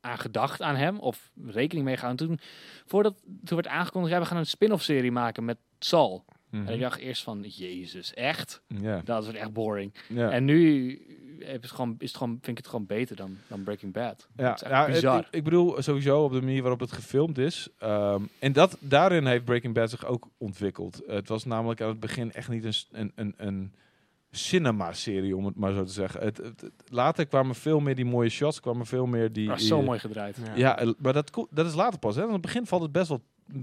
[SPEAKER 3] aan gedacht aan hem. Of rekening mee gehouden. Toen, voordat, toen werd aangekondigd, ja, we gaan een spin-off serie maken met Saul. En ik dacht eerst van, jezus, echt?
[SPEAKER 1] Mhm. Ja,
[SPEAKER 3] Dat is echt boring.
[SPEAKER 1] ja.
[SPEAKER 3] En nu heb het gewoon, is het gewoon, vind ik het gewoon beter dan, dan Breaking Bad.
[SPEAKER 1] Ja,
[SPEAKER 3] Dat is echt
[SPEAKER 1] ja, het-
[SPEAKER 3] bizar.
[SPEAKER 1] ik, ik bedoel sowieso op de manier waarop het gefilmd is. Ehm, en dat, daarin heeft Breaking Bad zich ook ontwikkeld. het was namelijk aan het begin echt niet een, s- een, een, een cinema-serie, om het maar zo te zeggen. Het, het- het- later kwamen veel meer die mooie shots, kwamen veel meer die...
[SPEAKER 3] Maar zo
[SPEAKER 1] die-
[SPEAKER 3] mooi gedraaid.
[SPEAKER 2] Ja.
[SPEAKER 1] Ja, eh, maar dat, ko- dat is later pas. Hè? Aan het begin valt het best wel m-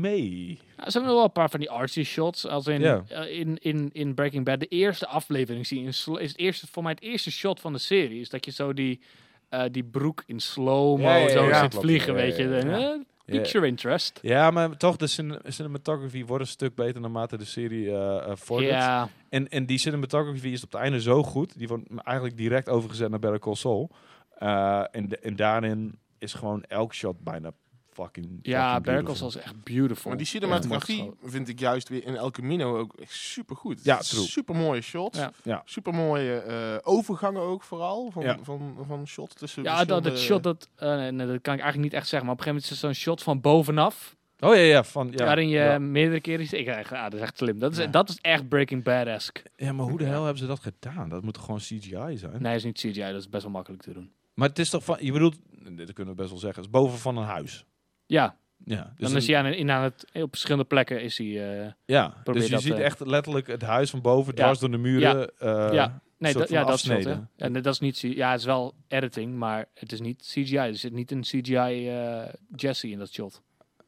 [SPEAKER 1] mee.
[SPEAKER 3] Nou, ze hebben wel een paar van die artsy shots. Als in,
[SPEAKER 1] Ja.
[SPEAKER 3] eh, in, in, in Breaking Bad, de eerste aflevering zie je in sl- is het eerste, voor mij het eerste shot van de serie. Is dat je zo die, eh, die broek in slow-mo
[SPEAKER 1] Ja, ja, ja,
[SPEAKER 3] zo
[SPEAKER 1] ja.
[SPEAKER 3] ziet
[SPEAKER 1] Klopt.
[SPEAKER 3] vliegen,
[SPEAKER 1] Ja,
[SPEAKER 3] weet je.
[SPEAKER 1] ja, ja.
[SPEAKER 3] En, eh, picture interest.
[SPEAKER 1] Ja, maar toch, de cine- cinematography wordt een stuk beter naarmate de serie eh eh, vordert.
[SPEAKER 3] Ja,
[SPEAKER 1] En, en die cinematography is op het einde zo goed. Die wordt eigenlijk direct overgezet naar Better Call Saul. Eh, en, de- en daarin is gewoon elk shot bijna fucking
[SPEAKER 3] ja
[SPEAKER 1] fucking beautiful.
[SPEAKER 3] Berkels was echt beautiful.
[SPEAKER 2] Maar die
[SPEAKER 3] Ja,
[SPEAKER 2] cinematografie
[SPEAKER 3] mooi
[SPEAKER 2] vind ik juist weer in El Camino ook echt supergoed.
[SPEAKER 1] Ja, true.
[SPEAKER 2] Supermooie shots.
[SPEAKER 3] Ja.
[SPEAKER 1] Ja.
[SPEAKER 2] Supermooie eh, overgangen ook vooral van,
[SPEAKER 1] Ja.
[SPEAKER 2] van, van shots tussen
[SPEAKER 3] geschoten. ja dat, dat
[SPEAKER 2] verschillende-
[SPEAKER 3] shot, dat, eh, nee, nee, dat kan ik eigenlijk niet echt zeggen. Maar op een gegeven moment is er zo'n shot van bovenaf.
[SPEAKER 1] Oh ja, ja. Van, ja,
[SPEAKER 3] waarin je
[SPEAKER 1] ja.
[SPEAKER 3] meerdere keren... ziet- Ik, dacht, ah, dat is echt slim. Dat is,
[SPEAKER 2] Ja.
[SPEAKER 3] dat is echt Breaking Bad-esque.
[SPEAKER 1] Ja, maar hoe de hel hebben ze dat gedaan? Dat moet toch gewoon CGI zijn?
[SPEAKER 3] Nee, is niet CGI. Dat is best wel makkelijk te doen.
[SPEAKER 1] Maar het is toch van... Je bedoelt... Dit kunnen we best wel zeggen. Het is boven van een huis.
[SPEAKER 3] Ja,
[SPEAKER 1] Ja, dus
[SPEAKER 3] Dan
[SPEAKER 1] een-
[SPEAKER 3] is hij aan, in, aan het, op verschillende plekken is hij. eh,
[SPEAKER 1] Ja,
[SPEAKER 3] Probeer
[SPEAKER 1] dus je
[SPEAKER 3] dat,
[SPEAKER 1] ziet
[SPEAKER 3] eh,
[SPEAKER 1] echt letterlijk het huis van boven,
[SPEAKER 3] Ja.
[SPEAKER 1] dwars door de muren. eh,
[SPEAKER 3] ja, nee,
[SPEAKER 1] soort
[SPEAKER 3] dat, ja,
[SPEAKER 1] van
[SPEAKER 3] dat scheelt. hè.
[SPEAKER 1] afsneden.
[SPEAKER 3] En dat is niet. C- Ja, het is wel editing, maar het is niet CGI. Er zit niet een CGI eh, Jesse in dat shot.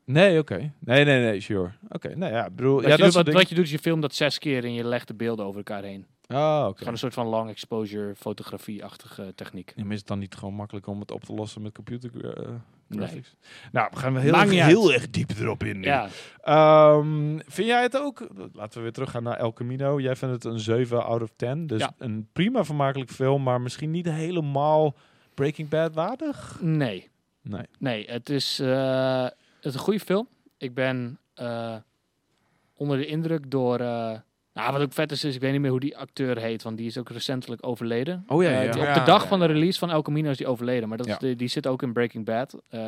[SPEAKER 1] Nee, oké. Nee, nee, nee, sure. Oké, nou ja, ik bedoel...
[SPEAKER 3] Wat,
[SPEAKER 1] ja,
[SPEAKER 3] je doet,
[SPEAKER 1] dat soort
[SPEAKER 3] wat,
[SPEAKER 1] dingen-
[SPEAKER 3] wat je doet is je filmt dat zes keer en je legt de beelden over elkaar heen. Het
[SPEAKER 1] Ah,
[SPEAKER 3] is
[SPEAKER 1] oké.
[SPEAKER 3] Gewoon een soort van long exposure fotografie-achtige techniek.
[SPEAKER 1] Ja, maar Is het dan niet gewoon makkelijk om het op te lossen met computer eh,
[SPEAKER 3] Nee.
[SPEAKER 1] graphics? Nou, we gaan heel,
[SPEAKER 3] Maakt
[SPEAKER 1] erg-
[SPEAKER 3] niet uit.
[SPEAKER 1] heel erg diep erop in nu.
[SPEAKER 3] Ja,
[SPEAKER 1] Ehm, vind jij het ook? Laten we weer teruggaan naar El Camino. Jij vindt het een 7 out of 10. Dus
[SPEAKER 3] Ja.
[SPEAKER 1] een prima vermakelijk film, maar misschien niet helemaal Breaking Bad waardig?
[SPEAKER 3] nee.
[SPEAKER 1] Nee.
[SPEAKER 3] Nee, het is, eh, het is een goede film. Ik ben eh, onder de indruk door eh, nou, Nou, wat ook vet is, is ik weet niet meer hoe die acteur heet, want die is ook recentelijk overleden.
[SPEAKER 4] Oh, ja, ja,
[SPEAKER 3] Eh,
[SPEAKER 4] ja.
[SPEAKER 3] die-
[SPEAKER 2] Ja,
[SPEAKER 3] op de dag
[SPEAKER 2] ja,
[SPEAKER 3] van de
[SPEAKER 2] ja.
[SPEAKER 3] release van El Camino is die overleden, maar dat is
[SPEAKER 4] Ja.
[SPEAKER 3] de- die zit ook in Breaking Bad. Eh,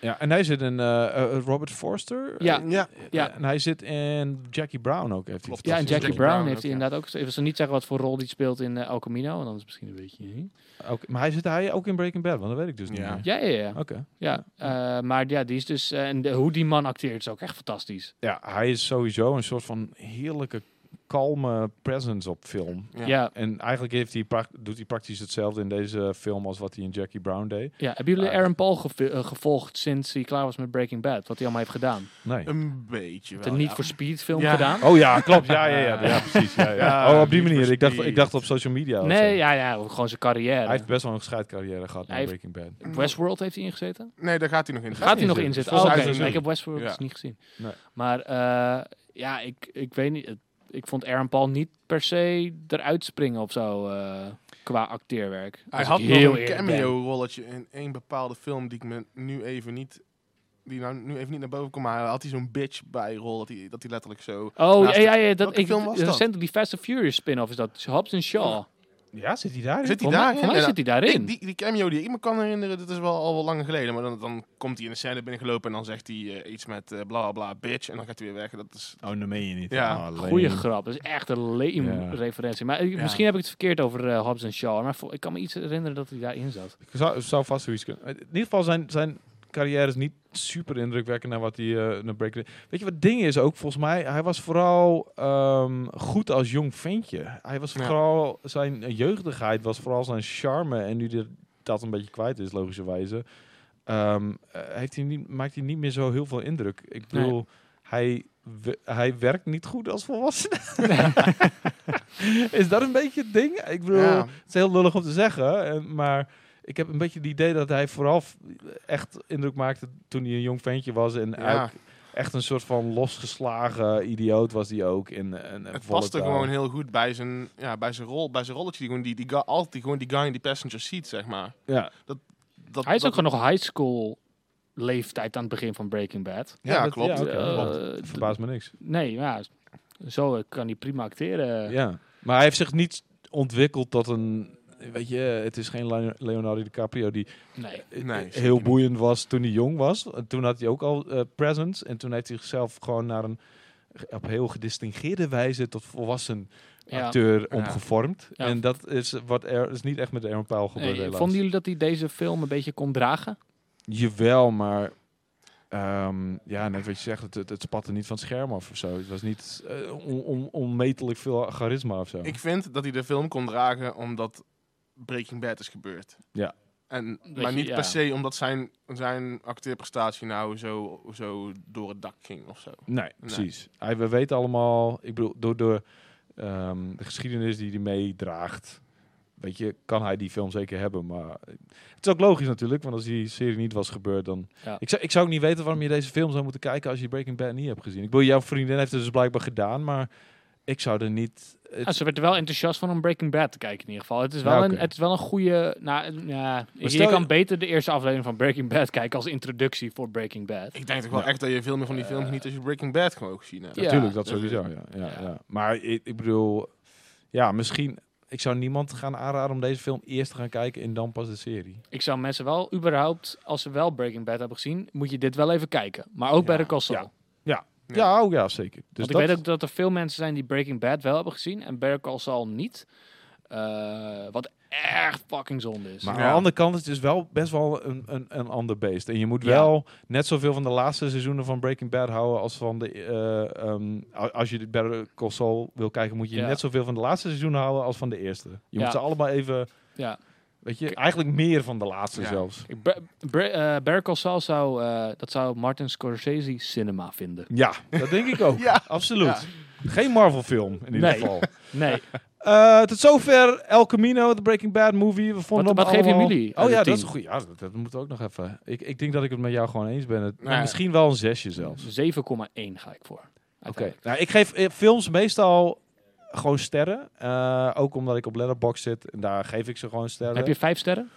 [SPEAKER 1] Ja, en hij zit in eh, eh, Robert Forster. Eh,
[SPEAKER 3] Ja.
[SPEAKER 2] Ja.
[SPEAKER 3] Ja.
[SPEAKER 1] En hij zit in Jackie Brown ook. Heeft hij
[SPEAKER 2] Klopt.
[SPEAKER 3] ja, en
[SPEAKER 1] fantastisch
[SPEAKER 3] Jackie,
[SPEAKER 2] Jackie
[SPEAKER 3] Brown,
[SPEAKER 2] Brown
[SPEAKER 3] heeft
[SPEAKER 2] ook,
[SPEAKER 3] hij
[SPEAKER 2] ja.
[SPEAKER 3] inderdaad ook. Ik zal niet zeggen wat voor rol die speelt in eh, El Camino, want anders misschien een beetje.
[SPEAKER 1] gedaan. Ook, maar hij zit hij ook in Breaking Bad, want dat weet ik dus niet
[SPEAKER 2] Ja.
[SPEAKER 1] meer.
[SPEAKER 3] Ja, ja, ja.
[SPEAKER 1] Oké.
[SPEAKER 3] ja. eh, maar ja, die is dus. eh, en de- hoe die man acteert is ook echt fantastisch.
[SPEAKER 1] Ja, hij is sowieso een soort van heerlijke, kalme presence op film.
[SPEAKER 2] Ja.
[SPEAKER 3] Ja. Ja,
[SPEAKER 1] En eigenlijk heeft hij pra- doet hij praktisch hetzelfde in deze film als wat hij in Jackie Brown deed.
[SPEAKER 3] Hebben jullie
[SPEAKER 1] Ja.
[SPEAKER 3] Aaron Paul geve- eh, gevolgd sinds hij klaar was met Breaking Bad? Wat hij allemaal heeft gedaan?
[SPEAKER 1] Nee.
[SPEAKER 2] Een beetje
[SPEAKER 3] Heeft
[SPEAKER 2] wel.
[SPEAKER 3] een Need
[SPEAKER 2] ja.
[SPEAKER 3] for Speed film
[SPEAKER 2] Ja.
[SPEAKER 3] gedaan?
[SPEAKER 1] Oh ja, klopt. Ja, ja, ja. ja precies. Ja, ja.
[SPEAKER 2] Ah,
[SPEAKER 1] Oh, op die
[SPEAKER 2] Need for
[SPEAKER 1] manier. Ik dacht,
[SPEAKER 2] Speed.
[SPEAKER 1] ik dacht op social media. of zo.
[SPEAKER 3] nee, ja, ja, gewoon zijn carrière.
[SPEAKER 1] Hij heeft best wel een scheidcarrière gehad
[SPEAKER 3] Hij
[SPEAKER 1] in
[SPEAKER 3] heeft-
[SPEAKER 1] Breaking Bad.
[SPEAKER 3] Westworld heeft hij ingezeten?
[SPEAKER 2] Nee, daar gaat hij nog in.
[SPEAKER 3] Gaat hij nog
[SPEAKER 1] zitten.
[SPEAKER 3] inzetten? Oh,
[SPEAKER 1] Volgens
[SPEAKER 3] Oké,
[SPEAKER 2] mij is het
[SPEAKER 3] maar ik
[SPEAKER 2] niet.
[SPEAKER 3] heb Westworld
[SPEAKER 2] Ja.
[SPEAKER 3] dus niet gezien.
[SPEAKER 1] Nee.
[SPEAKER 3] Maar eh, ja, ik, ik weet niet. het- Ik vond Aaron Paul niet per se eruit springen of zo eh, qua acteerwerk.
[SPEAKER 2] Hij
[SPEAKER 3] Als
[SPEAKER 2] had
[SPEAKER 3] ik
[SPEAKER 2] nog een
[SPEAKER 3] eerlijk ben.
[SPEAKER 2] cameo-rolletje in één bepaalde film die ik me nu even niet... Die nou nu even niet naar boven komt, maar hij had hij zo'n bitch bij rol dat hij, dat hij letterlijk zo...
[SPEAKER 3] Oh,
[SPEAKER 2] Naast
[SPEAKER 3] ja,
[SPEAKER 2] de-
[SPEAKER 3] ja, ja, dat,
[SPEAKER 2] Welke
[SPEAKER 3] ik,
[SPEAKER 2] film was dat?
[SPEAKER 3] recent die Fast and Furious spin-off is dat. Hobbs en Shaw.
[SPEAKER 1] Ja, zit hij daar?
[SPEAKER 2] Zit hij
[SPEAKER 3] Voor mij,
[SPEAKER 2] daarin?
[SPEAKER 3] voor mij
[SPEAKER 2] En
[SPEAKER 3] zit hij daarin.
[SPEAKER 2] Ik- die, die cameo die ik me kan herinneren, dat is wel al wel langer geleden. Maar dan, dan komt hij in de scène binnengelopen en dan zegt hij eh, iets met eh, bla bla bla bitch. En dan gaat hij weer weg. En Dat is,
[SPEAKER 1] Oh, dat meen je niet.
[SPEAKER 2] Ja.
[SPEAKER 1] Ah, lame.
[SPEAKER 3] Goeie grap. Dat is echt een lame
[SPEAKER 1] Ja.
[SPEAKER 3] referentie. Maar ik-
[SPEAKER 2] Ja.
[SPEAKER 3] misschien heb ik het verkeerd over eh, Hobbs en Shaw. Maar vo- ik kan me iets herinneren dat hij daarin zat.
[SPEAKER 1] Ik zou, zou vast zoiets kunnen. In ieder geval zijn, zijn carrière is niet super indrukwekkend naar wat hij eh naar Breaking Bad- Weet je wat het ding is ook? Volgens mij, hij was vooral ehm, goed als jong ventje. Hij was
[SPEAKER 2] Ja.
[SPEAKER 1] vooral, zijn jeugdigheid was vooral zijn charme. En nu die- dat een beetje kwijt is, logischerwijze, ehm, eh, heeft hij niet, maakt hij niet meer zo heel veel indruk. Ik
[SPEAKER 3] Nee.
[SPEAKER 1] bedoel, hij, we- hij werkt niet goed als volwassene.
[SPEAKER 2] <laughs>
[SPEAKER 1] <laughs> is dat een beetje het ding? Ik bedoel,
[SPEAKER 2] Ja.
[SPEAKER 1] het is heel lullig om te zeggen, eh, maar ik heb een beetje het idee dat hij vooral f- echt indruk maakte toen hij een jong ventje was en
[SPEAKER 2] ja,
[SPEAKER 1] ook echt een soort van losgeslagen idioot was die ook. In, en
[SPEAKER 3] eh,
[SPEAKER 2] het paste gewoon heel goed bij zijn, ja, bij zijn rol, bij zijn rolletje. Die, gewoon die, die guy, altijd gewoon die guy in die passenger seat, zeg maar.
[SPEAKER 1] Ja,
[SPEAKER 2] Dat,
[SPEAKER 3] Hij is
[SPEAKER 2] dat-
[SPEAKER 3] ook gewoon nog high school leeftijd aan het begin van Breaking Bad.
[SPEAKER 2] Ja,
[SPEAKER 1] dat-
[SPEAKER 2] klopt.
[SPEAKER 1] ja, oké,
[SPEAKER 3] Eh,
[SPEAKER 1] klopt.
[SPEAKER 3] d-
[SPEAKER 1] Verbaast me niks.
[SPEAKER 3] Nee, ja, zo eh, kan hij prima acteren.
[SPEAKER 1] Ja. Maar hij heeft zich niet ontwikkeld tot een... Weet je, het is geen Leon- Leonardo DiCaprio die
[SPEAKER 3] Nee.
[SPEAKER 1] eh,
[SPEAKER 2] Nee,
[SPEAKER 1] eh,
[SPEAKER 2] zeker
[SPEAKER 1] heel
[SPEAKER 2] niet.
[SPEAKER 1] boeiend was toen hij jong was. Eh, Toen had hij ook al eh, presence en toen heeft hij zichzelf gewoon naar een op heel gedistingeerde wijze tot volwassen
[SPEAKER 3] Ja.
[SPEAKER 1] acteur
[SPEAKER 2] Ja.
[SPEAKER 1] omgevormd.
[SPEAKER 3] Ja.
[SPEAKER 1] En dat is wat er is niet echt met Aaron Paul gebeurd
[SPEAKER 3] Hey,
[SPEAKER 1] helaas.
[SPEAKER 3] vonden jullie dat hij deze film een beetje kon dragen?
[SPEAKER 1] Jawel, maar ehm, ja, net wat je zegt, het, het, het spatte niet van het scherm af of zo. Het was niet eh, on- on- onmetelijk veel charisma of zo.
[SPEAKER 2] Ik vind dat hij de film kon dragen omdat Breaking Bad is gebeurd.
[SPEAKER 1] Ja.
[SPEAKER 2] En,
[SPEAKER 3] je,
[SPEAKER 2] maar niet
[SPEAKER 3] ja.
[SPEAKER 2] per se omdat zijn, zijn acteerprestatie nou zo, zo door het dak ging of zo.
[SPEAKER 1] Nee, precies. Hij, we weten allemaal, ik bedoel, door, door ehm, de geschiedenis die hij meedraagt, weet je, kan hij die film zeker hebben. Maar het is ook logisch natuurlijk, want als die serie niet was gebeurd, dan...
[SPEAKER 3] Ja.
[SPEAKER 1] Ik, zou, ik zou ook niet weten waarom je deze film zou moeten kijken als je Breaking Bad niet hebt gezien. Ik bedoel, jouw vriendin heeft het dus blijkbaar gedaan, maar ik zou er niet... het-
[SPEAKER 3] Ah, ze werd er wel enthousiast van om Breaking Bad te kijken in ieder geval. Het is wel,
[SPEAKER 1] Ja, oké.
[SPEAKER 3] een, het is wel een goede... Nou, ja, je,
[SPEAKER 1] stel je-
[SPEAKER 3] kan beter de eerste aflevering van Breaking Bad kijken als introductie voor Breaking Bad.
[SPEAKER 2] Ik denk toch wel
[SPEAKER 1] Ja.
[SPEAKER 2] echt dat je veel meer van die film geniet als je Breaking Bad gewoon gezien hebt.
[SPEAKER 3] Ja.
[SPEAKER 1] Natuurlijk, dat
[SPEAKER 2] Dus,
[SPEAKER 1] sowieso. Ja, ja, ja. Maar ik, ik bedoel, ja, misschien. Ik zou niemand gaan aanraden om deze film eerst te gaan kijken en dan pas de serie.
[SPEAKER 3] Ik zou mensen wel überhaupt, als ze wel Breaking Bad hebben gezien, moet je dit wel even kijken. Maar ook bij
[SPEAKER 2] Ja,
[SPEAKER 3] de Castle.
[SPEAKER 1] ja. Ja,
[SPEAKER 2] Ja.
[SPEAKER 1] oh, ja zeker. Dus
[SPEAKER 3] Want
[SPEAKER 1] dat,
[SPEAKER 3] ik weet ook dat er veel mensen zijn die Breaking Bad wel hebben gezien en Better Call Saul niet. Eh, wat echt fucking zonde is.
[SPEAKER 1] Maar
[SPEAKER 2] Ja.
[SPEAKER 1] aan de andere kant is het dus wel best wel een, een, een ander beest. En je moet
[SPEAKER 3] Ja.
[SPEAKER 1] wel net zoveel van de laatste seizoenen van Breaking Bad houden als van de... eh, ehm, a- als je de Better Call Saul wil kijken, moet je
[SPEAKER 3] Ja.
[SPEAKER 1] net zoveel van de laatste seizoenen houden als van de eerste. Je
[SPEAKER 3] Ja.
[SPEAKER 1] moet ze allemaal even...
[SPEAKER 3] ja.
[SPEAKER 1] Weet je, eigenlijk meer van de laatste
[SPEAKER 2] Ja.
[SPEAKER 1] zelfs.
[SPEAKER 3] Kijk, Bre- Bre- eh, Better Call Saul zou, eh, dat zou Martin Scorsese cinema vinden.
[SPEAKER 1] Ja, dat denk
[SPEAKER 3] <laughs>
[SPEAKER 1] ik ook.
[SPEAKER 2] Ja.
[SPEAKER 1] Absoluut. Geen Marvel-film in ieder
[SPEAKER 3] Nee.
[SPEAKER 1] geval.
[SPEAKER 3] Nee,
[SPEAKER 1] Eh, tot zover El Camino, de Breaking Bad movie. We vonden
[SPEAKER 3] Wat-
[SPEAKER 1] hem
[SPEAKER 3] wat geven
[SPEAKER 1] allemaal-
[SPEAKER 3] jullie uit
[SPEAKER 1] Oh
[SPEAKER 3] de
[SPEAKER 1] ja,
[SPEAKER 3] tien?
[SPEAKER 1] dat is goed. Ja, dat, dat moeten we ook nog even. Ik, ik denk dat ik het met jou gewoon eens ben. Het-
[SPEAKER 3] Nou
[SPEAKER 2] Nee.
[SPEAKER 1] Misschien wel een zesje <laughs> zelfs.
[SPEAKER 3] 7,1 ga ik voor.
[SPEAKER 1] Oké. Nou, ik geef eh, films meestal gewoon sterren. Eh, ook omdat ik op Letterboxd zit. En daar geef ik ze gewoon sterren.
[SPEAKER 3] Heb je vijf sterren?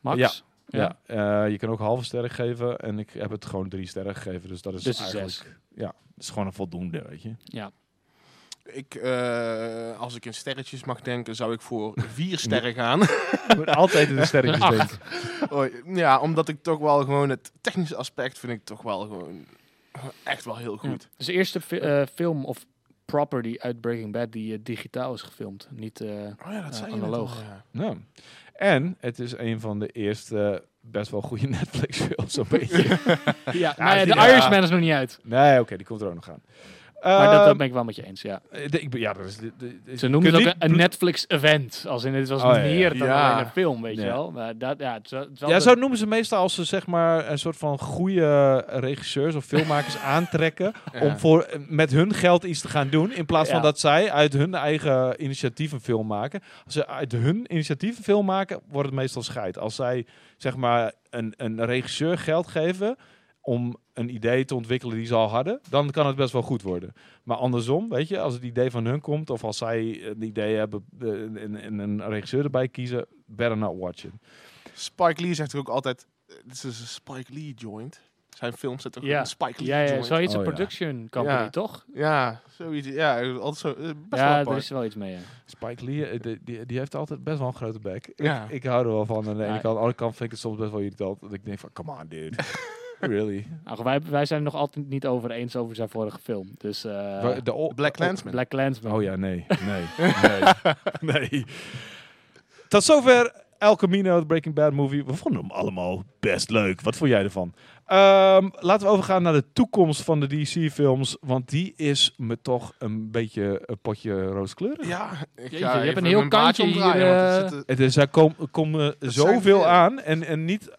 [SPEAKER 3] Max?
[SPEAKER 1] Ja. ja. eh, je kan ook halve sterren geven. En ik heb het gewoon drie sterren gegeven. Dus dat is
[SPEAKER 3] Dus een
[SPEAKER 1] eigenlijk...
[SPEAKER 3] zes.
[SPEAKER 1] <laughs> Ja, dat is gewoon een voldoende, weet je.
[SPEAKER 3] Ja.
[SPEAKER 2] Ik, eh, als ik in sterretjes mag denken, zou ik <laughs> voor vier sterren <laughs> gaan.
[SPEAKER 1] Moet altijd in de sterretjes
[SPEAKER 3] Een
[SPEAKER 1] denken.
[SPEAKER 2] Oh, ja, omdat ik toch wel gewoon het technische aspect vind ik toch wel gewoon echt wel heel goed.
[SPEAKER 3] Ja. Dus de eerste fi- eh, film of property uit Breaking Bad die eh, digitaal is gefilmd.
[SPEAKER 1] <laughs>
[SPEAKER 3] Niet, eh,
[SPEAKER 2] Oh ja, dat
[SPEAKER 3] Ja,
[SPEAKER 2] zei je net
[SPEAKER 3] analoog.
[SPEAKER 2] al, ja.
[SPEAKER 1] Nou. En het is een van de eerste best wel goede <laughs> Netflix films, zo'n <laughs> beetje.
[SPEAKER 3] Nou ja, maar ja, de
[SPEAKER 1] ja.
[SPEAKER 3] Irishman is nog niet uit.
[SPEAKER 1] Nee, oké, die komt er ook nog aan.
[SPEAKER 3] Maar dat, dat
[SPEAKER 1] Ehm,
[SPEAKER 3] ben ik wel met je eens, ja.
[SPEAKER 1] eh, de- ik ben- ja, dat is... de- de- is-
[SPEAKER 3] Ze noemden het
[SPEAKER 1] kun je
[SPEAKER 3] ook een,
[SPEAKER 1] niet
[SPEAKER 3] een
[SPEAKER 1] bloed-
[SPEAKER 3] Netflix-event. Als in, het was
[SPEAKER 1] Oh, ja, ja.
[SPEAKER 3] meer dan
[SPEAKER 2] Ja.
[SPEAKER 3] alleen een film, weet je
[SPEAKER 1] Ja.
[SPEAKER 3] wel. Maar dat, ja, het is wel- het is wel
[SPEAKER 1] Ja,
[SPEAKER 3] de-
[SPEAKER 1] zo noemen ze meestal als ze zeg maar een soort van goede regisseurs of
[SPEAKER 3] <laughs>
[SPEAKER 1] filmmakers aantrekken om voor, met hun geld iets te gaan doen. In plaats van
[SPEAKER 3] Ja.
[SPEAKER 1] dat zij uit hun eigen initiatief een film maken. Als ze uit hun initiatief een film maken, wordt het meestal scheid. Als zij zeg maar een, een regisseur geld geven om een idee te ontwikkelen die ze al hadden, dan kan het best wel goed worden. Maar andersom, weet je, als het idee van hun komt of als zij een idee hebben eh, en, en een regisseur erbij kiezen, better not watch it.
[SPEAKER 2] Spike Lee zegt er ook altijd, eh, dit is een Spike Lee joint. Zijn films zitten ook
[SPEAKER 3] Ja.
[SPEAKER 2] een Spike Lee
[SPEAKER 3] ja, ja,
[SPEAKER 2] joint.
[SPEAKER 3] zoiets
[SPEAKER 1] Oh,
[SPEAKER 3] een
[SPEAKER 1] ja.
[SPEAKER 3] production company,
[SPEAKER 2] Ja.
[SPEAKER 3] toch?
[SPEAKER 2] Ja, zoiets. Ja, altijd zo, eh, best wel
[SPEAKER 3] Ja, dus-
[SPEAKER 2] apart.
[SPEAKER 3] er is wel iets mee, ja.
[SPEAKER 1] Spike Lee, eh, die, die, die heeft altijd best wel een grote bek.
[SPEAKER 2] Ja.
[SPEAKER 1] Ik, ik hou er wel van. Aan de ene
[SPEAKER 3] Ja.
[SPEAKER 1] kant, aan de andere kant vind ik het soms best wel irritant. Dat ik denk van, come on dude. really?
[SPEAKER 3] Nou, wij, wij zijn het nog altijd niet over eens over zijn vorige film. Dus eh,
[SPEAKER 1] Wa- de ol-
[SPEAKER 2] Black Clansman.
[SPEAKER 3] Black Clansman.
[SPEAKER 1] Oh ja, nee. Nee. nee. <laughs> nee. Tot zover El Camino, de Breaking Bad movie. We vonden hem allemaal best leuk. Wat vond jij ervan? Ehm, laten we overgaan naar de toekomst van de DC-films. Want die is me toch een beetje een potje rooskleurig.
[SPEAKER 2] Ja, ik
[SPEAKER 3] Jeetje,
[SPEAKER 2] ga
[SPEAKER 3] je hebt
[SPEAKER 2] even
[SPEAKER 3] een heel
[SPEAKER 2] mijn baadje
[SPEAKER 3] kantje
[SPEAKER 2] omdraaien,
[SPEAKER 3] hier,
[SPEAKER 2] want het
[SPEAKER 3] eh,
[SPEAKER 2] zit, eh,
[SPEAKER 1] Het is, er kom- komen
[SPEAKER 2] zijn
[SPEAKER 1] zoveel
[SPEAKER 2] veel.
[SPEAKER 1] aan. En, en niet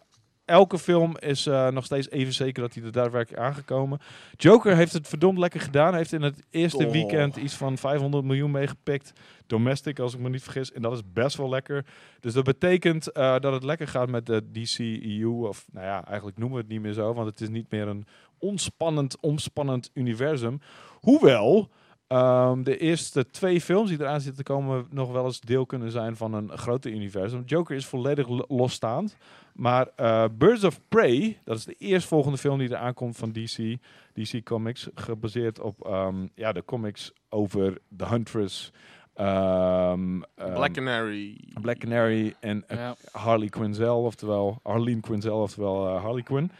[SPEAKER 1] elke film is eh, nog steeds even zeker dat hij er daadwerkelijk aangekomen. Joker heeft het verdomd lekker gedaan. Heeft in het eerste
[SPEAKER 2] Oh.
[SPEAKER 1] weekend iets van 500 miljoen meegepikt. Domestic, als ik me niet vergis. En dat is best wel lekker. Dus dat betekent eh, dat het lekker gaat met de DCEU. Of nou ja, eigenlijk noemen we het niet meer zo. Want het is niet meer een ontspannend, omspannend universum. Hoewel ehm, de eerste twee films die eraan zitten te komen nog wel eens deel kunnen zijn van een groter universum. Joker is volledig lo- losstaand. Maar eh, Birds of Prey, dat is de eerstvolgende film die eraan komt van DC. DC Comics, gebaseerd op ehm, ja, de comics over The Huntress. ehm, ehm,
[SPEAKER 2] Black Canary.
[SPEAKER 1] Black Canary en eh,
[SPEAKER 3] Ja.
[SPEAKER 1] Harley Quinzel, oftewel Harleen Quinzel, oftewel eh, Harley Quinn.
[SPEAKER 3] Ik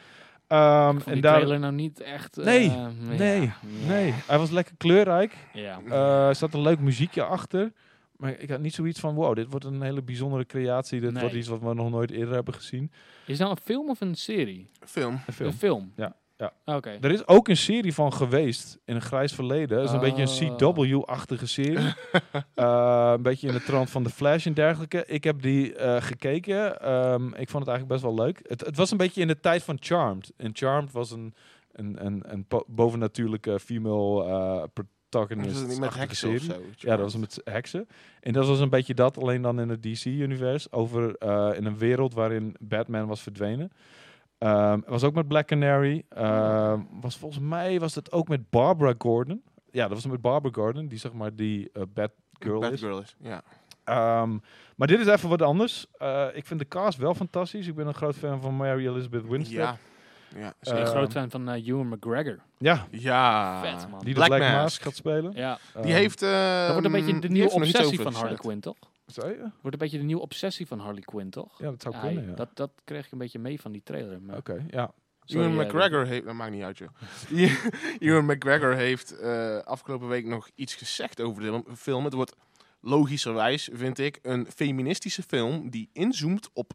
[SPEAKER 1] Ehm,
[SPEAKER 3] vond
[SPEAKER 1] en
[SPEAKER 3] die
[SPEAKER 1] daar,
[SPEAKER 3] trailer nou niet echt... eh,
[SPEAKER 1] Nee,
[SPEAKER 3] ja.
[SPEAKER 1] nee, nee, hij was lekker kleurrijk.
[SPEAKER 3] Ja.
[SPEAKER 1] Eh, Er zat een leuk muziekje achter. Maar ik had niet zoiets van, wow, dit wordt een hele bijzondere creatie. Dit
[SPEAKER 3] Nee.
[SPEAKER 1] wordt iets wat we nog nooit eerder hebben gezien.
[SPEAKER 3] Is het nou een film of een serie?
[SPEAKER 2] Film.
[SPEAKER 1] Een film.
[SPEAKER 3] Een film? Ah,
[SPEAKER 1] Ja, ja.
[SPEAKER 3] Oké.
[SPEAKER 1] Er is ook een serie van geweest in een grijs verleden. Dat is een beetje een
[SPEAKER 3] Ah.
[SPEAKER 2] Oh.
[SPEAKER 1] CW-achtige
[SPEAKER 2] <laughs>
[SPEAKER 1] serie. Eh, een beetje in de trant van The Flash en dergelijke. Ik heb die eh, gekeken. Ehm, ik vond het eigenlijk best wel leuk. Het, het was een beetje in de tijd van Charmed. En Charmed was een, een, een, een po- bovennatuurlijke female eh protagonist.
[SPEAKER 2] Is het niet met
[SPEAKER 1] achtige
[SPEAKER 2] heksen of
[SPEAKER 1] serie. Ja,
[SPEAKER 2] zo?
[SPEAKER 1] dat was met heksen. En dat was een beetje dat, alleen dan in het DC-univers. Over eh, in een wereld waarin Batman was verdwenen. Ehm, was ook met Black Canary. Ehm, was volgens mij was dat ook met Barbara Gordon. Ja, dat was met Barbara Gordon, die zeg maar die eh, Batgirl is.
[SPEAKER 2] Batgirl is. Ja.
[SPEAKER 1] Ehm, maar dit is even wat anders. Eh, ik vind de cast wel fantastisch. Ik ben een groot fan van Mary Elizabeth Winstead.
[SPEAKER 2] Ja. Ja. zeker.
[SPEAKER 3] Ik ben
[SPEAKER 1] Eh,
[SPEAKER 3] groot fan van eh, Ewan McGregor.
[SPEAKER 1] Ja,
[SPEAKER 2] ja.
[SPEAKER 3] Vet, man.
[SPEAKER 1] die de
[SPEAKER 2] Black
[SPEAKER 1] Black, Mask.
[SPEAKER 2] Mask.
[SPEAKER 1] gaat spelen.
[SPEAKER 3] Ja.
[SPEAKER 1] Ehm,
[SPEAKER 2] Die heeft... eh
[SPEAKER 3] Dat wordt een beetje de
[SPEAKER 2] die
[SPEAKER 3] nieuwe
[SPEAKER 2] heeft er nog iets
[SPEAKER 3] obsessie
[SPEAKER 2] over
[SPEAKER 3] van Harley
[SPEAKER 2] gezegd.
[SPEAKER 3] Quinn, toch?
[SPEAKER 1] Zei je?
[SPEAKER 3] Wordt een beetje de nieuwe obsessie van Harley Quinn, toch?
[SPEAKER 1] Ja, dat zou
[SPEAKER 3] Hij-
[SPEAKER 1] kunnen. Ja. Oh,
[SPEAKER 3] dat, dat kreeg ik een beetje mee van die trailer. maar-
[SPEAKER 1] Oké, ja.
[SPEAKER 3] Sorry,
[SPEAKER 2] Ewan
[SPEAKER 3] eh,
[SPEAKER 2] McGregor heeft... Dat maakt niet uit, joh. <laughs> Ewan McGregor heeft eh, afgelopen week nog iets gezegd over de film. Het wordt logischerwijs, vind ik, een feministische film die inzoomt op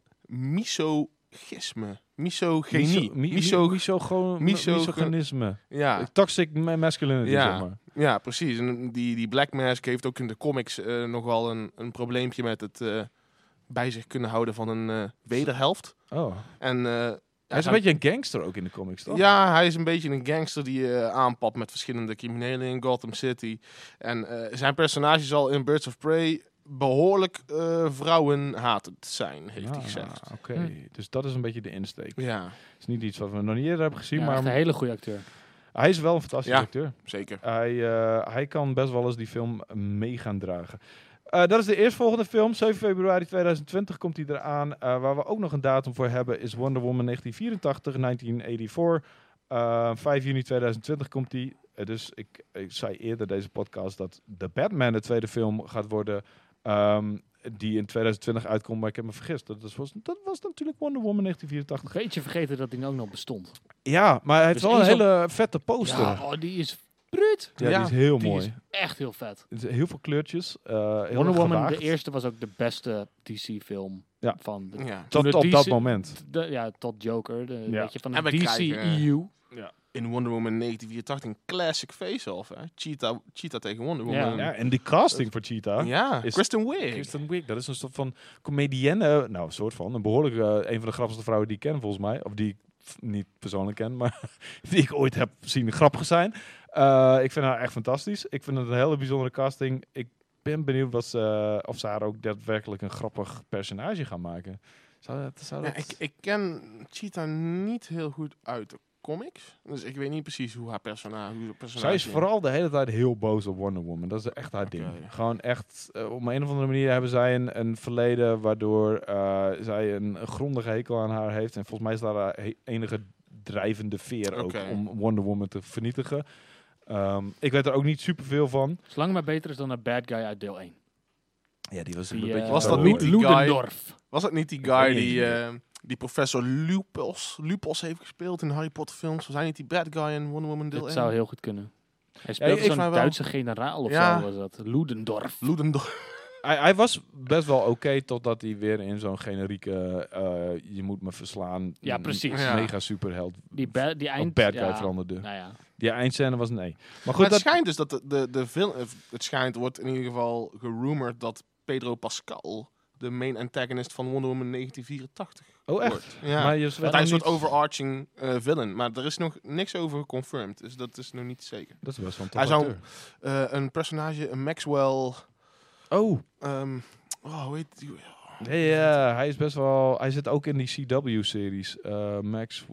[SPEAKER 2] misogisme. Misogynie.
[SPEAKER 1] Miso, mi- mi-
[SPEAKER 2] Miso-
[SPEAKER 1] misogo-
[SPEAKER 2] miso-
[SPEAKER 1] misogynisme. Eh,
[SPEAKER 2] ja.
[SPEAKER 1] Toxic ma- masculinity,
[SPEAKER 2] Ja.
[SPEAKER 1] zeg maar.
[SPEAKER 2] ja, precies. En die, die Black Mask heeft ook in de comics eh, nogal een, een probleempje met het eh, bij zich kunnen houden van een eh, wederhelft.
[SPEAKER 1] Oh.
[SPEAKER 2] En, eh,
[SPEAKER 1] Hij is een
[SPEAKER 2] hij-
[SPEAKER 1] beetje een gangster ook in de comics, toch?
[SPEAKER 2] Ja, hij is een beetje een gangster die eh, aanpakt met verschillende criminelen in Gotham City. En eh, zijn personage zal in Birds of Prey behoorlijk eh vrouwenhatend zijn, heeft hij
[SPEAKER 1] Ah,
[SPEAKER 2] gezegd. Hm.
[SPEAKER 1] Oké, dus dat is een beetje de insteek.
[SPEAKER 2] Ja,
[SPEAKER 1] Het is niet iets wat we nog niet eerder hebben gezien,
[SPEAKER 3] Ja,
[SPEAKER 1] maar
[SPEAKER 3] echt een hele goede acteur.
[SPEAKER 1] hij is wel een fantastische
[SPEAKER 2] Ja.
[SPEAKER 1] acteur.
[SPEAKER 2] zeker.
[SPEAKER 1] Hij, eh, hij kan best wel eens die film mee gaan dragen. Eh, dat is de eerstvolgende film. 7 februari 2020 komt hij eraan. Eh, waar we ook nog een datum voor hebben is Wonder Woman 1984, 1984. Eh, 5 juni 2020 komt die. eh, dus ik, ik zei eerder deze podcast dat The Batman de tweede film gaat worden. ehm, die in 2020 uitkomt, maar ik heb me vergist. Dat dat was, dat was natuurlijk Wonder Woman 1984.
[SPEAKER 3] Beetje vergeten dat die ook nog bestond.
[SPEAKER 1] Ja, maar hij heeft
[SPEAKER 3] Dus
[SPEAKER 1] wel een
[SPEAKER 3] één zo'n-
[SPEAKER 1] hele vette poster.
[SPEAKER 3] Ja,
[SPEAKER 1] Ja,
[SPEAKER 3] oh, die is prut.
[SPEAKER 1] die is heel
[SPEAKER 3] Die
[SPEAKER 1] mooi.
[SPEAKER 3] is echt heel vet.
[SPEAKER 1] Er zijn Heel veel kleurtjes. eh, heel
[SPEAKER 3] Wonder
[SPEAKER 1] erg
[SPEAKER 3] Woman,
[SPEAKER 1] gewaagd.
[SPEAKER 3] de eerste, was ook de beste DC-film
[SPEAKER 1] Ja.
[SPEAKER 3] van de,
[SPEAKER 2] Ja.
[SPEAKER 3] toen
[SPEAKER 1] Tot
[SPEAKER 3] de
[SPEAKER 1] op
[SPEAKER 3] DC
[SPEAKER 1] dat moment.
[SPEAKER 3] de- ja, tot Joker. De,
[SPEAKER 1] Ja.
[SPEAKER 3] Weet je, van
[SPEAKER 2] En
[SPEAKER 3] de E
[SPEAKER 2] we krijgen-
[SPEAKER 3] DCEU.
[SPEAKER 2] In Wonder Woman 1984 een classic face-off. hè. Cheetah, Cheetah tegen Wonder Woman.
[SPEAKER 1] Ja,
[SPEAKER 2] Ja,
[SPEAKER 1] en die casting voor Cheetah. Is-
[SPEAKER 2] Kristen Wiig.
[SPEAKER 1] Kristen Wiig, dat is een soort van comedienne, nou, een soort van, een behoorlijk, eh, een van de grappigste vrouwen die ik ken, volgens mij. Of die ik f- niet persoonlijk ken, maar <laughs> die ik ooit heb zien grappig zijn. Eh, ik vind haar echt fantastisch. Ik vind het een hele bijzondere casting. Ik ben benieuwd wat ze, eh, of ze haar ook daadwerkelijk een grappig personage gaan maken. Zou dat, zou
[SPEAKER 2] Ja,
[SPEAKER 1] dat...
[SPEAKER 2] ik, ik ken Cheetah niet heel goed uit de comics. Dus ik weet niet precies hoe haar personage... Hoe haar
[SPEAKER 1] Zij
[SPEAKER 2] personage
[SPEAKER 1] is vooral de hele tijd heel boos op Wonder Woman. Dat is echt haar
[SPEAKER 2] Oké.
[SPEAKER 1] ding. Gewoon echt, eh, op een of andere manier hebben zij een, een verleden waardoor eh, zij een grondige hekel aan haar heeft. En volgens mij is daar haar he- enige drijvende veer ook
[SPEAKER 2] Oké.
[SPEAKER 1] om Wonder Woman te vernietigen. Ehm, ik weet er ook niet superveel van.
[SPEAKER 3] Zolang maar beter is dan een bad guy uit deel 1.
[SPEAKER 1] Ja, die was
[SPEAKER 3] Die, eh,
[SPEAKER 2] Was dat niet die guy?
[SPEAKER 3] Ludendorff.
[SPEAKER 2] Was dat niet die
[SPEAKER 1] weet
[SPEAKER 2] guy
[SPEAKER 1] niet
[SPEAKER 2] die,
[SPEAKER 1] meer.
[SPEAKER 2] eh, die professor Lupus, Lupus heeft gespeeld in Harry Potter films? Was hij niet die bad guy in Wonder Woman deel
[SPEAKER 3] Dat
[SPEAKER 2] 1?
[SPEAKER 3] zou heel goed kunnen. Hij speelde
[SPEAKER 1] ik
[SPEAKER 3] zo'n
[SPEAKER 2] vind wel-
[SPEAKER 3] Duitse generaal of
[SPEAKER 2] Ja.
[SPEAKER 3] zo was dat. Ludendorff.
[SPEAKER 2] Ludendorff.
[SPEAKER 1] Hij, hij was best wel oké totdat hij weer in zo'n generieke eh, je moet me verslaan.
[SPEAKER 3] Ja,
[SPEAKER 1] m-
[SPEAKER 3] precies.
[SPEAKER 2] Ja.
[SPEAKER 1] Mega superheld.
[SPEAKER 3] Die, ba- die
[SPEAKER 1] Een
[SPEAKER 3] eind...
[SPEAKER 1] bad guy
[SPEAKER 3] ja,
[SPEAKER 1] veranderde.
[SPEAKER 3] Nou ja.
[SPEAKER 1] Die eindscène was nee. Maar
[SPEAKER 2] Maar
[SPEAKER 1] goed,
[SPEAKER 2] het
[SPEAKER 1] dat,
[SPEAKER 2] schijnt dus dat de, de, de film... eh, Het schijnt, wordt in ieder geval gerumored dat Pedro Pascal de main antagonist van Wonder Woman 1984
[SPEAKER 1] oh echt?
[SPEAKER 2] wordt. Ja.
[SPEAKER 1] Maar je is
[SPEAKER 2] dat
[SPEAKER 1] verder
[SPEAKER 2] hij een soort
[SPEAKER 1] niet-
[SPEAKER 2] overarching eh, villain. Maar er is nog niks over geconfirmed. Dus dat is nog niet zeker.
[SPEAKER 1] Dat is best wel een
[SPEAKER 2] Hij
[SPEAKER 1] toffe
[SPEAKER 2] zou- Eh, een personage, een Maxwell...
[SPEAKER 1] acteur. Oh,
[SPEAKER 2] ehm, oh, hoe heet die?
[SPEAKER 1] nee, ja, hij is best wel... Hij zit ook in die CW-series. Max...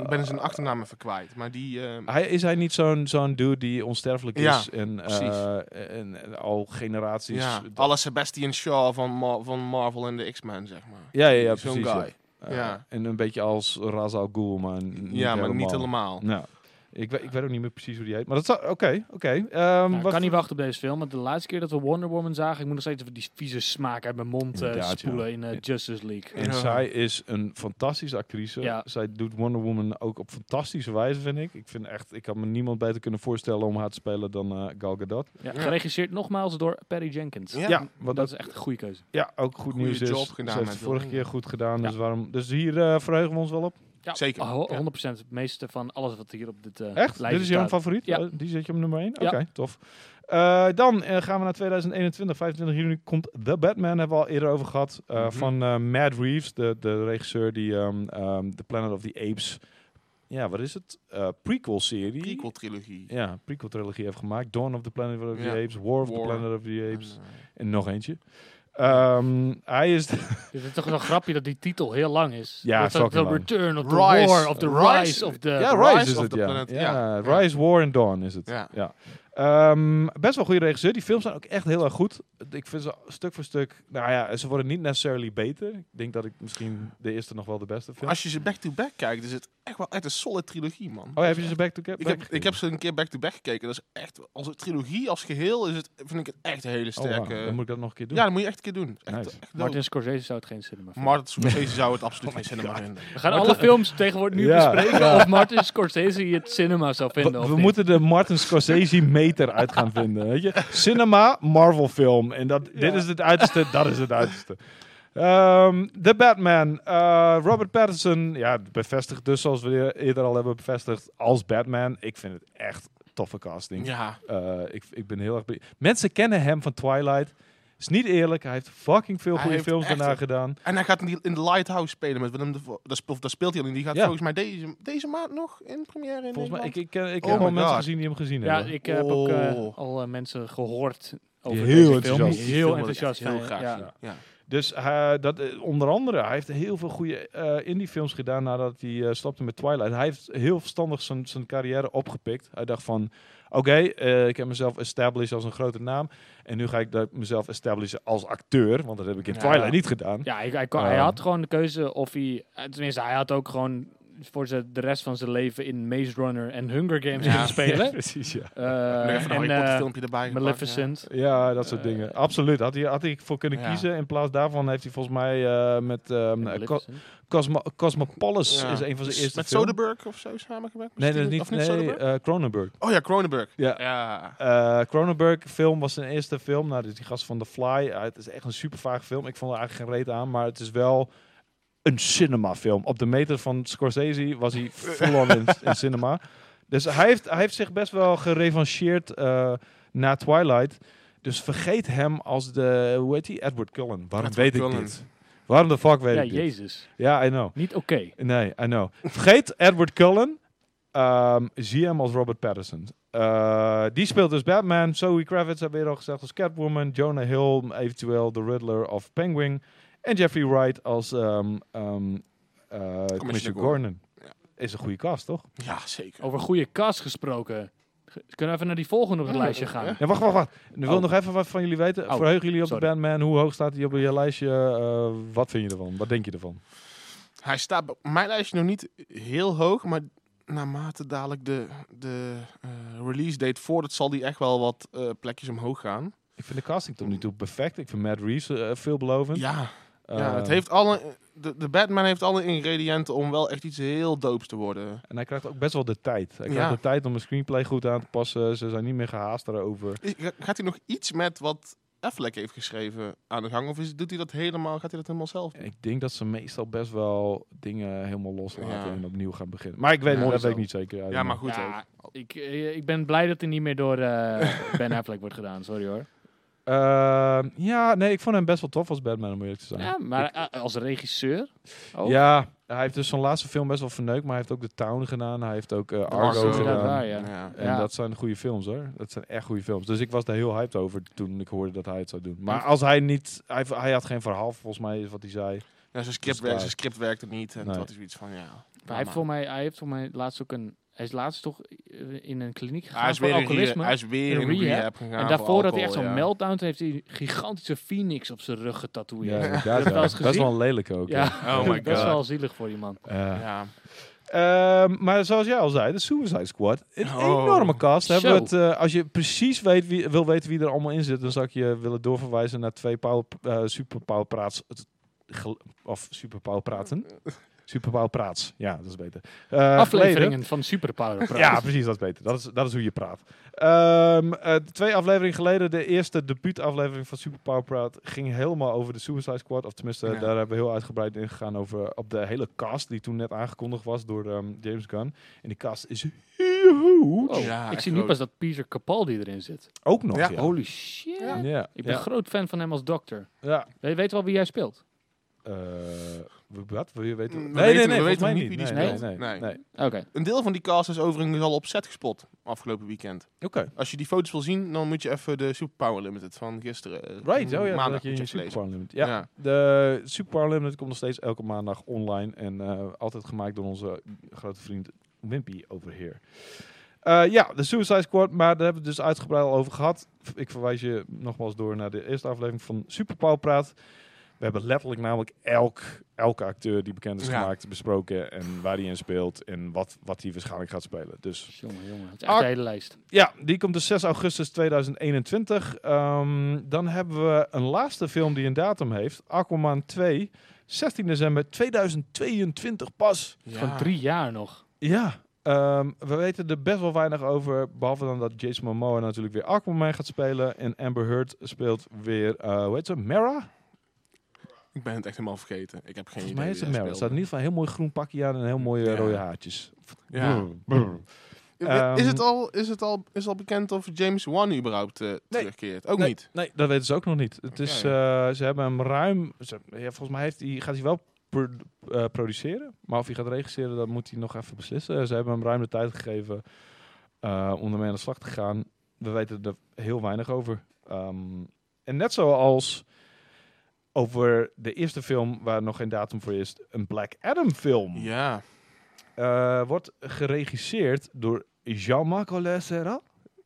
[SPEAKER 2] Ik ben zijn achternaam even kwijt. Maar die... ehm,
[SPEAKER 1] Hij, is hij niet zo'n zo'n dude die onsterfelijk
[SPEAKER 2] Ja,
[SPEAKER 1] is en, eh,
[SPEAKER 2] precies.
[SPEAKER 1] en, en al generaties...
[SPEAKER 2] Ja,
[SPEAKER 1] dat-
[SPEAKER 2] alle Sebastian Shaw van, Mar- van Marvel en de X-Men, zeg maar.
[SPEAKER 1] ja, ja, ja,
[SPEAKER 2] Zo'n
[SPEAKER 1] precies. ja.
[SPEAKER 2] guy.
[SPEAKER 1] Eh,
[SPEAKER 2] Ja.
[SPEAKER 1] En een beetje als Ra's al Ghul, maar n- niet
[SPEAKER 2] ja, maar niet helemaal.
[SPEAKER 1] Nou, ik, weet, ik weet ook niet meer precies hoe die heet. Maar dat zou... Oké, oké. Ehm,
[SPEAKER 3] Nou, ik
[SPEAKER 1] wat-
[SPEAKER 3] kan niet wachten op deze film. Want de laatste keer dat we Wonder Woman zagen... Ik moet nog steeds even die vieze smaak uit mijn mond eh,
[SPEAKER 1] Inderdaad, ja.
[SPEAKER 3] spoelen in eh, Justice League.
[SPEAKER 1] En
[SPEAKER 2] Ja.
[SPEAKER 1] zij is een fantastische actrice.
[SPEAKER 3] Ja.
[SPEAKER 1] Zij doet Wonder Woman ook op fantastische wijze, vind ik. Ik vind echt, ik had me niemand beter kunnen voorstellen om haar te spelen dan eh, Gal Gadot.
[SPEAKER 3] Ja,
[SPEAKER 2] Ja.
[SPEAKER 3] geregisseerd nogmaals door Perry Jenkins.
[SPEAKER 2] Ja.
[SPEAKER 1] Ja, wat
[SPEAKER 3] dat
[SPEAKER 1] dat,
[SPEAKER 3] is echt een goede keuze.
[SPEAKER 1] ja ook goed
[SPEAKER 2] Goeie
[SPEAKER 1] nieuws is.
[SPEAKER 2] job gedaan
[SPEAKER 1] Ze heeft
[SPEAKER 2] met
[SPEAKER 1] het vorige
[SPEAKER 2] Wonder
[SPEAKER 1] keer goed gedaan,
[SPEAKER 3] Ja.
[SPEAKER 1] dus waarom? Dus hier eh, verheugen we ons wel op.
[SPEAKER 3] Ja,
[SPEAKER 2] Zeker.
[SPEAKER 3] Oh, ho-
[SPEAKER 2] Ja.
[SPEAKER 3] 100% het meeste van alles wat hier op dit eh
[SPEAKER 1] Echt?
[SPEAKER 3] lijstje
[SPEAKER 1] Dit is jouw
[SPEAKER 3] staat.
[SPEAKER 1] favoriet?
[SPEAKER 3] Ja.
[SPEAKER 1] Eh, Die zet je op nummer 1? Oké,
[SPEAKER 3] Ja.
[SPEAKER 1] tof. Eh, dan eh, gaan we naar 2021. 25 juni komt The Batman, hebben we al eerder over gehad. eh,
[SPEAKER 2] Mhm.
[SPEAKER 1] Van eh, Matt Reeves, de, de regisseur die ehm, ehm, The Planet of the Apes... Ja, wat is het? Eh, prequel-serie.
[SPEAKER 2] Prequel-trilogie.
[SPEAKER 1] Ja, prequel-trilogie heeft gemaakt. Dawn of the Planet of the
[SPEAKER 2] Ja.
[SPEAKER 1] Apes, War of the
[SPEAKER 2] War.
[SPEAKER 1] Planet of the Apes.
[SPEAKER 2] En, eh,
[SPEAKER 1] En nog eentje. Ehm, hij is...
[SPEAKER 3] Dit is toch zo'n grapje dat die titel heel lang is.
[SPEAKER 1] Ja,
[SPEAKER 3] dat is
[SPEAKER 1] fucking
[SPEAKER 3] The
[SPEAKER 1] lang.
[SPEAKER 3] Return of the
[SPEAKER 2] Rise.
[SPEAKER 3] War of the
[SPEAKER 2] Rise.
[SPEAKER 3] Rise, of the...
[SPEAKER 1] <laughs> ja,
[SPEAKER 2] Rise
[SPEAKER 1] Rise,
[SPEAKER 2] of
[SPEAKER 1] is
[SPEAKER 2] the
[SPEAKER 1] het, ja.
[SPEAKER 2] Planet,
[SPEAKER 1] ja.
[SPEAKER 2] ja.
[SPEAKER 1] Rise, War en Dawn is het.
[SPEAKER 2] Ja.
[SPEAKER 1] Ehm, best wel goede regisseur. Die films zijn ook echt heel erg goed. Ik vind ze stuk voor stuk... Nou ja, ze worden niet necessarily beter. Ik denk dat ik misschien de eerste nog wel de beste vind.
[SPEAKER 2] Als je ze back-to-back kijkt, is het echt wel echt een solid trilogie, man.
[SPEAKER 1] Oh, heb je ze back to back?
[SPEAKER 2] ik, heb, ik heb ze een keer back-to-back gekeken. Dat is echt, als een trilogie als geheel, is het, vind ik het echt een hele
[SPEAKER 1] Oh, wauw.
[SPEAKER 2] sterke...
[SPEAKER 1] Dan moet ik dat nog een keer doen.
[SPEAKER 2] eh. ja, dat moet je echt een keer doen. Echt,
[SPEAKER 1] Nice.
[SPEAKER 2] echt
[SPEAKER 3] Martin
[SPEAKER 2] dope.
[SPEAKER 3] Scorsese zou het geen cinema vinden.
[SPEAKER 2] Martin
[SPEAKER 1] <laughs>
[SPEAKER 2] Scorsese zou het
[SPEAKER 1] Oh,
[SPEAKER 2] absoluut geen cinema vinden.
[SPEAKER 3] We gaan alle films
[SPEAKER 2] <laughs>
[SPEAKER 3] tegenwoordig nu
[SPEAKER 1] Ja,
[SPEAKER 3] bespreken
[SPEAKER 1] ja.
[SPEAKER 3] of Martin Scorsese het cinema zou
[SPEAKER 1] We,
[SPEAKER 3] vinden. of
[SPEAKER 1] we
[SPEAKER 3] niet.
[SPEAKER 1] moeten de Martin
[SPEAKER 2] <laughs>
[SPEAKER 1] Scorsese meter uit gaan vinden. Weet je? Cinema, Marvel film. En dat, dit is het uiterste, dat is het uiterste. Ehm The Batman. eh, Robert Pattinson. Ja, bevestigd dus zoals we eerder al hebben bevestigd. Als Batman. Ik vind het echt toffe casting.
[SPEAKER 2] Ja,
[SPEAKER 1] Eh, ik, ik ben heel erg benieuwd. Mensen kennen hem van Twilight. Is niet eerlijk. Hij heeft fucking veel
[SPEAKER 2] Hij
[SPEAKER 1] goede
[SPEAKER 2] heeft
[SPEAKER 1] films
[SPEAKER 2] echt
[SPEAKER 1] daarna
[SPEAKER 2] een-
[SPEAKER 1] gedaan.
[SPEAKER 2] en hij gaat in, die, in de Lighthouse spelen met Willem Dafoe. Dat, spe- dat speelt hij al in. Die gaat
[SPEAKER 1] Ja.
[SPEAKER 2] volgens mij deze, deze maand nog in première in
[SPEAKER 1] Volgens mij, ik,
[SPEAKER 2] Nederland.
[SPEAKER 1] ik, ken- ik
[SPEAKER 2] Oh
[SPEAKER 1] heb al
[SPEAKER 2] my
[SPEAKER 1] mensen
[SPEAKER 2] God.
[SPEAKER 1] gezien die hem gezien
[SPEAKER 3] Ja,
[SPEAKER 1] hebben.
[SPEAKER 3] ik heb ook eh,
[SPEAKER 2] Oh.
[SPEAKER 3] al eh, mensen gehoord over
[SPEAKER 1] Heel
[SPEAKER 3] deze film.
[SPEAKER 1] enthousiast.
[SPEAKER 3] die
[SPEAKER 2] Die
[SPEAKER 3] Heel
[SPEAKER 2] film wil ik echt
[SPEAKER 3] enthousiast.
[SPEAKER 2] Heel
[SPEAKER 3] zijn,
[SPEAKER 2] graag
[SPEAKER 3] ja.
[SPEAKER 2] zien. Ja.
[SPEAKER 1] Dus eh, dat, eh, onder andere, hij heeft heel veel goede eh, indie-films gedaan nadat hij eh, stopte met Twilight. Hij heeft heel verstandig zijn, zijn carrière opgepikt. Hij dacht van, oké, eh, ik heb mezelf established als een grote naam. En nu ga ik dat mezelf establishen als acteur, want dat heb ik in
[SPEAKER 3] Ja.
[SPEAKER 1] Twilight niet gedaan.
[SPEAKER 3] Ja, hij, hij kon- hij
[SPEAKER 1] Ja.
[SPEAKER 3] had gewoon de keuze of hij... eh, Tenminste, hij had ook gewoon voor ze de rest van zijn leven in Maze Runner en Hunger Games
[SPEAKER 2] Ja.
[SPEAKER 3] kunnen
[SPEAKER 2] <laughs>
[SPEAKER 3] spelen.
[SPEAKER 1] precies, <laughs> ja.
[SPEAKER 3] Eh,
[SPEAKER 2] Nog even een
[SPEAKER 3] en
[SPEAKER 2] Harry Potter
[SPEAKER 3] eh,
[SPEAKER 2] filmpje erbij. gepakt,
[SPEAKER 3] Maleficent.
[SPEAKER 1] Ja, dat soort
[SPEAKER 3] Eh,
[SPEAKER 1] dingen. Absoluut. Had hij, had hij voor kunnen
[SPEAKER 2] Ja.
[SPEAKER 1] kiezen. In plaats daarvan heeft hij volgens mij eh, met ehm, eh, Co-
[SPEAKER 3] Maleficent.
[SPEAKER 1] Cosmo- Cosmopolis
[SPEAKER 2] Ja.
[SPEAKER 1] is een van zijn
[SPEAKER 2] Dus
[SPEAKER 1] eerste
[SPEAKER 2] Met
[SPEAKER 1] films.
[SPEAKER 2] Soderbergh of zo samengewerkt?
[SPEAKER 1] Nee, dat is
[SPEAKER 2] Misschien?
[SPEAKER 1] niet,
[SPEAKER 2] Of niet
[SPEAKER 1] nee,
[SPEAKER 2] Soderbergh?
[SPEAKER 1] eh, Cronenberg.
[SPEAKER 2] Oh ja, Cronenberg.
[SPEAKER 1] Ja.
[SPEAKER 2] Ja.
[SPEAKER 1] Eh, Cronenberg film was zijn eerste film. Nou, dit is die gast van The Fly. Eh, het is echt een super vaag film. Ik vond er eigenlijk geen reet aan, maar het is wel een cinemafilm. Op de meter van Scorsese was
[SPEAKER 2] <laughs>
[SPEAKER 1] hij full-on in, in cinema. Dus hij heeft, hij heeft zich best wel gerevancheerd eh, na Twilight. Dus vergeet hem als de, hoe heet hij? Edward Cullen. Waarom
[SPEAKER 2] Edward
[SPEAKER 1] weet
[SPEAKER 2] Cullen.
[SPEAKER 1] ik dit? Waarom de fuck weet
[SPEAKER 3] Ja,
[SPEAKER 1] ik dit?
[SPEAKER 3] Jezus.
[SPEAKER 1] Ja, I know.
[SPEAKER 3] Niet oké.
[SPEAKER 1] Nee, I know. Vergeet Edward Cullen. Ehm, zie hem als Robert Patterson. Eh, die speelt dus Batman. Zoe Kravitz hebben we eerder al gezegd als Catwoman. Jonah Hill, eventueel de Riddler of Penguin. En Jeffrey Wright als ehm ehm, eh, Commissioner Gordon. Is een goede cast, toch?
[SPEAKER 2] Ja, zeker.
[SPEAKER 3] Over goede kast gesproken. Ge- Kunnen we even naar die volgende op het
[SPEAKER 2] Ja,
[SPEAKER 3] lijstje
[SPEAKER 2] ja.
[SPEAKER 3] gaan?
[SPEAKER 1] Ja, wacht, wacht, wacht. Ik wil
[SPEAKER 3] Oh.
[SPEAKER 1] nog even wat van jullie weten.
[SPEAKER 3] Oh,
[SPEAKER 1] Verheugen jullie op de
[SPEAKER 3] sorry.
[SPEAKER 1] Batman? Hoe hoog staat hij op je lijstje? Eh, wat vind je ervan? Wat denk je ervan?
[SPEAKER 2] Hij staat op mijn lijstje nog niet heel hoog, maar naarmate dadelijk de, de eh, release date voordat zal die echt wel wat eh, plekjes omhoog gaan.
[SPEAKER 1] Ik vind de casting tot nu toe perfect. Ik vind Matt Reeves eh, veelbelovend.
[SPEAKER 2] Ja, ja, het
[SPEAKER 1] Eh,
[SPEAKER 2] heeft alle, de, de Batman heeft alle ingrediënten om wel echt iets heel doops te worden.
[SPEAKER 1] En hij krijgt ook best wel de tijd. Hij
[SPEAKER 2] Ja.
[SPEAKER 1] krijgt de tijd om een screenplay goed aan te passen. Ze zijn niet meer gehaast daarover.
[SPEAKER 2] Is- ga- gaat hij nog iets met wat Affleck heeft geschreven aan de gang? Of is, doet hij dat helemaal, gaat hij dat helemaal zelf doen?
[SPEAKER 1] Ik denk dat ze meestal best wel dingen helemaal loslaten
[SPEAKER 2] Ja.
[SPEAKER 1] en opnieuw gaan beginnen. Maar ik weet
[SPEAKER 2] Ja.
[SPEAKER 1] het, dat
[SPEAKER 2] Mooi
[SPEAKER 1] weet ik
[SPEAKER 2] zo.
[SPEAKER 1] niet zeker. I don't
[SPEAKER 2] Ja, maar
[SPEAKER 1] know.
[SPEAKER 2] goed
[SPEAKER 3] Ja,
[SPEAKER 2] ook.
[SPEAKER 3] Ik, eh, ik ben blij dat hij niet meer
[SPEAKER 1] <laughs>
[SPEAKER 3] door eh, Ben Affleck wordt gedaan. Sorry hoor.
[SPEAKER 1] Ehm, ja, nee, ik vond hem best wel tof als Batman, om eerlijk te zijn.
[SPEAKER 3] Ja, maar eh, als regisseur? Oh, ook?
[SPEAKER 1] Ja, hij heeft dus zijn laatste film best wel verneukt, maar hij heeft ook The Town gedaan. Hij heeft ook eh,
[SPEAKER 2] Argo,
[SPEAKER 1] Argo
[SPEAKER 2] inderdaad
[SPEAKER 1] gedaan.
[SPEAKER 3] waar, ja.
[SPEAKER 2] Ja.
[SPEAKER 1] En
[SPEAKER 3] Ja.
[SPEAKER 1] dat zijn goede films hoor. Dat zijn echt goede films. Dus ik was daar heel hyped over toen ik hoorde dat hij het zou doen. Maar als hij niet, hij, hij had geen verhaal volgens mij, is wat hij zei.
[SPEAKER 2] Ja, zijn, script
[SPEAKER 1] Dat is
[SPEAKER 2] werkt, zijn script werkte niet. En
[SPEAKER 1] Dus Nee.
[SPEAKER 2] dat is iets van, ja.
[SPEAKER 3] Maar hij, heeft voor mij, hij heeft voor mij laatst ook een... Hij is laatst toch eh, in een kliniek gegaan
[SPEAKER 2] hij is
[SPEAKER 3] voor
[SPEAKER 2] weer in re-
[SPEAKER 3] alcoholisme.
[SPEAKER 2] hij is weer
[SPEAKER 3] In
[SPEAKER 2] in
[SPEAKER 3] rehab.
[SPEAKER 2] rehab gegaan.
[SPEAKER 3] en
[SPEAKER 2] voor
[SPEAKER 3] daarvoor had hij echt
[SPEAKER 2] alcohol,
[SPEAKER 3] zo'n
[SPEAKER 2] ja.
[SPEAKER 3] meltdown. Toen heeft hij een gigantische phoenix op zijn rug getatoeëerd.
[SPEAKER 1] Ja, inderdaad,
[SPEAKER 3] Heb
[SPEAKER 1] ja.
[SPEAKER 3] je <laughs> dat wel eens
[SPEAKER 1] Best wel
[SPEAKER 3] gezien?
[SPEAKER 1] een lelijke ook.
[SPEAKER 3] Ja,
[SPEAKER 1] ja.
[SPEAKER 2] Oh
[SPEAKER 3] <laughs>
[SPEAKER 2] my
[SPEAKER 3] dat is
[SPEAKER 2] God.
[SPEAKER 3] wel zielig voor die man.
[SPEAKER 1] Eh,
[SPEAKER 2] Ja.
[SPEAKER 1] Ehm, maar zoals jij al zei, de Suicide Squad. Een
[SPEAKER 2] Oh.
[SPEAKER 1] enorme cast. Hebben we het,
[SPEAKER 3] Zo.
[SPEAKER 1] eh, als je precies weet wie, wil weten wie er allemaal in zit, dan zou ik je willen doorverwijzen naar twee power, eh superpowerpraats. het gel- Of
[SPEAKER 3] <laughs>
[SPEAKER 1] superpowerpraten. Superpowerpraats. Ja, dat is beter. Eh, geleden.
[SPEAKER 3] Afleveringen van Superpower Praat.
[SPEAKER 1] Ja, precies, dat is beter. Dat is, dat is hoe je praat. Ehm, eh, twee afleveringen geleden, de eerste debuutaflevering van Super Power Praat ging helemaal over de Suicide Squad. Of tenminste,
[SPEAKER 2] Ja.
[SPEAKER 1] daar hebben we heel uitgebreid in gegaan over op de hele cast die toen net aangekondigd was door ehm, James Gunn. En die cast is huge.
[SPEAKER 3] Oh,
[SPEAKER 2] Ja,
[SPEAKER 3] ik
[SPEAKER 2] echt
[SPEAKER 3] zie nu
[SPEAKER 2] groot.
[SPEAKER 3] pas dat Peter Capaldi erin zit.
[SPEAKER 1] Ook nog, ja.
[SPEAKER 2] Ja.
[SPEAKER 1] Ja.
[SPEAKER 3] Holy shit.
[SPEAKER 2] Ja.
[SPEAKER 3] Oh, Ik ben
[SPEAKER 1] ja.
[SPEAKER 3] groot fan van hem als dokter.
[SPEAKER 1] Ja.
[SPEAKER 3] We weten wel wie jij speelt.
[SPEAKER 1] Eh, wat? Wil je weten?
[SPEAKER 2] Mm, We
[SPEAKER 1] nee, nee,
[SPEAKER 2] weten-
[SPEAKER 1] nee.
[SPEAKER 2] we
[SPEAKER 1] volgens
[SPEAKER 2] weten
[SPEAKER 1] mij
[SPEAKER 2] niet wie die
[SPEAKER 1] Nee,
[SPEAKER 2] speelt.
[SPEAKER 1] Nee, nee,
[SPEAKER 2] Nee.
[SPEAKER 1] nee.
[SPEAKER 3] Oké.
[SPEAKER 2] Een deel van die cast is overigens al op set gespot afgelopen weekend.
[SPEAKER 1] Oké.
[SPEAKER 2] Als je die foto's wil zien, dan moet je even de Superpower Limited van gisteren. eh,
[SPEAKER 1] Right, oh ja,
[SPEAKER 2] maandag
[SPEAKER 1] dat je in je
[SPEAKER 2] moet je
[SPEAKER 1] Super
[SPEAKER 2] even lezen.
[SPEAKER 1] Power Limit. Ja,
[SPEAKER 2] Ja.
[SPEAKER 1] De Super Power Limited komt nog steeds elke maandag online. En eh, altijd gemaakt door onze grote vriend Wimpy over hier. Eh, ja, de Suicide Squad, maar daar hebben we het dus uitgebreid al over gehad. Ik verwijs je nogmaals door naar de eerste aflevering van Super Power Praat. We hebben letterlijk namelijk elk, elke acteur die bekend is
[SPEAKER 2] Ja.
[SPEAKER 1] gemaakt besproken. En waar hij in speelt en wat, wat hij waarschijnlijk gaat spelen. Dus
[SPEAKER 3] Jongen, jongen. Het is echt
[SPEAKER 1] Ar-
[SPEAKER 3] een hele lijst.
[SPEAKER 1] ja, die komt dus 6 augustus 2021. Ehm, dan hebben we een laatste film die een datum heeft. Aquaman 2, 16 december 2022 pas.
[SPEAKER 2] Ja.
[SPEAKER 3] Van drie jaar nog.
[SPEAKER 1] Ja. ehm, we weten er best wel weinig over. Behalve dan dat Jason Momoa natuurlijk weer Aquaman gaat spelen. En Amber Heard speelt weer, eh, hoe heet ze? Mera?
[SPEAKER 2] Ik ben het echt helemaal vergeten. Ik heb geen
[SPEAKER 1] Volgens
[SPEAKER 2] idee.
[SPEAKER 1] mij
[SPEAKER 2] wie
[SPEAKER 1] heet ze
[SPEAKER 2] daar
[SPEAKER 1] Mera. Ze had in ieder
[SPEAKER 2] speelde.
[SPEAKER 1] geval een heel mooi groen pakje aan en heel mooie
[SPEAKER 2] Ja.
[SPEAKER 1] rode haartjes.
[SPEAKER 2] Ja.
[SPEAKER 1] Brr, brr.
[SPEAKER 2] Eh, Is
[SPEAKER 1] Ehm,
[SPEAKER 2] het al, is het al, is al bekend of James Wan überhaupt eh, terugkeert? Ook
[SPEAKER 1] nee,
[SPEAKER 2] niet.
[SPEAKER 1] Nee, dat weten ze ook nog niet. Het is,
[SPEAKER 2] Oké.
[SPEAKER 1] eh, ze hebben hem ruim. ze- ja, volgens mij heeft hij, gaat hij wel pro- eh, produceren. Maar of hij gaat regisseren, dat moet hij nog even beslissen. Ze hebben hem ruim de tijd gegeven eh, om ermee aan de slag te gaan. We weten er heel weinig over. Ehm, en net zoals over de eerste film, waar nog geen datum voor is, een Black Adam film.
[SPEAKER 2] Ja.
[SPEAKER 1] Eh, wordt geregisseerd door Jean-Marc Serra.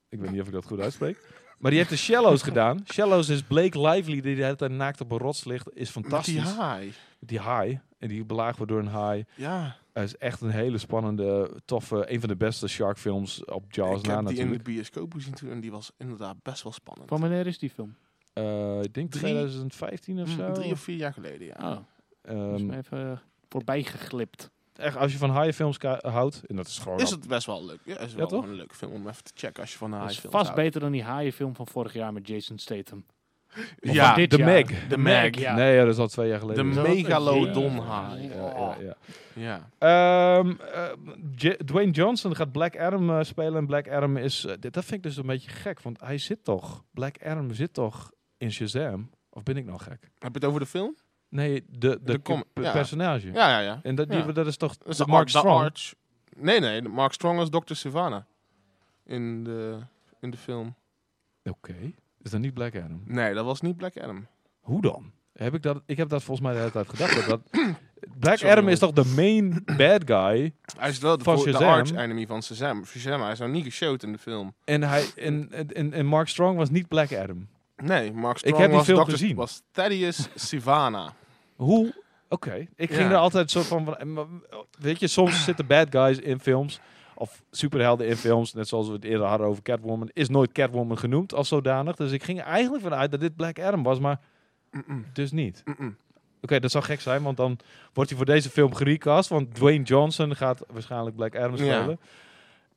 [SPEAKER 1] Ik weet niet of ik dat goed uitspreek. Maar die heeft de Shallows gedaan. Shallows is Blake Lively, die de hele tijd naakt op een rots ligt. Is
[SPEAKER 2] Met die
[SPEAKER 1] fantastisch.
[SPEAKER 2] haai.
[SPEAKER 1] Die haai. En die belaagd wordt door een haai.
[SPEAKER 2] Ja.
[SPEAKER 1] Het is echt een hele spannende, toffe, een van de beste Shark films op Jaws
[SPEAKER 2] ik
[SPEAKER 1] na
[SPEAKER 2] heb die in de
[SPEAKER 1] natuurlijk.
[SPEAKER 2] bioscoop gezien toen en die was inderdaad best wel spannend.
[SPEAKER 3] Van wanneer is die film?
[SPEAKER 1] Eh, ik denk
[SPEAKER 2] Drie-
[SPEAKER 1] 2015 of
[SPEAKER 3] Mm,
[SPEAKER 1] zo.
[SPEAKER 2] Drie of vier jaar geleden, ja.
[SPEAKER 3] Oh,
[SPEAKER 1] Ehm,
[SPEAKER 3] is me even eh, voorbij geglipt.
[SPEAKER 2] Ah,
[SPEAKER 1] echt, als je van haaienfilms ka- houdt, en dat is gewoon...
[SPEAKER 2] Is het best wel leuk. Ja, is wel
[SPEAKER 1] toch?
[SPEAKER 2] een leuke film om even te checken als je van de
[SPEAKER 3] Dat is
[SPEAKER 2] haai
[SPEAKER 3] vast
[SPEAKER 2] films
[SPEAKER 3] beter dan die haaienfilm van vorig jaar met Jason Statham.
[SPEAKER 1] of
[SPEAKER 2] Ja,
[SPEAKER 1] van
[SPEAKER 3] dit
[SPEAKER 1] The
[SPEAKER 3] jaar.
[SPEAKER 1] Meg.
[SPEAKER 2] De Meg.
[SPEAKER 3] ja.
[SPEAKER 1] Nee, ja, dat is al twee jaar
[SPEAKER 2] De
[SPEAKER 1] geleden.
[SPEAKER 3] is wel
[SPEAKER 2] megalodon
[SPEAKER 3] een
[SPEAKER 2] haai.
[SPEAKER 3] idee.
[SPEAKER 1] Ja, ja, ja.
[SPEAKER 2] Ja.
[SPEAKER 1] Ehm, eh, J- Dwayne Johnson gaat Black Adam eh, spelen. En Black Adam is... eh, dit- dat vind ik dus een beetje gek, want hij zit toch... Black Adam zit toch in Shazam? Of ben ik nou gek?
[SPEAKER 2] Heb je het over de film?
[SPEAKER 1] Nee, de, de,
[SPEAKER 2] De com-
[SPEAKER 1] pe-
[SPEAKER 2] ja.
[SPEAKER 1] personage.
[SPEAKER 2] Ja, ja, ja.
[SPEAKER 1] En dat, die,
[SPEAKER 2] Ja.
[SPEAKER 1] dat is toch
[SPEAKER 2] Dat is
[SPEAKER 1] de
[SPEAKER 2] de
[SPEAKER 1] Mark
[SPEAKER 2] Ar- de
[SPEAKER 1] Strong?
[SPEAKER 2] Arch. Nee, nee. de Mark Strong is Dr. Savannah. In de, in de film.
[SPEAKER 1] Oké. Is dat niet Black Adam?
[SPEAKER 2] Nee, dat was niet Black Adam.
[SPEAKER 1] Hoe dan? Heb ik, dat, ik heb dat volgens mij de hele tijd gedacht. Dat,
[SPEAKER 2] <clears throat>
[SPEAKER 1] dat- Black
[SPEAKER 2] Sorry,
[SPEAKER 1] Adam
[SPEAKER 2] man.
[SPEAKER 1] is toch de main bad guy?
[SPEAKER 2] Hij is wel de,
[SPEAKER 1] Van
[SPEAKER 2] voor- de
[SPEAKER 1] Shazam.
[SPEAKER 2] arch-enemy van Shazam. Shazam, hij is nou niet geshowt in de film.
[SPEAKER 1] En, hij, en, en, en Mark Strong was niet Black Adam.
[SPEAKER 2] Nee, Mark
[SPEAKER 1] heb
[SPEAKER 2] Strong
[SPEAKER 1] die
[SPEAKER 2] was,
[SPEAKER 1] film
[SPEAKER 2] Dr.
[SPEAKER 1] gezien.
[SPEAKER 2] was Thaddeus Sivana.
[SPEAKER 1] Hoe? Oké. Ik ging
[SPEAKER 2] Ja.
[SPEAKER 1] er altijd zo van... van- en maar- Weet je, soms zitten bad guys in films... Of superhelden in films, net zoals we het eerder hadden over Catwoman, is nooit Catwoman genoemd als zodanig. Dus ik ging er eigenlijk vanuit dat dit Black Adam was, maar
[SPEAKER 2] Mm-mm,
[SPEAKER 1] dus niet.
[SPEAKER 2] mm-mm.
[SPEAKER 1] Oké, dat zou gek zijn, want dan wordt hij voor deze film gerecast. Want Dwayne Johnson gaat waarschijnlijk Black Adam spelen.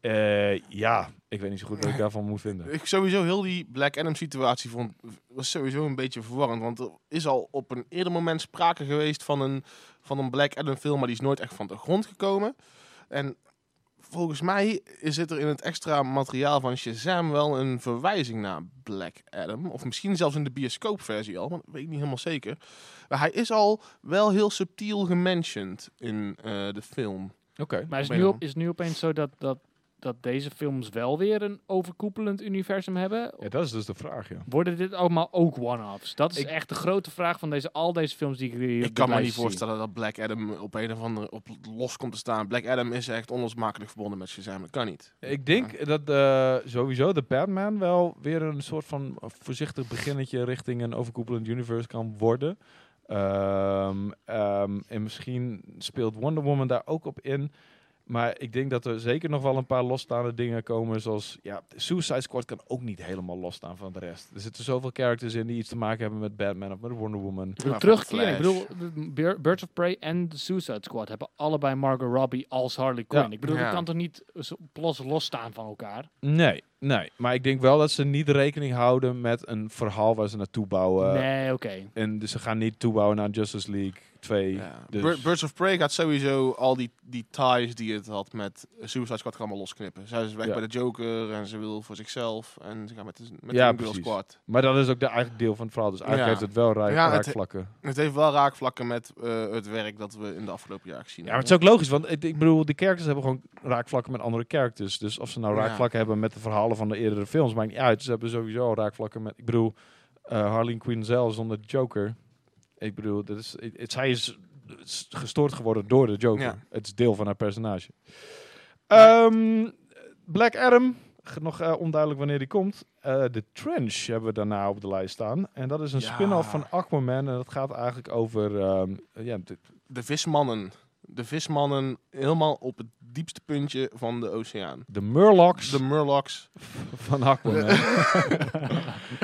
[SPEAKER 1] Ja, ja ik weet niet zo goed wat ik daarvan moet vinden.
[SPEAKER 2] Ik sowieso heel die Black Adam situatie vond was sowieso een beetje verwarrend, want er is al op een eerder moment sprake geweest van een van een Black Adam film, maar die is nooit echt van de grond gekomen. En volgens mij zit er in het extra materiaal van Shazam wel een verwijzing naar Black Adam, of misschien zelfs in de bioscoopversie al, maar dat weet ik niet helemaal zeker. Maar hij is al wel heel subtiel gementioned in eh, de film.
[SPEAKER 1] Oké.
[SPEAKER 3] Maar is
[SPEAKER 2] ben
[SPEAKER 3] nu,
[SPEAKER 2] hem.
[SPEAKER 3] op, is nu opeens zo dat, dat, dat deze films wel weer een overkoepelend universum hebben?
[SPEAKER 1] Ja, dat is dus de vraag, ja.
[SPEAKER 3] Worden dit allemaal ook one-offs? Dat is
[SPEAKER 2] Ik-
[SPEAKER 3] echt de grote vraag van deze, al deze films die ik hier
[SPEAKER 2] Ik kan me niet voorstellen dat Black Adam op een of andere op los komt te staan. Black Adam is echt onlosmakelijk verbonden met Shazam. Dat kan niet.
[SPEAKER 1] Ik denk dat eh, sowieso de Batman wel weer een soort van voorzichtig beginnetje richting een overkoepelend universe kan worden. Ehm, ehm, en misschien speelt Wonder Woman daar ook op in. Maar ik denk dat er zeker nog wel een paar losstaande dingen komen. Zoals, ja, Suicide Squad kan ook niet helemaal losstaan van de rest. Er zitten zoveel characters in die iets te maken hebben met Batman of met Wonder Woman.
[SPEAKER 3] Ik bedoel,
[SPEAKER 2] Nou, van
[SPEAKER 3] terugkeren. Ik
[SPEAKER 2] Flash.
[SPEAKER 3] bedoel, de Bir- Birds of Prey en The Suicide Squad hebben allebei Margot Robbie als Harley Quinn.
[SPEAKER 1] Ja.
[SPEAKER 3] Ik bedoel,
[SPEAKER 2] Ja.
[SPEAKER 3] dat kan toch niet zo plots losstaan van elkaar?
[SPEAKER 1] Nee, nee. Maar ik denk wel dat ze niet rekening houden met een verhaal waar ze naartoe bouwen.
[SPEAKER 3] nee, oké.
[SPEAKER 1] En dus ze gaan niet toebouwen naar Justice League 2.
[SPEAKER 2] Ja.
[SPEAKER 1] Dus-
[SPEAKER 2] Bir- Birds of Prey gaat sowieso al die, die ties die het had met Suicide Squad gaan allemaal losknippen. Zij is weg
[SPEAKER 1] Ja.
[SPEAKER 2] bij de Joker en ze wil voor zichzelf en ze gaat met de, met
[SPEAKER 1] Ja,
[SPEAKER 2] de Girl
[SPEAKER 1] precies.
[SPEAKER 2] Squad.
[SPEAKER 1] Maar dat is ook de, eigenlijk deel van het verhaal. Dus eigenlijk
[SPEAKER 2] Ja.
[SPEAKER 1] heeft het wel raak,
[SPEAKER 2] Ja, het-
[SPEAKER 1] raakvlakken.
[SPEAKER 2] Het heeft wel raakvlakken met eh, het werk dat we in de afgelopen jaren gezien
[SPEAKER 1] Ja, maar het is ook logisch, want ik, ik bedoel, de characters hebben gewoon raakvlakken met andere characters. Dus of ze nou
[SPEAKER 2] Ja.
[SPEAKER 1] raakvlakken hebben met de verhalen van de eerdere films, maakt niet uit. Ze hebben sowieso al raakvlakken met, ik bedoel, eh Harleen Quinn zelf zonder de Joker. Ik bedoel, dat is, het, het- zij is is gestoord geworden door de Joker.
[SPEAKER 2] Ja.
[SPEAKER 1] Het is deel van haar personage. Ehm, Black Adam, g- nog eh, onduidelijk wanneer die komt. Eh, de Trench hebben we daarna op de lijst staan. En dat is een
[SPEAKER 2] Ja.
[SPEAKER 1] spin-off van Aquaman. En dat gaat eigenlijk over ehm, ja, de-
[SPEAKER 2] De vismannen. De vismannen helemaal op het diepste puntje van de oceaan.
[SPEAKER 1] de Murlocs.
[SPEAKER 2] De Murlocs.
[SPEAKER 1] Van
[SPEAKER 2] <laughs>
[SPEAKER 1] Aquaman.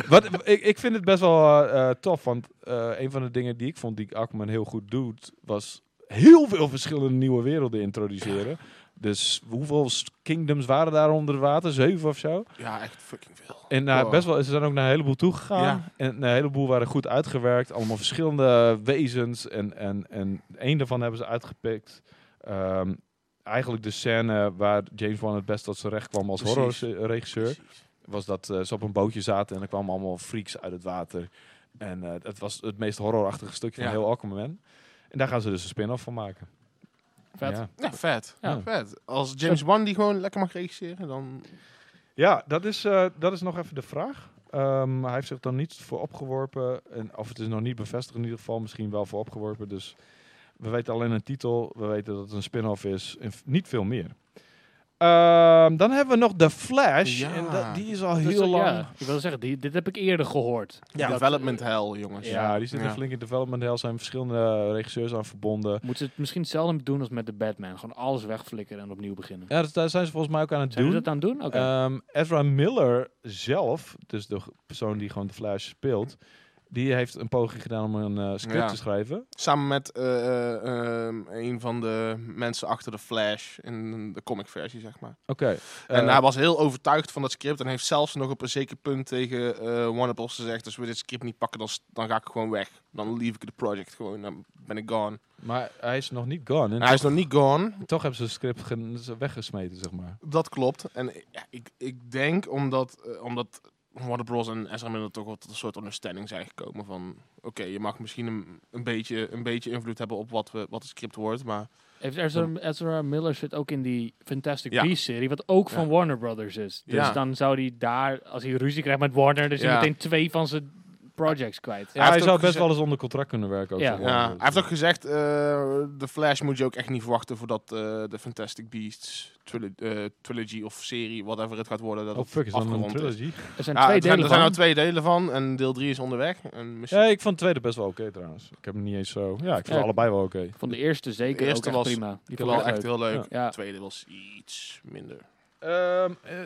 [SPEAKER 1] Wat, ik, ik vind het best wel eh, eh, tof, want eh, een van de dingen die ik vond die Aquaman heel goed doet, was heel veel verschillende nieuwe werelden introduceren. Dus hoeveel s- kingdoms waren daar onder water? Zeven of zo?
[SPEAKER 2] Ja, echt fucking veel.
[SPEAKER 1] En eh,
[SPEAKER 2] Wow.
[SPEAKER 1] best wel, ze zijn ook naar een heleboel toegegaan.
[SPEAKER 2] Oh. Ja.
[SPEAKER 1] En eh, een heleboel waren goed uitgewerkt. Allemaal verschillende wezens. En, en, en één daarvan hebben ze uitgepikt. Ehm, eigenlijk de scène waar James Wan het best tot zijn recht kwam als
[SPEAKER 2] Precies.
[SPEAKER 1] horrorregisseur
[SPEAKER 2] Precies.
[SPEAKER 1] was dat eh, ze op een bootje zaten en er kwamen allemaal freaks uit het water. En eh, het was het meest horrorachtige stukje
[SPEAKER 2] Ja.
[SPEAKER 1] van heel Aquaman. En daar gaan ze dus een spin-off van maken.
[SPEAKER 3] Vet.
[SPEAKER 1] Ja.
[SPEAKER 2] Ja, vet.
[SPEAKER 1] Ja.
[SPEAKER 2] vet. Als James Wan die gewoon lekker mag regisseren, dan...
[SPEAKER 1] Ja, dat is, eh, dat is nog even de vraag. Ehm, hij heeft zich dan niet voor opgeworpen. En, of het is nog niet bevestigd in ieder geval. Misschien wel voor opgeworpen. Dus we weten alleen een titel. We weten dat het een spin-off is. En f- niet veel meer. Ehm, Ehm, dan hebben we nog The Flash.
[SPEAKER 2] Ja.
[SPEAKER 1] En dat- die is al
[SPEAKER 3] Dus
[SPEAKER 1] heel
[SPEAKER 3] dat-
[SPEAKER 1] lang.
[SPEAKER 3] Ja, ik wil zeggen, die, dit heb ik eerder gehoord.
[SPEAKER 1] Ja,
[SPEAKER 3] Dat,
[SPEAKER 2] Development
[SPEAKER 3] eh,
[SPEAKER 2] hell, jongens.
[SPEAKER 1] Ja, die zitten
[SPEAKER 2] Ja.
[SPEAKER 1] flink in development hell. Zijn verschillende eh, regisseurs aan verbonden.
[SPEAKER 3] Moeten ze het misschien hetzelfde doen als met de Batman. Gewoon alles wegflikkeren en opnieuw beginnen.
[SPEAKER 1] Ja, dat, daar zijn ze volgens mij ook aan het
[SPEAKER 3] Zijn
[SPEAKER 1] Eh, doen.
[SPEAKER 3] we dat aan het doen? Oké.
[SPEAKER 1] Ehm, Ezra Miller zelf, dus de g- persoon die gewoon de Flash speelt, die heeft een poging gedaan om een eh, script
[SPEAKER 2] Ja.
[SPEAKER 1] te schrijven.
[SPEAKER 2] Samen met eh, eh, ehm, een van de mensen achter de Flash in de comicversie, zeg maar.
[SPEAKER 1] Oké.
[SPEAKER 2] en nou-
[SPEAKER 1] eh,
[SPEAKER 2] hij was heel overtuigd van dat script en heeft zelfs nog op een zeker punt tegen eh Warner Bros. gezegd... als we dit script niet pakken, dan, s- dan ga ik gewoon weg. Dan leave ik het project gewoon, dan ben ik gone.
[SPEAKER 1] maar hij is nog niet gone. En
[SPEAKER 2] hij is nog niet gone,
[SPEAKER 1] toch hebben ze het script gen- ze weggesmeten, zeg maar.
[SPEAKER 2] Dat klopt. En eh, ja, ik, ik denk omdat, eh, omdat Warner Bros. en Ezra Miller toch wel tot een soort understanding zijn gekomen van... Oké, je mag misschien een, een, beetje, een beetje invloed hebben op wat, we, wat het script wordt, maar...
[SPEAKER 3] Heeft Ezra, Ezra Miller zit ook in die Fantastic
[SPEAKER 2] Ja.
[SPEAKER 3] Beasts-serie, wat ook van
[SPEAKER 2] Ja.
[SPEAKER 3] Warner Brothers is. Dus
[SPEAKER 2] Ja.
[SPEAKER 3] dan zou hij daar, als hij ruzie krijgt met Warner, dus hij
[SPEAKER 2] Ja.
[SPEAKER 3] meteen twee van zijn projects kwijt. Ah,
[SPEAKER 1] hij
[SPEAKER 2] heeft
[SPEAKER 1] zou
[SPEAKER 2] ook
[SPEAKER 1] best
[SPEAKER 2] geze-
[SPEAKER 1] wel eens onder contract kunnen werken. Ook
[SPEAKER 3] Ja.
[SPEAKER 1] voor Warner
[SPEAKER 2] Ja, hij
[SPEAKER 1] Bros.
[SPEAKER 2] heeft ook gezegd, eh, de Flash moet je ook echt niet verwachten voordat eh, de Fantastic Beasts trilo- eh, trilogy of serie, whatever het gaat worden, dat
[SPEAKER 1] Oh fuck, is
[SPEAKER 2] het
[SPEAKER 1] dat een
[SPEAKER 2] afgerond is.
[SPEAKER 1] trilogy?
[SPEAKER 3] Er zijn
[SPEAKER 2] Ja,
[SPEAKER 3] twee
[SPEAKER 2] er zijn,
[SPEAKER 3] delen
[SPEAKER 2] er zijn
[SPEAKER 3] van.
[SPEAKER 2] nou twee delen van en deel 3 is onderweg. En misschien
[SPEAKER 1] Ja, ik vond de tweede best wel oké trouwens. Ik heb hem niet eens zo... Ja, ik vond
[SPEAKER 3] Ja.
[SPEAKER 1] allebei wel oké.
[SPEAKER 3] Van de eerste zeker
[SPEAKER 2] De eerste
[SPEAKER 3] ook echt
[SPEAKER 2] was-
[SPEAKER 3] prima. Die
[SPEAKER 2] wel
[SPEAKER 3] vond ik
[SPEAKER 2] echt heel leuk.
[SPEAKER 3] Ja.
[SPEAKER 2] De tweede was iets minder.
[SPEAKER 1] Ehm, eh,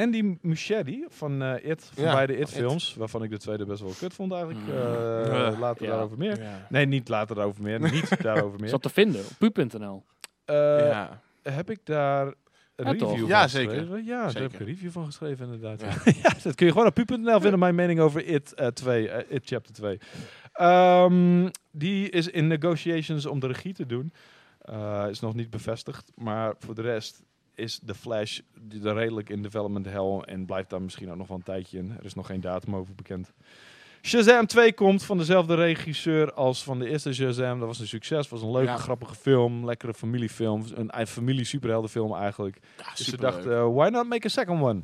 [SPEAKER 1] Andy Muschietti van eh, It, van
[SPEAKER 2] Ja,
[SPEAKER 1] beide
[SPEAKER 2] van It.
[SPEAKER 1] It-films, waarvan ik de tweede best wel kut vond eigenlijk.
[SPEAKER 2] Mm.
[SPEAKER 1] Eh,
[SPEAKER 2] Ja.
[SPEAKER 1] Later
[SPEAKER 3] Ja.
[SPEAKER 1] daarover meer. Nee, niet later daarover meer.
[SPEAKER 2] <laughs>
[SPEAKER 1] Niet daarover meer.
[SPEAKER 3] Zat te vinden op pu.nl.
[SPEAKER 1] Eh,
[SPEAKER 2] ja.
[SPEAKER 1] Heb ik daar een
[SPEAKER 3] Ja,
[SPEAKER 1] review
[SPEAKER 3] toch?
[SPEAKER 1] van
[SPEAKER 2] Ja,
[SPEAKER 1] geschreven?
[SPEAKER 2] zeker.
[SPEAKER 1] Ja, daar
[SPEAKER 2] Zeker.
[SPEAKER 1] heb ik een review van geschreven inderdaad. <laughs> Ja.
[SPEAKER 2] Ja.
[SPEAKER 1] dat kun je gewoon op pu.nl vinden. Mijn mening over It, eh, 2, eh, It Chapter 2. Ehm, die is in negotiations om de regie te doen. Eh, is nog niet bevestigd. Maar voor de rest is The Flash die daar redelijk in development hell. En blijft daar misschien ook nog wel een tijdje in. Er is nog geen datum over bekend. Shazam 2 komt van dezelfde regisseur als van de eerste Shazam. Dat was een succes, was een leuke,
[SPEAKER 2] Ja.
[SPEAKER 1] grappige film. Lekkere familiefilm, een ei- familie superheldenfilm eigenlijk. Dus ze
[SPEAKER 2] superleuk.
[SPEAKER 1] dachten, eh, why not make a second one?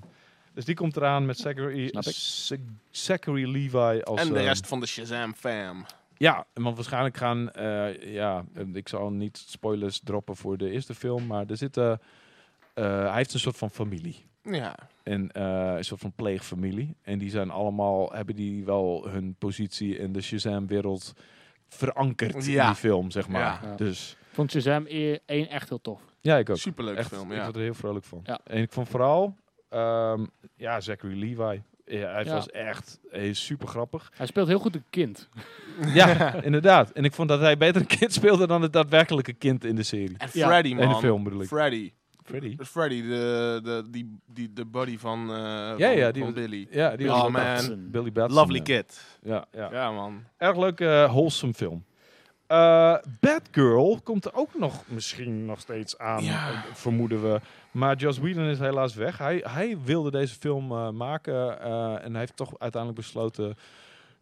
[SPEAKER 1] Dus die komt eraan met Zachary,
[SPEAKER 3] Snap ik.
[SPEAKER 1] Zach- Zachary Levi als...
[SPEAKER 2] en de
[SPEAKER 1] eh,
[SPEAKER 2] rest van de Shazam fam.
[SPEAKER 1] ja, want waarschijnlijk gaan... eh, ja, eh, ik zal niet spoilers droppen voor de eerste film, maar er zitten... eh, hij heeft een soort van familie.
[SPEAKER 2] Ja.
[SPEAKER 1] En eh, een soort van pleegfamilie. En die zijn allemaal, hebben die wel hun positie in de Shazam-wereld verankerd in
[SPEAKER 2] Ja.
[SPEAKER 1] die film, zeg maar.
[SPEAKER 3] Ja.
[SPEAKER 1] Dus
[SPEAKER 3] Vond Shazam e- één echt heel tof.
[SPEAKER 1] ja, ik ook.
[SPEAKER 2] Superleuk
[SPEAKER 1] Echt,
[SPEAKER 2] film,
[SPEAKER 1] Ik
[SPEAKER 2] ja.
[SPEAKER 1] word er heel vrolijk van.
[SPEAKER 3] Ja.
[SPEAKER 1] En ik vond vooral, ehm, ja, Zachary Levi. Ja, hij
[SPEAKER 3] Ja.
[SPEAKER 1] was echt hij is super grappig.
[SPEAKER 3] Hij speelt heel goed een kind.
[SPEAKER 1] Ja, inderdaad. En ik vond dat hij beter een kind speelde dan het daadwerkelijke kind in de serie.
[SPEAKER 2] En
[SPEAKER 3] Ja.
[SPEAKER 2] Freddy, man.
[SPEAKER 1] In de film bedoel ik.
[SPEAKER 2] Freddy.
[SPEAKER 1] Freddy.
[SPEAKER 2] Freddy, de, de, die, die, de buddy van, eh
[SPEAKER 1] Ja,
[SPEAKER 2] van,
[SPEAKER 1] ja, die
[SPEAKER 2] van
[SPEAKER 1] was-
[SPEAKER 2] Billy.
[SPEAKER 1] Ja, die was
[SPEAKER 2] Oh,
[SPEAKER 1] ook
[SPEAKER 2] man.
[SPEAKER 1] echt-
[SPEAKER 3] Watson.
[SPEAKER 1] Billy Batson.
[SPEAKER 2] Lovely
[SPEAKER 1] ja.
[SPEAKER 2] kid.
[SPEAKER 1] Ja, ja.
[SPEAKER 2] Ja, man.
[SPEAKER 1] Erg leuke, eh, wholesome film. Eh Batgirl komt er ook nog misschien nog steeds aan,
[SPEAKER 2] Ja.
[SPEAKER 1] eh, vermoeden we. Maar Joss Whedon is helaas weg. Hij, hij wilde deze film eh, maken eh, en hij heeft toch uiteindelijk besloten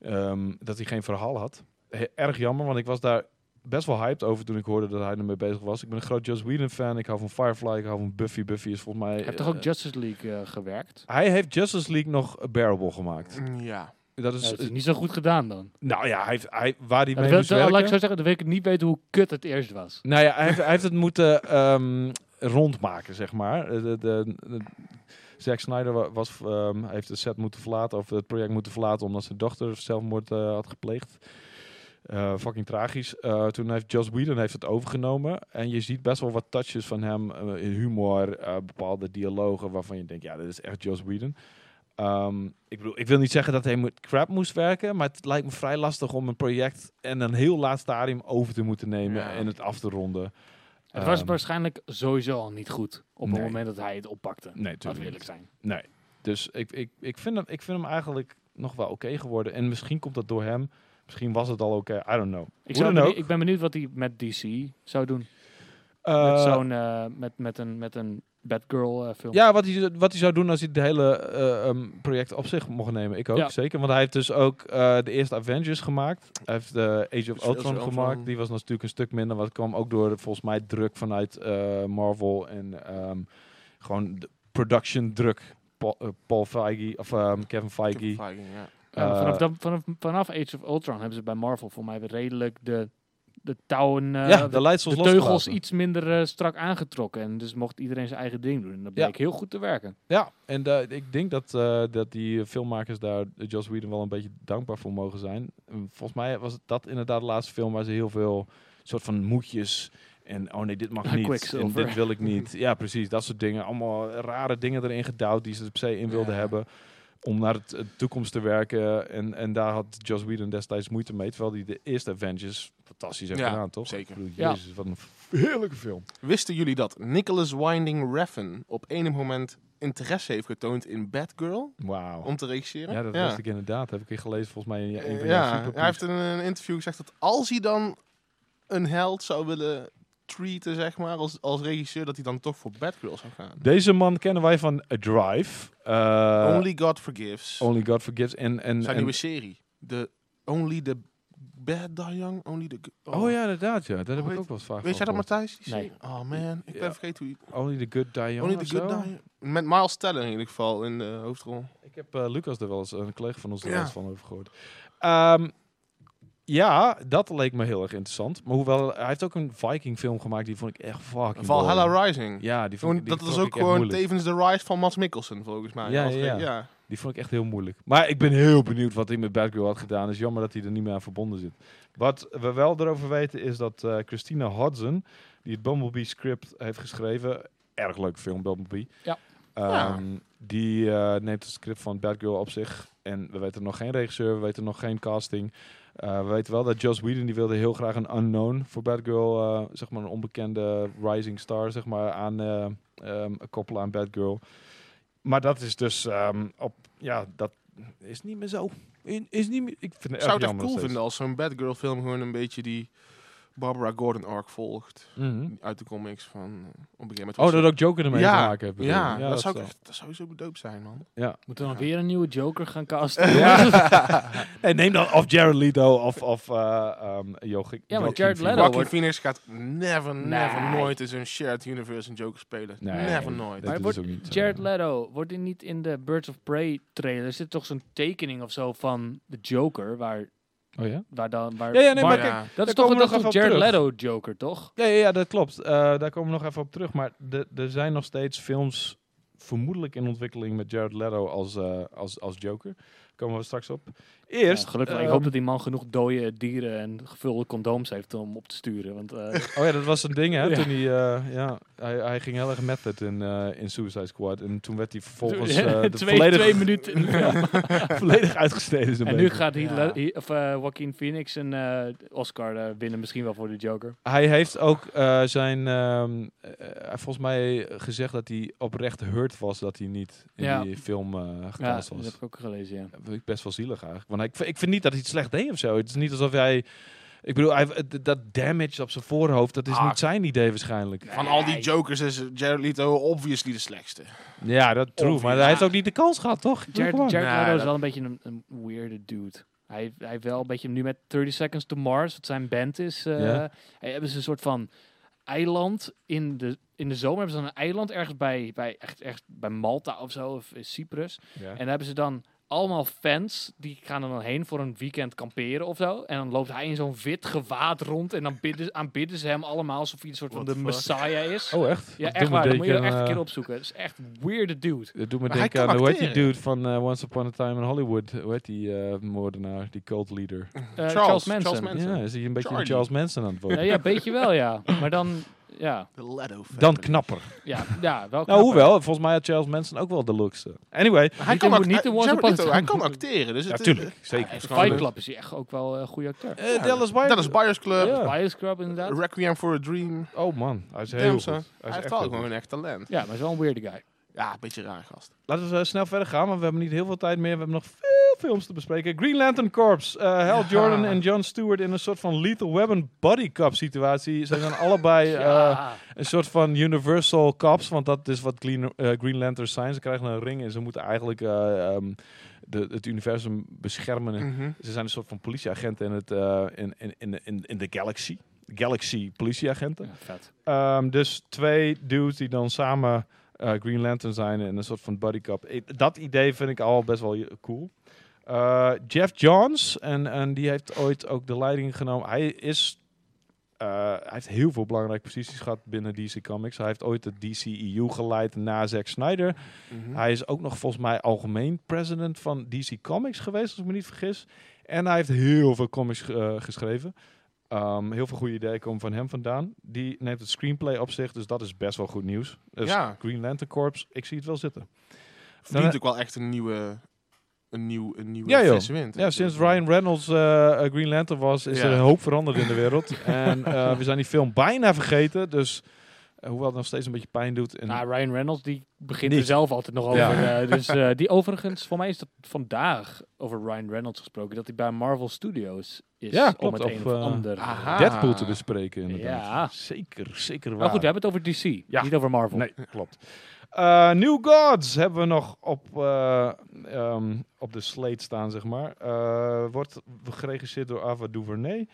[SPEAKER 1] ehm, dat hij geen verhaal had. He- erg jammer, want ik was daar best wel hyped over toen ik hoorde dat hij ermee bezig was. Ik ben een groot Joss Whedon fan. Ik hou van Firefly, ik hou van Buffy. Buffy is volgens mij...
[SPEAKER 3] Hij heeft toch ook Justice League eh, gewerkt?
[SPEAKER 1] hij heeft Justice League nog bearable gemaakt.
[SPEAKER 2] Ja.
[SPEAKER 1] Dat is,
[SPEAKER 3] Ja, dat is niet zo goed gedaan dan.
[SPEAKER 1] nou ja, hij, heeft- hij, waar hij
[SPEAKER 3] Ja,
[SPEAKER 1] mee
[SPEAKER 3] dat wil-
[SPEAKER 1] moest
[SPEAKER 3] dat- laat ik
[SPEAKER 1] werken-
[SPEAKER 3] zo zeggen, dat weet ik niet weten hoe kut het eerst was.
[SPEAKER 1] Nou ja, hij heeft, hij heeft het moeten ehm, rondmaken, zeg maar. Eh, De, de, de- Zack Snyder wa- was, ehm, hij heeft de set moeten verlaten, of het project moeten verlaten, omdat zijn dochter zelfmoord eh, had gepleegd. Eh, fucking tragisch. Eh, toen heeft Joss Whedon heeft het overgenomen. En je ziet best wel wat touches van hem eh, in humor, eh, bepaalde dialogen waarvan je denkt, ja, dit is echt Joss Whedon. Ehm, ik bedoel, ik wil niet zeggen dat hij met crap moest werken, maar het lijkt me vrij lastig om een project en een heel laat stadium over te moeten nemen
[SPEAKER 2] Ja.
[SPEAKER 1] en het af te ronden.
[SPEAKER 3] Het was
[SPEAKER 1] Ehm,
[SPEAKER 3] waarschijnlijk sowieso al niet goed op
[SPEAKER 1] nee.
[SPEAKER 3] het moment dat hij het oppakte.
[SPEAKER 1] Nee,
[SPEAKER 3] Laten
[SPEAKER 1] natuurlijk
[SPEAKER 3] we
[SPEAKER 1] niet.
[SPEAKER 3] eerlijk zijn.
[SPEAKER 1] Nee. Dus ik, ik, ik, vind hem, ik vind hem eigenlijk nog wel oké geworden. En misschien komt dat door hem. Misschien was het al oké. I don't know.
[SPEAKER 3] Ik,
[SPEAKER 1] Hoe
[SPEAKER 3] zou
[SPEAKER 1] dan
[SPEAKER 3] benieu-
[SPEAKER 1] ook.
[SPEAKER 3] ik ben benieuwd wat hij met DC zou doen.
[SPEAKER 1] Eh,
[SPEAKER 3] met, zo'n, eh, met, met een, met een Batgirl eh, film.
[SPEAKER 1] ja, wat hij, wat hij zou doen als hij het hele eh, ehm, project op zich mocht nemen. Ik ook,
[SPEAKER 3] Ja.
[SPEAKER 1] zeker. Want hij heeft dus ook eh, de eerste Avengers gemaakt. Hij heeft de Age
[SPEAKER 2] Dus
[SPEAKER 1] of
[SPEAKER 2] veel
[SPEAKER 1] Ultron
[SPEAKER 2] zo van-
[SPEAKER 1] gemaakt. Die was natuurlijk een stuk minder. Wat kwam ook door, volgens mij, druk vanuit eh, Marvel. En ehm, gewoon de production druk. Paul, eh, Paul Feige, of ehm, Kevin Feige.
[SPEAKER 2] Kevin Feige, ja.
[SPEAKER 3] Ja, maar vanaf,
[SPEAKER 1] eh,
[SPEAKER 3] dat, vanaf, vanaf Age of Ultron hebben ze bij Marvel voor mij weer redelijk de, de touwen, eh,
[SPEAKER 1] ja, de
[SPEAKER 3] de,
[SPEAKER 1] leidsels
[SPEAKER 3] de teugels
[SPEAKER 1] losgelaten.
[SPEAKER 3] iets minder eh, strak aangetrokken. En dus mocht iedereen zijn eigen ding doen. En dat
[SPEAKER 1] Ja.
[SPEAKER 3] bleek heel goed te werken.
[SPEAKER 1] Ja, en eh, ik denk dat, eh, dat die filmmakers daar eh, Joss Whedon wel een beetje dankbaar voor mogen zijn. En Volgens mij was dat inderdaad de laatste film waar ze heel veel soort van moedjes en oh nee, dit mag niet en
[SPEAKER 3] Quicksilver.
[SPEAKER 1] dit wil ik niet. Ja, precies, dat soort dingen. Allemaal rare dingen erin gedouwd die ze er per se in wilden
[SPEAKER 3] Ja.
[SPEAKER 1] hebben om naar het, het toekomst te werken. En, en daar had Joss Whedon destijds moeite mee, terwijl hij de eerste Avengers fantastisch heeft
[SPEAKER 2] Ja,
[SPEAKER 1] gedaan, toch?
[SPEAKER 2] zeker.
[SPEAKER 1] Ik bedoel,
[SPEAKER 3] Ja.
[SPEAKER 1] Jezus, wat een heerlijke film.
[SPEAKER 2] Wisten jullie dat Nicholas Winding Refn op enig moment interesse heeft getoond in Batgirl
[SPEAKER 1] Wauw.
[SPEAKER 2] om te regisseren?
[SPEAKER 1] Ja, dat wist ik inderdaad. Heb ik hier gelezen volgens mij in je- een van jouw
[SPEAKER 2] Eh, Ja,
[SPEAKER 1] superbriefs.
[SPEAKER 2] hij heeft in een interview gezegd dat als hij dan een held zou willen treaten, zeg maar, als, als regisseur, dat hij dan toch voor Batgirl zou gaan.
[SPEAKER 1] Deze man kennen wij van A Drive. eh,
[SPEAKER 2] Only God Forgives.
[SPEAKER 1] Only God Forgives. En, en,
[SPEAKER 2] zijn
[SPEAKER 1] en-
[SPEAKER 2] nieuwe serie. The Only the Bad Die Young, Only the Good.
[SPEAKER 1] oh ja, inderdaad. Ja. Dat heb
[SPEAKER 2] Hoe
[SPEAKER 1] ik
[SPEAKER 2] heet-
[SPEAKER 1] ook wel eens vaak
[SPEAKER 2] Weet jij
[SPEAKER 1] van
[SPEAKER 2] dat,
[SPEAKER 1] gehoord.
[SPEAKER 2] Matthijs? Die
[SPEAKER 3] Nee.
[SPEAKER 2] serie? Oh man, ik ben
[SPEAKER 1] Ja.
[SPEAKER 2] vergeten hoe...
[SPEAKER 1] Only the Good Die Young
[SPEAKER 2] Only
[SPEAKER 1] of
[SPEAKER 2] the Good
[SPEAKER 1] zo?
[SPEAKER 2] Die Met Miles Teller in ieder geval in de hoofdrol.
[SPEAKER 1] Ik heb eh, Lucas er wel eens, een collega van ons, er
[SPEAKER 2] Ja.
[SPEAKER 1] wel eens van over gehoord. Ehm, ja, dat leek me heel erg interessant. Maar hoewel, hij heeft ook een Viking film gemaakt, die vond ik echt fucking boring.
[SPEAKER 2] Valhalla Rising.
[SPEAKER 1] Ja, die vond
[SPEAKER 2] Gewoon-
[SPEAKER 1] ik, die
[SPEAKER 2] dat is
[SPEAKER 1] vond ik
[SPEAKER 2] ook
[SPEAKER 1] echt
[SPEAKER 2] gewoon
[SPEAKER 1] moeilijk.
[SPEAKER 2] tevens de rise van Mads Mikkelsen, volgens mij.
[SPEAKER 1] Ja,
[SPEAKER 2] Als
[SPEAKER 1] ja,
[SPEAKER 2] re-
[SPEAKER 1] ja. Die vond ik echt heel moeilijk. Maar ik ben heel benieuwd wat hij met Batgirl had gedaan. Het is jammer dat hij er niet meer aan verbonden zit. Wat we wel erover weten is dat eh, Christina Hodson, die het Bumblebee script heeft geschreven, erg leuke film Bumblebee.
[SPEAKER 3] Ja.
[SPEAKER 1] Ehm, Die eh, neemt het script van Batgirl op zich. En we weten nog geen regisseur, we weten nog geen casting. Eh, we weten wel dat Joss Whedon die wilde heel graag een unknown voor Batgirl, eh, zeg maar een onbekende rising star, zeg maar aan eh, ehm, koppelen aan Batgirl. Maar dat is dus ehm, op, ja, dat is niet meer zo. In- Is niet meer, ik vind het
[SPEAKER 2] Ik
[SPEAKER 1] erg
[SPEAKER 2] zou het echt
[SPEAKER 1] jammer nog
[SPEAKER 2] cool
[SPEAKER 1] steeds.
[SPEAKER 2] vinden als zo'n Batgirl film gewoon een beetje die Barbara Gordon arc volgt.
[SPEAKER 1] Mhm.
[SPEAKER 2] Uit de comics van... eh, Op een gegeven moment
[SPEAKER 1] Oh, dat ook Joker ermee
[SPEAKER 2] ja,
[SPEAKER 1] te maken hebben.
[SPEAKER 2] Ja, dat, zou ik
[SPEAKER 1] wel. <laughs>
[SPEAKER 2] echt, dat zou zo dope zijn, man.
[SPEAKER 3] Moeten we dan weer een nieuwe Joker gaan casten?
[SPEAKER 1] <laughs> Nee, neem dan of Jared Leto of, of eh, ehm, Joachim-
[SPEAKER 3] Ja, maar
[SPEAKER 1] Joachim
[SPEAKER 3] Jared
[SPEAKER 1] Phoenix.
[SPEAKER 3] Leto
[SPEAKER 2] Joaquin
[SPEAKER 3] wordt-
[SPEAKER 2] Phoenix gaat never, never,
[SPEAKER 3] Nee.
[SPEAKER 2] nooit in zo'n shared universe een Joker spelen.
[SPEAKER 1] Nee,
[SPEAKER 2] never, nooit.
[SPEAKER 1] Dat
[SPEAKER 3] Maar
[SPEAKER 1] is
[SPEAKER 3] wordt
[SPEAKER 1] ook niet eh, zo.
[SPEAKER 3] <laughs> Jared Leto, wordt hij niet in de Birds of Prey trailer? Zit toch zo'n tekening of zo van de Joker? Waar,
[SPEAKER 1] Oh ja?
[SPEAKER 3] waar dan... Waar
[SPEAKER 1] Ja, ja, nee,
[SPEAKER 2] Maar
[SPEAKER 1] maar
[SPEAKER 3] Mark-
[SPEAKER 1] kijk,
[SPEAKER 2] ja.
[SPEAKER 3] Dat
[SPEAKER 1] daar
[SPEAKER 3] is
[SPEAKER 1] komen
[SPEAKER 3] toch
[SPEAKER 1] we
[SPEAKER 3] een
[SPEAKER 1] nog even
[SPEAKER 3] dat is
[SPEAKER 1] op
[SPEAKER 3] toch Jared
[SPEAKER 1] terug.
[SPEAKER 3] Leto Joker, toch?
[SPEAKER 1] Ja, ja, ja, dat klopt. Eh, daar komen we nog even op terug. Maar de- er zijn nog steeds films vermoedelijk in ontwikkeling met Jared Leto als, eh, als, als Joker. Komen we straks op. Eerst...
[SPEAKER 3] Ja, gelukkig,
[SPEAKER 1] eh,
[SPEAKER 3] ik hoop dat die man genoeg dode dieren en gevulde condooms heeft om op te sturen. Want
[SPEAKER 1] <laughs>
[SPEAKER 3] eh,
[SPEAKER 1] Oh ja, dat was een ding, hè?
[SPEAKER 3] Ja.
[SPEAKER 1] Toen hij, eh, ja, hij, hij ging heel erg method in, eh, in Suicide Squad. En toen werd hij vervolgens eh, de
[SPEAKER 3] <laughs> twee,
[SPEAKER 1] volledig,
[SPEAKER 3] twee minuten in de film.
[SPEAKER 1] <laughs> volledig uitgesneden. zo'n
[SPEAKER 3] En nu
[SPEAKER 1] beetje.
[SPEAKER 3] gaat hij,
[SPEAKER 2] Ja.
[SPEAKER 3] of, eh, Joaquin Phoenix een eh, Oscar eh, winnen, misschien wel voor de Joker.
[SPEAKER 1] Hij heeft ook eh, zijn. ehm, eh, hij heeft volgens mij gezegd dat hij oprecht hurt was dat hij niet in
[SPEAKER 3] Ja.
[SPEAKER 1] die film eh
[SPEAKER 3] Ja,
[SPEAKER 1] gecast
[SPEAKER 3] dat
[SPEAKER 1] was.
[SPEAKER 3] heb ik ook gelezen, ja.
[SPEAKER 1] Dat vind ik best wel zielig eigenlijk. Want ik, v- ik vind niet dat hij het slecht deed of zo. Het is niet alsof hij. Ik bedoel, hij, d- dat damage op zijn voorhoofd, dat is
[SPEAKER 2] Ah.
[SPEAKER 1] niet zijn idee waarschijnlijk.
[SPEAKER 2] Van al die Jokers is Jared Leto obviously de slechtste.
[SPEAKER 1] Ja, dat true. Maar hij heeft ook niet de kans gehad, toch? Ik bedoel,
[SPEAKER 3] Oh, Jared,
[SPEAKER 1] come on.
[SPEAKER 3] Jared
[SPEAKER 2] Nou,
[SPEAKER 3] Leto is
[SPEAKER 2] dat-
[SPEAKER 3] wel een beetje een, een weirde dude. Hij, hij heeft wel een beetje, nu met 30 Seconds to Mars, wat zijn band is, eh,
[SPEAKER 1] Ja.
[SPEAKER 3] hij- hebben ze een soort van eiland in de, in de zomer. Hebben ze dan een eiland ergens bij, bij, echt, echt bij Malta of zo, of eh, Cyprus. En daar hebben ze dan allemaal fans, die gaan er dan heen voor een weekend kamperen of zo. En dan loopt hij in zo'n wit gewaad rond en dan bidden, aanbidden ze hem allemaal alsof hij een soort van
[SPEAKER 2] What
[SPEAKER 3] de
[SPEAKER 2] the fuck?
[SPEAKER 3] messiah is.
[SPEAKER 1] Oh, echt?
[SPEAKER 3] ja,
[SPEAKER 1] Dat
[SPEAKER 3] echt
[SPEAKER 1] doet me
[SPEAKER 3] waar, dat moet je
[SPEAKER 1] denken
[SPEAKER 3] echt
[SPEAKER 1] aan,
[SPEAKER 3] een
[SPEAKER 1] eh,
[SPEAKER 3] keer opzoeken. Het is echt een weirde dude.
[SPEAKER 1] Dat doet me
[SPEAKER 2] Maar hij
[SPEAKER 1] denken
[SPEAKER 2] kan
[SPEAKER 1] aan, hoe heet die
[SPEAKER 2] acteren.
[SPEAKER 1] dude van eh, Once Upon a Time in Hollywood? Hoe heet die eh, moordenaar, die cult leader?
[SPEAKER 3] Eh, Charles Manson.
[SPEAKER 1] Ja, is hij een beetje een
[SPEAKER 2] Charlie.
[SPEAKER 1] Charles Manson aan het worden?
[SPEAKER 3] Ja, ja, weet je wel, ja. Maar dan, ja,
[SPEAKER 2] De Leto family.
[SPEAKER 1] Dan knapper.
[SPEAKER 3] ja, ja
[SPEAKER 1] Nou,
[SPEAKER 3] wel knapper.
[SPEAKER 1] hoewel, volgens mij had Charles Manson ook wel de looks. eh. Anyway,
[SPEAKER 2] Hij
[SPEAKER 3] Niet
[SPEAKER 2] kan,
[SPEAKER 3] in-
[SPEAKER 2] act-
[SPEAKER 3] niet in Once
[SPEAKER 2] Jared
[SPEAKER 3] Upon a
[SPEAKER 2] Leto,
[SPEAKER 3] Time.
[SPEAKER 2] hij kan acteren. Dus het is-
[SPEAKER 1] natuurlijk, zeker.
[SPEAKER 3] In
[SPEAKER 2] gewoon-
[SPEAKER 3] Fight Club is hij echt ook wel een goede acteur.
[SPEAKER 1] Eh, Dallas White.
[SPEAKER 2] Dat is Buyers Club,
[SPEAKER 1] Ja.
[SPEAKER 3] Bioscope inderdaad.
[SPEAKER 2] Requiem for a Dream.
[SPEAKER 1] Oh man, hij is heel
[SPEAKER 2] Damn,
[SPEAKER 1] goed.
[SPEAKER 2] son.
[SPEAKER 1] Hij
[SPEAKER 2] Hij
[SPEAKER 1] is
[SPEAKER 2] heeft
[SPEAKER 1] echt
[SPEAKER 2] wel
[SPEAKER 1] heel
[SPEAKER 2] gewoon
[SPEAKER 1] goed.
[SPEAKER 2] een echt talent.
[SPEAKER 3] Ja, maar is wel een weirde guy.
[SPEAKER 2] Ja, een beetje raar gast.
[SPEAKER 1] Laten we eh, snel verder gaan, want we hebben niet heel veel tijd meer. We hebben nog veel films te bespreken. Green Lantern Corps, eh, Hal
[SPEAKER 2] Ja.
[SPEAKER 1] Jordan en John Stewart in een soort van Lethal Weapon Buddy Cop situatie. Ze zijn allebei eh,
[SPEAKER 3] ja.
[SPEAKER 1] een soort van Universal Cops, want dat is wat Green, eh, Green Lanterns zijn. Ze krijgen een ring en ze moeten eigenlijk eh, ehm, de, het universum beschermen
[SPEAKER 2] Mhm.
[SPEAKER 1] Ze zijn een soort van politieagenten in, het, eh, in, in, in, in, in de galaxy. Galaxy politieagenten.
[SPEAKER 3] Ja, vet.
[SPEAKER 1] Ehm, dus twee dudes die dan samen eh, Green Lantern zijn en een soort van bodycup. Dat idee vind ik al best wel je- cool. Eh, Jeff Johns, en, en die heeft ooit ook de leiding genomen. Hij is eh, hij heeft heel veel belangrijke posities gehad binnen DC Comics. Hij heeft ooit de DCEU geleid na Zack Snyder.
[SPEAKER 2] mhm. Hm?
[SPEAKER 1] Hij is ook nog volgens mij algemeen president van DC Comics geweest, als ik me niet vergis. En hij heeft heel veel comics eh, geschreven. Ehm, heel veel goede ideeën komen van hem vandaan. Die neemt het screenplay op zich, dus dat is best wel goed nieuws. Dus
[SPEAKER 2] Ja.
[SPEAKER 1] Green Lantern Corps, ik zie het wel zitten.
[SPEAKER 2] Verdient ook wel echt een nieuwe, een nieuw, een nieuwe
[SPEAKER 1] Ja, joh.
[SPEAKER 2] frisse wind.
[SPEAKER 1] Ja, sinds Ryan Reynolds eh, eh, Green Lantern was, is
[SPEAKER 2] Ja.
[SPEAKER 1] er een hoop veranderd in de wereld. en eh, we zijn die film bijna vergeten, dus eh, hoewel het nog steeds een beetje pijn doet. En,
[SPEAKER 3] Nou, Ryan Reynolds die begint
[SPEAKER 1] Niet.
[SPEAKER 3] er zelf altijd nog over.
[SPEAKER 1] Ja.
[SPEAKER 3] eh, dus eh, die overigens, voor mij is dat vandaag over Ryan Reynolds gesproken. Dat hij bij Marvel Studios is
[SPEAKER 1] Ja,
[SPEAKER 3] om
[SPEAKER 1] klopt,
[SPEAKER 3] het een
[SPEAKER 1] of,
[SPEAKER 3] of
[SPEAKER 1] eh,
[SPEAKER 3] ander.
[SPEAKER 2] Aha.
[SPEAKER 1] Deadpool te bespreken inderdaad.
[SPEAKER 3] Ja.
[SPEAKER 1] Zeker, zeker waar.
[SPEAKER 3] Maar Nou goed, we hebben het over DC,
[SPEAKER 1] Ja.
[SPEAKER 3] niet over Marvel.
[SPEAKER 1] Nee, klopt. Eh, New Gods hebben we nog op, eh, ehm, op de slate staan, zeg maar. Eh, wordt geregisseerd door Ava DuVernay.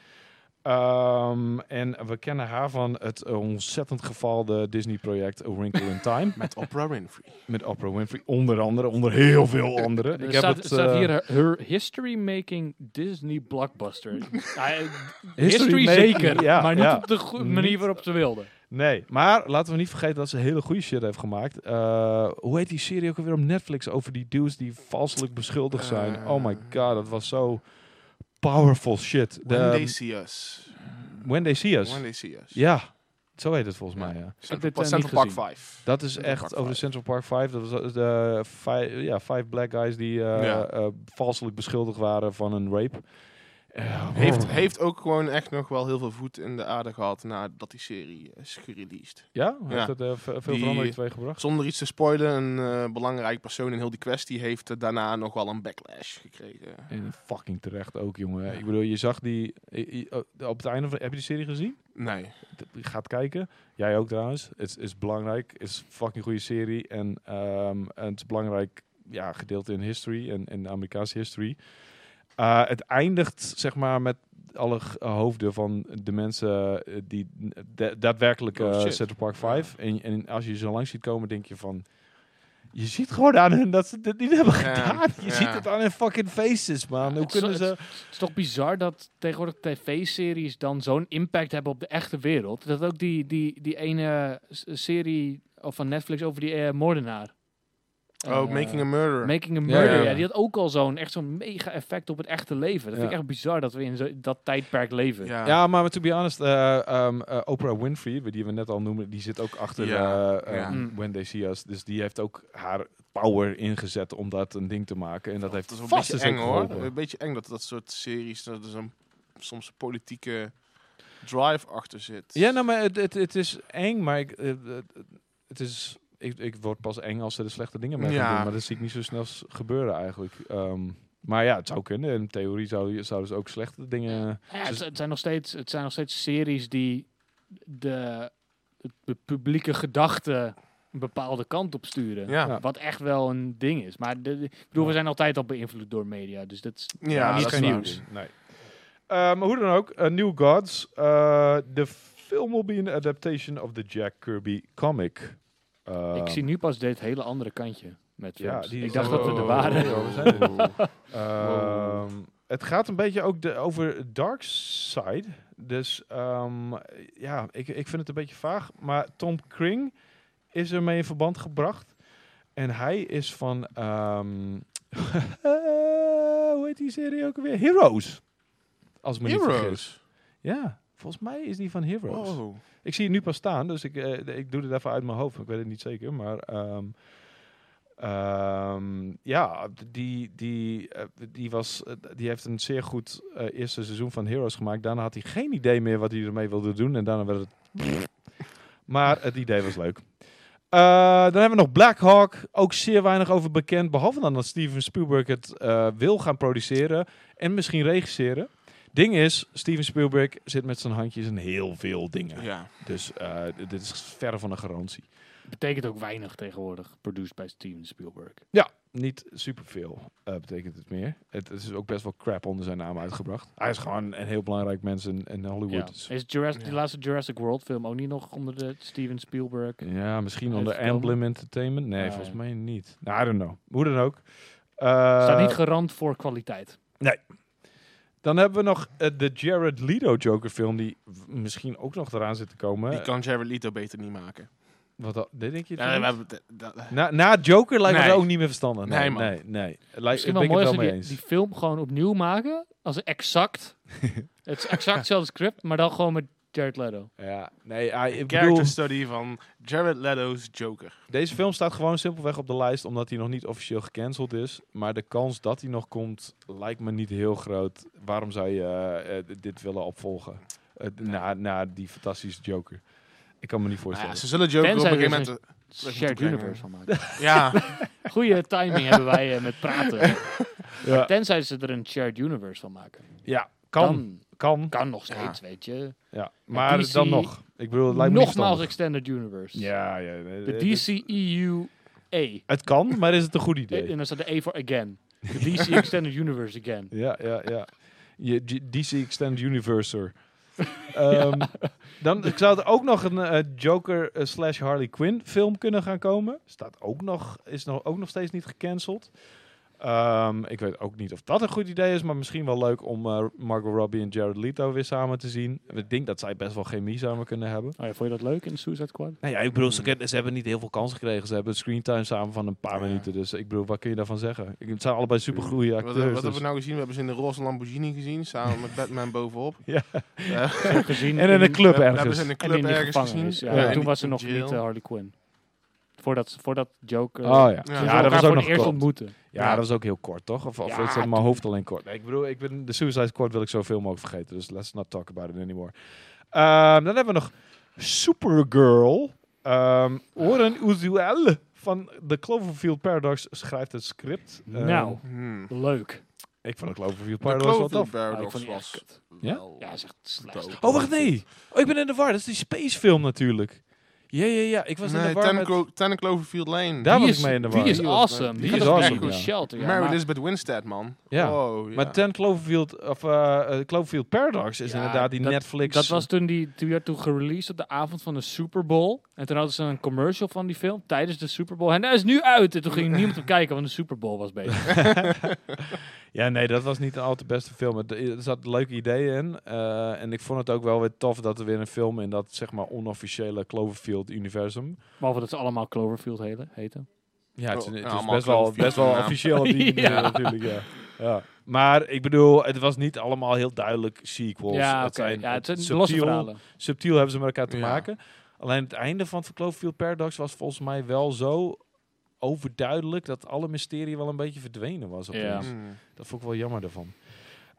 [SPEAKER 1] Ehm, en we kennen haar van het ontzettend gefaalde Disney-project A Wrinkle in Time.
[SPEAKER 3] <laughs>
[SPEAKER 2] Met Oprah Winfrey.
[SPEAKER 1] Met Oprah Winfrey, onder andere. Onder heel veel anderen.
[SPEAKER 3] Er
[SPEAKER 1] Ik heb
[SPEAKER 3] staat,
[SPEAKER 1] het...
[SPEAKER 3] staat
[SPEAKER 1] eh,
[SPEAKER 3] hier her, her history making Disney blockbuster.
[SPEAKER 2] <laughs>
[SPEAKER 3] Ja, eh, history,
[SPEAKER 1] making,
[SPEAKER 3] zeker,
[SPEAKER 1] ja,
[SPEAKER 3] maar niet
[SPEAKER 1] ja.
[SPEAKER 3] op de goe-
[SPEAKER 1] Niet-
[SPEAKER 3] manier waarop ze wilden.
[SPEAKER 1] Nee, maar laten we niet vergeten dat ze hele goede shit heeft gemaakt. Eh, hoe heet die serie ook alweer op Netflix over die dudes die valselijk beschuldigd zijn?
[SPEAKER 2] Eh.
[SPEAKER 1] oh my god, dat was zo powerful shit. De- ehm,
[SPEAKER 2] When they see us.
[SPEAKER 1] When They See Us.
[SPEAKER 2] When they see us.
[SPEAKER 1] Ja, zo heet het volgens mij, ja.
[SPEAKER 2] Central,
[SPEAKER 3] dit, eh,
[SPEAKER 2] Central
[SPEAKER 3] niet
[SPEAKER 2] Park
[SPEAKER 3] gezien.
[SPEAKER 2] 5.
[SPEAKER 1] Dat is
[SPEAKER 2] Central
[SPEAKER 1] echt
[SPEAKER 2] Park
[SPEAKER 1] over de
[SPEAKER 2] Five.
[SPEAKER 1] Central Park 5. Dat was eh, de vijf, ja, vijf black guys die eh,
[SPEAKER 2] Ja.
[SPEAKER 1] eh, valselijk beschuldigd waren van een rape. Eh,
[SPEAKER 2] Heeft, heeft ook gewoon echt nog wel heel veel voet in de aarde gehad nadat die serie is gereleased.
[SPEAKER 1] Ja, heeft
[SPEAKER 2] Ja.
[SPEAKER 1] dat eh, ve- veel
[SPEAKER 2] Die-
[SPEAKER 1] verandering teweeggebracht?
[SPEAKER 2] Zonder iets te spoilen, een eh, belangrijk persoon in heel die kwestie heeft eh, daarna nog wel een backlash gekregen.
[SPEAKER 1] En fucking terecht ook, jongen. Ik bedoel, je zag die... i- i- o- Op het einde van... Heb je die serie gezien?
[SPEAKER 2] Nee.
[SPEAKER 1] T- Je gaat kijken. Jij ook trouwens. Het is- is belangrijk. Het is een fucking goede serie. En, ehm, en het is belangrijk ja, gedeelte in history en in de Amerikaanse history. Eh, het eindigt, zeg maar, met alle g- hoofden van de mensen eh, die da- daadwerkelijk
[SPEAKER 2] Oh,
[SPEAKER 1] eh,
[SPEAKER 2] shit.
[SPEAKER 1] Central Park 5. En, en als je ze langs ziet komen, denk je van... Je ziet gewoon aan hun dat ze dit niet hebben
[SPEAKER 2] Ja,
[SPEAKER 1] gedaan. Je
[SPEAKER 2] ja.
[SPEAKER 1] ziet het aan hun fucking faces, man. Hoe
[SPEAKER 3] Het is-
[SPEAKER 1] kunnen ze...
[SPEAKER 3] het, het is toch bizar dat tegenwoordig tv-series dan zo'n impact hebben op de echte wereld. Dat ook die, die, die ene s- serie of van Netflix over die eh, moordenaar.
[SPEAKER 2] Oh,
[SPEAKER 3] Eh,
[SPEAKER 2] Making a Murderer.
[SPEAKER 3] Making a
[SPEAKER 1] Ja,
[SPEAKER 3] Murder,
[SPEAKER 1] ja.
[SPEAKER 3] ja, die had ook al zo'n echt zo'n mega effect op het echte leven. Dat vind
[SPEAKER 1] Ja.
[SPEAKER 3] ik echt bizar dat we in zo, dat tijdperk leven.
[SPEAKER 2] ja.
[SPEAKER 1] Ja, maar to be honest, eh, ehm, eh, Oprah Winfrey, die we net al noemen, die zit ook achter
[SPEAKER 2] Ja,
[SPEAKER 1] eh,
[SPEAKER 2] ja.
[SPEAKER 1] ehm,
[SPEAKER 3] Mm.
[SPEAKER 1] When They See Us. Dus die heeft ook haar power ingezet om dat een ding te maken. En dat heeft
[SPEAKER 2] Dat is wel een
[SPEAKER 1] vast
[SPEAKER 2] beetje
[SPEAKER 1] eens
[SPEAKER 2] eng
[SPEAKER 1] ook
[SPEAKER 2] hoor.
[SPEAKER 1] geholpen.
[SPEAKER 2] Een beetje eng dat dat soort series, dat er zo'n soms een politieke drive achter zit.
[SPEAKER 1] Ja, nou, maar het, het, het is eng, maar ik, eh, het- het is... Ik, ik word pas eng als ze de slechte dingen mee gaan
[SPEAKER 2] Ja.
[SPEAKER 1] doen. Maar dat zie ik niet zo snel s- gebeuren eigenlijk. Ehm, maar ja, het zou kunnen. In theorie zou, je- zouden ze ook slechte dingen...
[SPEAKER 3] Ja,
[SPEAKER 2] Dus-
[SPEAKER 3] het, het zijn nog steeds, het zijn nog steeds series die de, het pu- publieke gedachte een bepaalde kant op sturen.
[SPEAKER 2] Ja.
[SPEAKER 1] Ja.
[SPEAKER 3] Wat echt wel een ding is. Maar de, de- ik bedoel, we zijn altijd al beïnvloed door media. Dus dat is
[SPEAKER 2] Ja,
[SPEAKER 3] nou,
[SPEAKER 2] dat
[SPEAKER 3] niet
[SPEAKER 2] is
[SPEAKER 3] geen
[SPEAKER 2] waar.
[SPEAKER 3] nieuws.
[SPEAKER 1] Nee. Eh, maar hoe dan ook, eh, New Gods. eh, De film will be an adaptation of the Jack Kirby comic. Eh,
[SPEAKER 3] Ik zie nu pas dit hele andere kantje met
[SPEAKER 1] Ja,
[SPEAKER 3] films.
[SPEAKER 1] die-
[SPEAKER 3] ik dacht
[SPEAKER 1] oh,
[SPEAKER 3] dat we er waren. <laughs>
[SPEAKER 1] oh, oh, we zijn ehm, Het gaat een beetje ook de, over Dark Side. Dus ehm, ja, ik, ik vind het een beetje vaag. Maar Tom Kring is ermee in verband gebracht. En hij is van. ehm, <laughs> hoe heet die serie ook weer? Heroes. Als ik me niet vergis.
[SPEAKER 2] Heroes. Oh.
[SPEAKER 1] Ja, volgens mij is die van Heroes.
[SPEAKER 2] Wow.
[SPEAKER 1] Ik zie het nu pas staan, dus ik, eh, ik doe het even uit mijn hoofd. Ik weet het niet zeker, maar... ehm, ehm, ja, die, die, eh, die, was, eh, die heeft een zeer goed eh, eerste seizoen van Heroes gemaakt. Daarna had hij geen idee meer wat hij ermee wilde doen. En daarna werd het... <laughs> maar het idee was leuk. Eh, dan hebben we nog Black Hawk. Ook zeer weinig over bekend. Behalve dan dat Steven Spielberg het eh, wil gaan produceren. En misschien regisseren. Ding is, Steven Spielberg zit met zijn handjes in heel veel dingen.
[SPEAKER 2] Ja.
[SPEAKER 1] Dus eh, d- dit is verre van een garantie.
[SPEAKER 3] Betekent ook weinig tegenwoordig. Produced bij Steven Spielberg.
[SPEAKER 1] Niet superveel eh, betekent het meer. Het, het is ook best wel crap onder zijn naam uitgebracht. Hij is gewoon een heel belangrijk mens in, in
[SPEAKER 3] Ja.
[SPEAKER 1] Hollywood. Dus- Ja.
[SPEAKER 3] Is Jurassic,
[SPEAKER 2] Ja.
[SPEAKER 3] die laatste Jurassic World film ook niet nog onder de Steven Spielberg?
[SPEAKER 2] Eh,
[SPEAKER 1] misschien
[SPEAKER 3] Heeft
[SPEAKER 1] onder
[SPEAKER 3] het komen?
[SPEAKER 1] Emblem Entertainment. Nee,
[SPEAKER 3] Nee.
[SPEAKER 1] volgens mij niet. Nou, I don't know. Hoe dan ook. Eh,
[SPEAKER 3] Staat niet garant voor kwaliteit.
[SPEAKER 1] Dan hebben we nog eh, de Jared Leto Joker film, die w- misschien ook nog eraan zit te komen. Eh,
[SPEAKER 2] Die kan Jared Leto beter niet maken.
[SPEAKER 1] Wat dat, dit denk je?
[SPEAKER 2] Ja, we
[SPEAKER 1] trouwens?
[SPEAKER 2] hebben de- de- de-
[SPEAKER 1] na, na Joker lijkt me
[SPEAKER 2] Nee.
[SPEAKER 1] dat ook niet meer verstandig. Nee,
[SPEAKER 2] Nee,
[SPEAKER 1] nee,
[SPEAKER 2] man.
[SPEAKER 1] nee. Lijkt, ik ben
[SPEAKER 3] Misschien wel
[SPEAKER 1] ik het
[SPEAKER 3] mooi
[SPEAKER 1] wel
[SPEAKER 3] als ze
[SPEAKER 1] mee
[SPEAKER 3] die,
[SPEAKER 1] eens.
[SPEAKER 3] die film gewoon opnieuw maken.
[SPEAKER 1] <laughs>
[SPEAKER 3] Als exact. het is exact hetzelfde script, maar dan gewoon met Jared Leto.
[SPEAKER 1] Ja, nee, ah, ik bedoel,
[SPEAKER 2] character study van Jared Leto's Joker.
[SPEAKER 1] deze film staat gewoon simpelweg op de lijst omdat hij nog niet officieel gecanceld is. Maar de kans dat hij nog komt lijkt me niet heel groot. Waarom zou je eh, eh, dit willen opvolgen? Eh, na, na die fantastische Joker. Ik kan me niet
[SPEAKER 2] Nou
[SPEAKER 1] voorstellen.
[SPEAKER 2] ja, ze zullen Joker op een
[SPEAKER 3] Tenzij
[SPEAKER 2] gegeven
[SPEAKER 3] er
[SPEAKER 2] moment... moeten
[SPEAKER 3] Shared
[SPEAKER 2] brengen.
[SPEAKER 3] Universe van <laughs> maken.
[SPEAKER 2] Ja,
[SPEAKER 3] Goede timing hebben wij eh,
[SPEAKER 1] <laughs>
[SPEAKER 3] met praten.
[SPEAKER 1] Ja,
[SPEAKER 3] Tenzij ze er een Shared Universe van maken.
[SPEAKER 1] ja, kan,
[SPEAKER 3] Dan
[SPEAKER 1] kan.
[SPEAKER 3] kan nog steeds, weet je.
[SPEAKER 1] Ja, maar
[SPEAKER 3] DC
[SPEAKER 1] dan nog. Ik bedoel, het lijkt me niet
[SPEAKER 3] Nogmaals
[SPEAKER 1] verstandig.
[SPEAKER 3] Extended Universe.
[SPEAKER 1] Ja, ja. nee,
[SPEAKER 3] De E
[SPEAKER 1] eh,
[SPEAKER 3] DCEU-A.
[SPEAKER 1] Het kan, maar is het een goed idee?
[SPEAKER 3] En dan staat de E voor again. De DC
[SPEAKER 1] <laughs>
[SPEAKER 3] Extended Universe again.
[SPEAKER 1] Ja, ja, ja. Je, G- DC Extended <laughs> Universer. Ehm, Dan ik zou er ook nog een eh, Joker eh, slash Harley Quinn film kunnen gaan komen. Staat ook nog, is nog, ook nog steeds niet gecanceld. Ehm, ik weet ook niet of dat een goed idee is, maar misschien wel leuk om eh, Margot Robbie en Jared Leto weer samen te zien. Ik denk dat zij best wel chemie samen kunnen hebben.
[SPEAKER 3] Oh ja, vond je dat leuk in Suicide
[SPEAKER 1] <laughs>
[SPEAKER 3] Squad?
[SPEAKER 1] Nou ja, ik bedoel, ze, ken- ze hebben niet heel veel kansen gekregen. Ze hebben screentime samen van een paar
[SPEAKER 2] Ja.
[SPEAKER 1] minuten. Dus ik bedoel, wat kun je daarvan zeggen? Ik, het zijn allebei supergoeie
[SPEAKER 2] wat, wat
[SPEAKER 1] acteurs.
[SPEAKER 2] hebben
[SPEAKER 1] dus-
[SPEAKER 2] we nou gezien? We hebben ze in de roze Lamborghini gezien, samen met Batman bovenop.
[SPEAKER 1] Ja.
[SPEAKER 2] Eh,
[SPEAKER 3] Gezien
[SPEAKER 1] En in een club
[SPEAKER 2] we hebben
[SPEAKER 1] ergens.
[SPEAKER 2] ze in de
[SPEAKER 3] En in
[SPEAKER 2] club
[SPEAKER 3] de
[SPEAKER 2] ergens gezien.
[SPEAKER 3] gevangenis. Ja.
[SPEAKER 1] Ja.
[SPEAKER 2] in
[SPEAKER 3] Toen
[SPEAKER 2] die-
[SPEAKER 3] was ze nog
[SPEAKER 2] jail.
[SPEAKER 3] niet eh, Harley Quinn. Voordat, ze- voordat Joker...
[SPEAKER 1] Oh ja.
[SPEAKER 2] Ja,
[SPEAKER 3] Toen
[SPEAKER 1] Ja,
[SPEAKER 2] dat
[SPEAKER 3] eh, ze
[SPEAKER 1] dat
[SPEAKER 3] elkaar
[SPEAKER 1] was
[SPEAKER 3] voor
[SPEAKER 1] ook
[SPEAKER 3] het
[SPEAKER 1] nog
[SPEAKER 3] eerst
[SPEAKER 1] kort.
[SPEAKER 3] ontmoeten.
[SPEAKER 1] Ja, dat was ook heel kort, toch? Of, of
[SPEAKER 3] Ja,
[SPEAKER 1] is dat in mijn hoofd alleen kort? Nee, ik bedoel, ik ben de Suicide Squad wil ik zoveel mogelijk vergeten. Dus let's not talk about it anymore. Ehm, dan hebben we nog Supergirl. Ehm Oren Uzuel van de Cloverfield Paradox schrijft het script. Ehm,
[SPEAKER 3] Nou,
[SPEAKER 2] Hmm.
[SPEAKER 3] leuk.
[SPEAKER 1] Ik vond de Cloverfield
[SPEAKER 2] De
[SPEAKER 1] Paradox wel
[SPEAKER 2] Cloverfield
[SPEAKER 1] tof.
[SPEAKER 3] Maar ik
[SPEAKER 2] Paradox
[SPEAKER 3] vond die echt
[SPEAKER 2] was
[SPEAKER 3] kut.
[SPEAKER 1] Ja?
[SPEAKER 2] wel-
[SPEAKER 3] Ja, is echt slecht.
[SPEAKER 2] Dope.
[SPEAKER 1] Oh, wacht, nee. Oh, ik ben in de war. Dat is die spacefilm natuurlijk. Ja, ja, ja. Ik was in de
[SPEAKER 2] Nee,
[SPEAKER 1] war
[SPEAKER 2] Ten
[SPEAKER 1] met...
[SPEAKER 2] Clo- Ten Cloverfield Lane.
[SPEAKER 1] Daar
[SPEAKER 3] Die
[SPEAKER 1] was
[SPEAKER 3] is-
[SPEAKER 1] ik mee in de
[SPEAKER 3] Die
[SPEAKER 1] war.
[SPEAKER 3] is
[SPEAKER 2] Die was-
[SPEAKER 3] awesome.
[SPEAKER 1] die
[SPEAKER 3] Die
[SPEAKER 1] is
[SPEAKER 3] is awesome,
[SPEAKER 1] awesome,
[SPEAKER 3] Equal
[SPEAKER 1] ja.
[SPEAKER 3] Shelter. Ja,
[SPEAKER 2] Mary
[SPEAKER 3] maar-
[SPEAKER 2] Elizabeth Winstead, man.
[SPEAKER 1] Ja.
[SPEAKER 2] Wow, Oh, ja.
[SPEAKER 1] Maar Ten Cloverfield, of eh, eh, Cloverfield Paradox is
[SPEAKER 3] Ja,
[SPEAKER 1] inderdaad die
[SPEAKER 3] dat-
[SPEAKER 1] Netflix...
[SPEAKER 3] Dat was toen die toen werd toen gereleased op de avond van de Super Bowl. En toen hadden ze een commercial van die film tijdens de Super Bowl. En hij is nu uit. En toen
[SPEAKER 1] <laughs>
[SPEAKER 3] ging niemand op kijken, want de Super Bowl was bezig.
[SPEAKER 1] Ja, nee, dat was niet een al te beste film. Het- Er zat leuke ideeën in. eh, en ik vond het ook wel weer tof dat er weer een film in dat, zeg maar, onofficiële Cloverfield-universum.
[SPEAKER 3] Behalve dat ze allemaal Cloverfield hele- heten.
[SPEAKER 1] Ja, het is,
[SPEAKER 2] Oh,
[SPEAKER 1] het
[SPEAKER 2] ja,
[SPEAKER 1] is
[SPEAKER 2] allemaal
[SPEAKER 1] best, wel, best wel
[SPEAKER 2] Cloverfield-naam.
[SPEAKER 1] officieel op die <laughs> manier
[SPEAKER 3] Ja.
[SPEAKER 1] natuurlijk, ja. ja. Maar ik bedoel, het was niet allemaal heel duidelijk sequels.
[SPEAKER 3] Ja,
[SPEAKER 1] het
[SPEAKER 3] oké.
[SPEAKER 1] zijn,
[SPEAKER 3] Ja, het zijn losse
[SPEAKER 1] subtiel,
[SPEAKER 3] verhalen.
[SPEAKER 1] subtiel hebben ze met elkaar te
[SPEAKER 2] Ja.
[SPEAKER 1] maken. Alleen het einde van Cloverfield Paradox was volgens mij wel zo overduidelijk dat alle mysterie wel een beetje verdwenen was.
[SPEAKER 3] Ja.
[SPEAKER 1] opeens.
[SPEAKER 2] Hmm.
[SPEAKER 1] Dat vond ik wel jammer daarvan.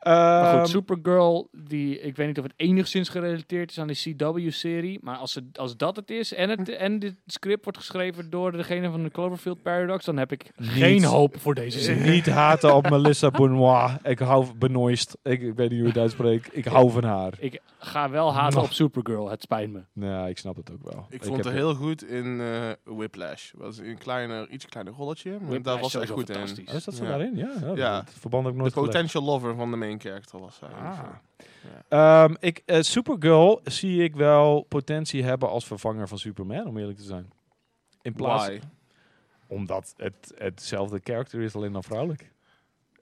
[SPEAKER 3] Maar goed,
[SPEAKER 1] Ehm,
[SPEAKER 3] Supergirl, die, ik weet niet of het enigszins gerelateerd is aan die CW-serie. Maar als, ze, als dat het is en, het, en dit script wordt geschreven door degene van de Cloverfield Paradox, dan heb ik geen hoop voor deze
[SPEAKER 1] Ze
[SPEAKER 3] serie.
[SPEAKER 1] niet haten op Melissa Benoist. Ik hou benoist. Ik, ik weet niet hoe je het uitspreekt. Ik hou van haar.
[SPEAKER 3] Ik ga wel haten
[SPEAKER 1] Mwah.
[SPEAKER 3] op Supergirl, het spijt me.
[SPEAKER 1] Nou, ik snap het ook wel.
[SPEAKER 2] Ik vond
[SPEAKER 1] heb
[SPEAKER 2] het heel goed in eh, Whiplash. was een kleiner, iets kleiner rolletje, maar daar was ze echt goed in.
[SPEAKER 1] Oh, Is dat zo
[SPEAKER 2] Ja.
[SPEAKER 1] daarin? Ja. ja,
[SPEAKER 2] Ja.
[SPEAKER 1] dat verband heb ik
[SPEAKER 2] De
[SPEAKER 1] nooit gelegd.
[SPEAKER 2] potential lover van de main character was zij.
[SPEAKER 1] Ah.
[SPEAKER 2] Ja.
[SPEAKER 1] Ehm, ik, eh, Supergirl zie ik wel potentie hebben als vervanger van Superman, om eerlijk te zijn. In plaats
[SPEAKER 2] Why?
[SPEAKER 1] Omdat het hetzelfde karakter is, alleen dan vrouwelijk.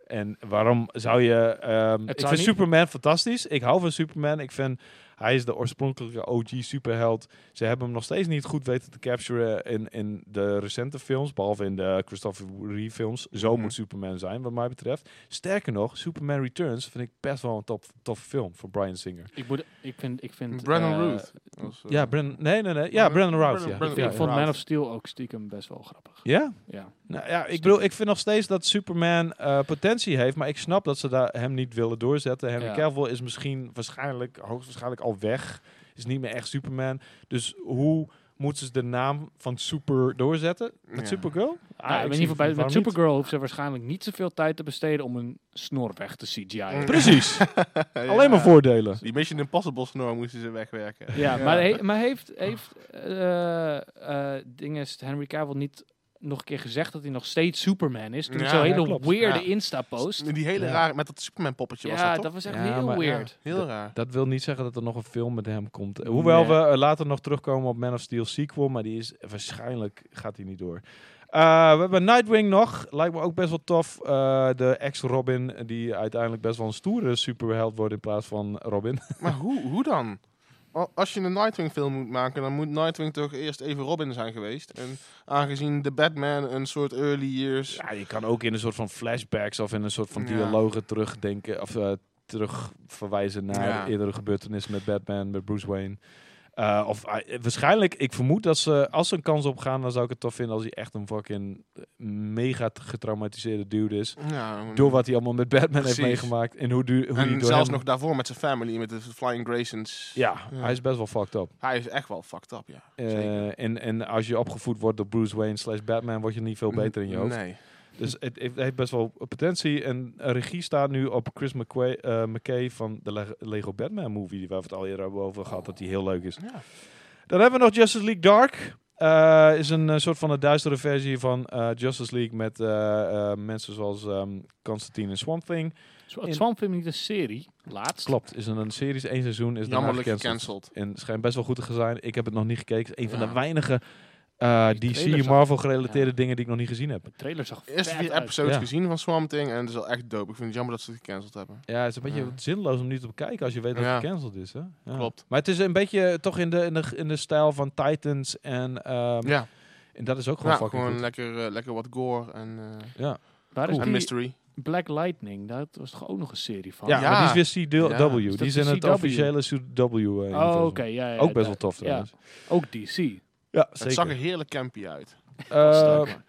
[SPEAKER 1] En waarom zou je... ehm, ik
[SPEAKER 3] zou
[SPEAKER 1] vind
[SPEAKER 3] niet-
[SPEAKER 1] Superman fantastisch. Ik hou van Superman. Ik vind... Hij is de oorspronkelijke OG superheld. Ze hebben hem nog steeds niet goed weten te capturen in, in de recente films. Behalve in de Christopher Reeve films. Zo
[SPEAKER 2] Mhm.
[SPEAKER 1] moet Superman zijn, wat mij betreft. Sterker nog, Superman Returns vind ik best wel een top, toffe film van Brian Singer.
[SPEAKER 3] Ik, moet, ik vind... Ik vind
[SPEAKER 2] Brandon
[SPEAKER 3] eh,
[SPEAKER 2] Routh. was, eh,
[SPEAKER 1] Ja, Brennan... Nee, nee, nee. Ja, Brandon Routh. Ja.
[SPEAKER 2] Brandon-
[SPEAKER 1] Ja,
[SPEAKER 3] ik
[SPEAKER 1] ja.
[SPEAKER 3] vond
[SPEAKER 2] inderdaad.
[SPEAKER 3] Man of Steel ook stiekem best wel grappig.
[SPEAKER 1] ja?
[SPEAKER 3] Ja.
[SPEAKER 1] Nou ja, ik bedoel, ik vind nog steeds dat Superman eh, potentie heeft, maar ik snap dat ze daar hem niet willen doorzetten. Henry
[SPEAKER 3] Ja.
[SPEAKER 1] Cavill is misschien waarschijnlijk, hoogstwaarschijnlijk al weg, is niet meer echt Superman. Dus hoe moeten ze de naam van Super doorzetten met
[SPEAKER 2] Ja.
[SPEAKER 1] Supergirl? Ah, ik
[SPEAKER 3] Nou, in
[SPEAKER 1] zie
[SPEAKER 3] ieder geval bij,
[SPEAKER 1] waarom
[SPEAKER 3] met
[SPEAKER 1] niet.
[SPEAKER 3] Supergirl hoeft ze waarschijnlijk niet zoveel tijd te besteden om een snor weg te CGI'en.
[SPEAKER 1] Precies,
[SPEAKER 2] Mm. <laughs> Ja.
[SPEAKER 1] alleen maar voordelen.
[SPEAKER 2] Die Mission Impossible snor moesten ze wegwerken.
[SPEAKER 3] Ja, maar, he- maar heeft, heeft eh eh, dinges Henry Cavill niet nog een keer gezegd dat hij nog steeds Superman is. Toen
[SPEAKER 2] Ja,
[SPEAKER 3] zo'n
[SPEAKER 1] ja,
[SPEAKER 3] hele
[SPEAKER 1] klopt.
[SPEAKER 3] weirde
[SPEAKER 2] Ja.
[SPEAKER 3] Insta-post.
[SPEAKER 2] Die hele
[SPEAKER 1] Ja.
[SPEAKER 2] rare, met dat Superman poppetje was
[SPEAKER 3] Ja,
[SPEAKER 2] dat toch?
[SPEAKER 3] dat was echt
[SPEAKER 1] Ja,
[SPEAKER 3] heel
[SPEAKER 1] maar-
[SPEAKER 3] weird.
[SPEAKER 2] Heel raar.
[SPEAKER 1] Dat wil niet zeggen dat er nog een film met hem komt. Hoewel
[SPEAKER 3] Nee.
[SPEAKER 1] we eh, later nog terugkomen op Man of Steel sequel, maar die is waarschijnlijk gaat die niet door. Eh, we hebben Nightwing nog, lijkt me ook best wel tof. Eh, de ex-Robin, die uiteindelijk best wel een stoere superheld wordt in plaats van Robin.
[SPEAKER 2] Maar hoe, hoe dan? Al- Als je een Nightwing film moet maken, dan moet Nightwing toch eerst even Robin zijn geweest. En aangezien de Batman een soort early years...
[SPEAKER 1] Ja, je kan ook in een soort van flashbacks of in een soort van
[SPEAKER 2] Ja.
[SPEAKER 1] dialogen terugdenken of eh, terug verwijzen naar
[SPEAKER 2] Ja.
[SPEAKER 1] eerdere gebeurtenissen met Batman, met Bruce Wayne. Eh, of eh, waarschijnlijk, ik vermoed dat ze, als ze een kans op gaan, dan zou ik het tof vinden als hij echt een fucking mega t- getraumatiseerde dude is.
[SPEAKER 2] Ja,
[SPEAKER 1] Door wat hij allemaal met Batman heeft
[SPEAKER 2] Precies.
[SPEAKER 1] meegemaakt en hoe, du- hoe hij
[SPEAKER 2] en
[SPEAKER 1] door
[SPEAKER 2] zelfs
[SPEAKER 1] hem-
[SPEAKER 2] nog daarvoor met zijn family, met de Flying Graysons.
[SPEAKER 1] Ja,
[SPEAKER 2] Ja.
[SPEAKER 1] hij is best wel fucked up.
[SPEAKER 2] Hij is echt wel fucked up, ja.
[SPEAKER 1] Eh,
[SPEAKER 2] Zeker.
[SPEAKER 1] en, en als je opgevoed wordt door Bruce Wayne slash Batman, word je niet veel beter in je hoofd.
[SPEAKER 2] Nee.
[SPEAKER 1] Dus het heeft, het heeft best wel potentie. En eh, regie staat nu op Chris McQua- eh, McKay van de Le- Lego Batman movie. Waar we het al eerder hebben over gehad. Dat die heel leuk is.
[SPEAKER 2] Ja.
[SPEAKER 1] Dan hebben we nog Justice League Dark. Eh, is een eh, soort van een duistere versie van eh, Justice League. Met eh, eh, mensen zoals ehm, Constantine en Swamp Thing.
[SPEAKER 3] Het Swamp Film niet een serie, laatst.
[SPEAKER 1] Klopt. Is een, een series. één seizoen is daarna
[SPEAKER 2] Jammerlijk
[SPEAKER 1] gecanceld.
[SPEAKER 2] gecanceld.
[SPEAKER 1] En schijnt best wel goed te zijn. Ik heb het nog niet gekeken. Het is een van
[SPEAKER 2] Ja.
[SPEAKER 1] de weinige eh,
[SPEAKER 3] Die
[SPEAKER 1] DC
[SPEAKER 3] trailers
[SPEAKER 1] Marvel gerelateerde
[SPEAKER 3] Ja.
[SPEAKER 1] dingen die ik nog niet gezien heb.
[SPEAKER 3] De trailer zag
[SPEAKER 2] Eerst
[SPEAKER 3] vet
[SPEAKER 2] vier
[SPEAKER 3] uit.
[SPEAKER 2] episodes
[SPEAKER 1] Ja.
[SPEAKER 2] gezien van Swamp Thing en het is al echt dope. Ik vind het jammer dat ze het gecanceld hebben.
[SPEAKER 1] Ja, het is een beetje
[SPEAKER 2] Ja.
[SPEAKER 1] zinloos om nu te bekijken als je weet dat
[SPEAKER 2] Ja.
[SPEAKER 1] het gecanceld is. Hè? Ja.
[SPEAKER 2] Klopt.
[SPEAKER 1] Maar het is een beetje eh, toch in de, in de, in de stijl van Titans en, ehm,
[SPEAKER 2] ja,
[SPEAKER 1] en dat is ook gewoon
[SPEAKER 2] Ja,
[SPEAKER 1] fucking
[SPEAKER 2] gewoon
[SPEAKER 1] goed.
[SPEAKER 2] lekker, eh, lekker wat gore en, eh,
[SPEAKER 1] Ja,
[SPEAKER 3] Waar is
[SPEAKER 2] en
[SPEAKER 3] die
[SPEAKER 2] mystery.
[SPEAKER 3] Black Lightning? Daar was toch ook nog een serie van?
[SPEAKER 1] ja,
[SPEAKER 2] eh, Ja.
[SPEAKER 1] maar die is weer CW.
[SPEAKER 2] Ja.
[SPEAKER 1] Die
[SPEAKER 3] Is
[SPEAKER 1] is,
[SPEAKER 3] dat
[SPEAKER 1] in het
[SPEAKER 3] CW?
[SPEAKER 1] officiële CW. eh,
[SPEAKER 3] Oh,
[SPEAKER 1] universum.
[SPEAKER 3] oké. ja, ja,
[SPEAKER 1] ook best wel
[SPEAKER 3] daar-
[SPEAKER 1] tof
[SPEAKER 3] ja.
[SPEAKER 1] trouwens.
[SPEAKER 3] Ook DC.
[SPEAKER 1] Ja,
[SPEAKER 2] Het zag er
[SPEAKER 1] zeker.
[SPEAKER 2] heerlijk campy uit.
[SPEAKER 1] Eh,
[SPEAKER 3] Sterk.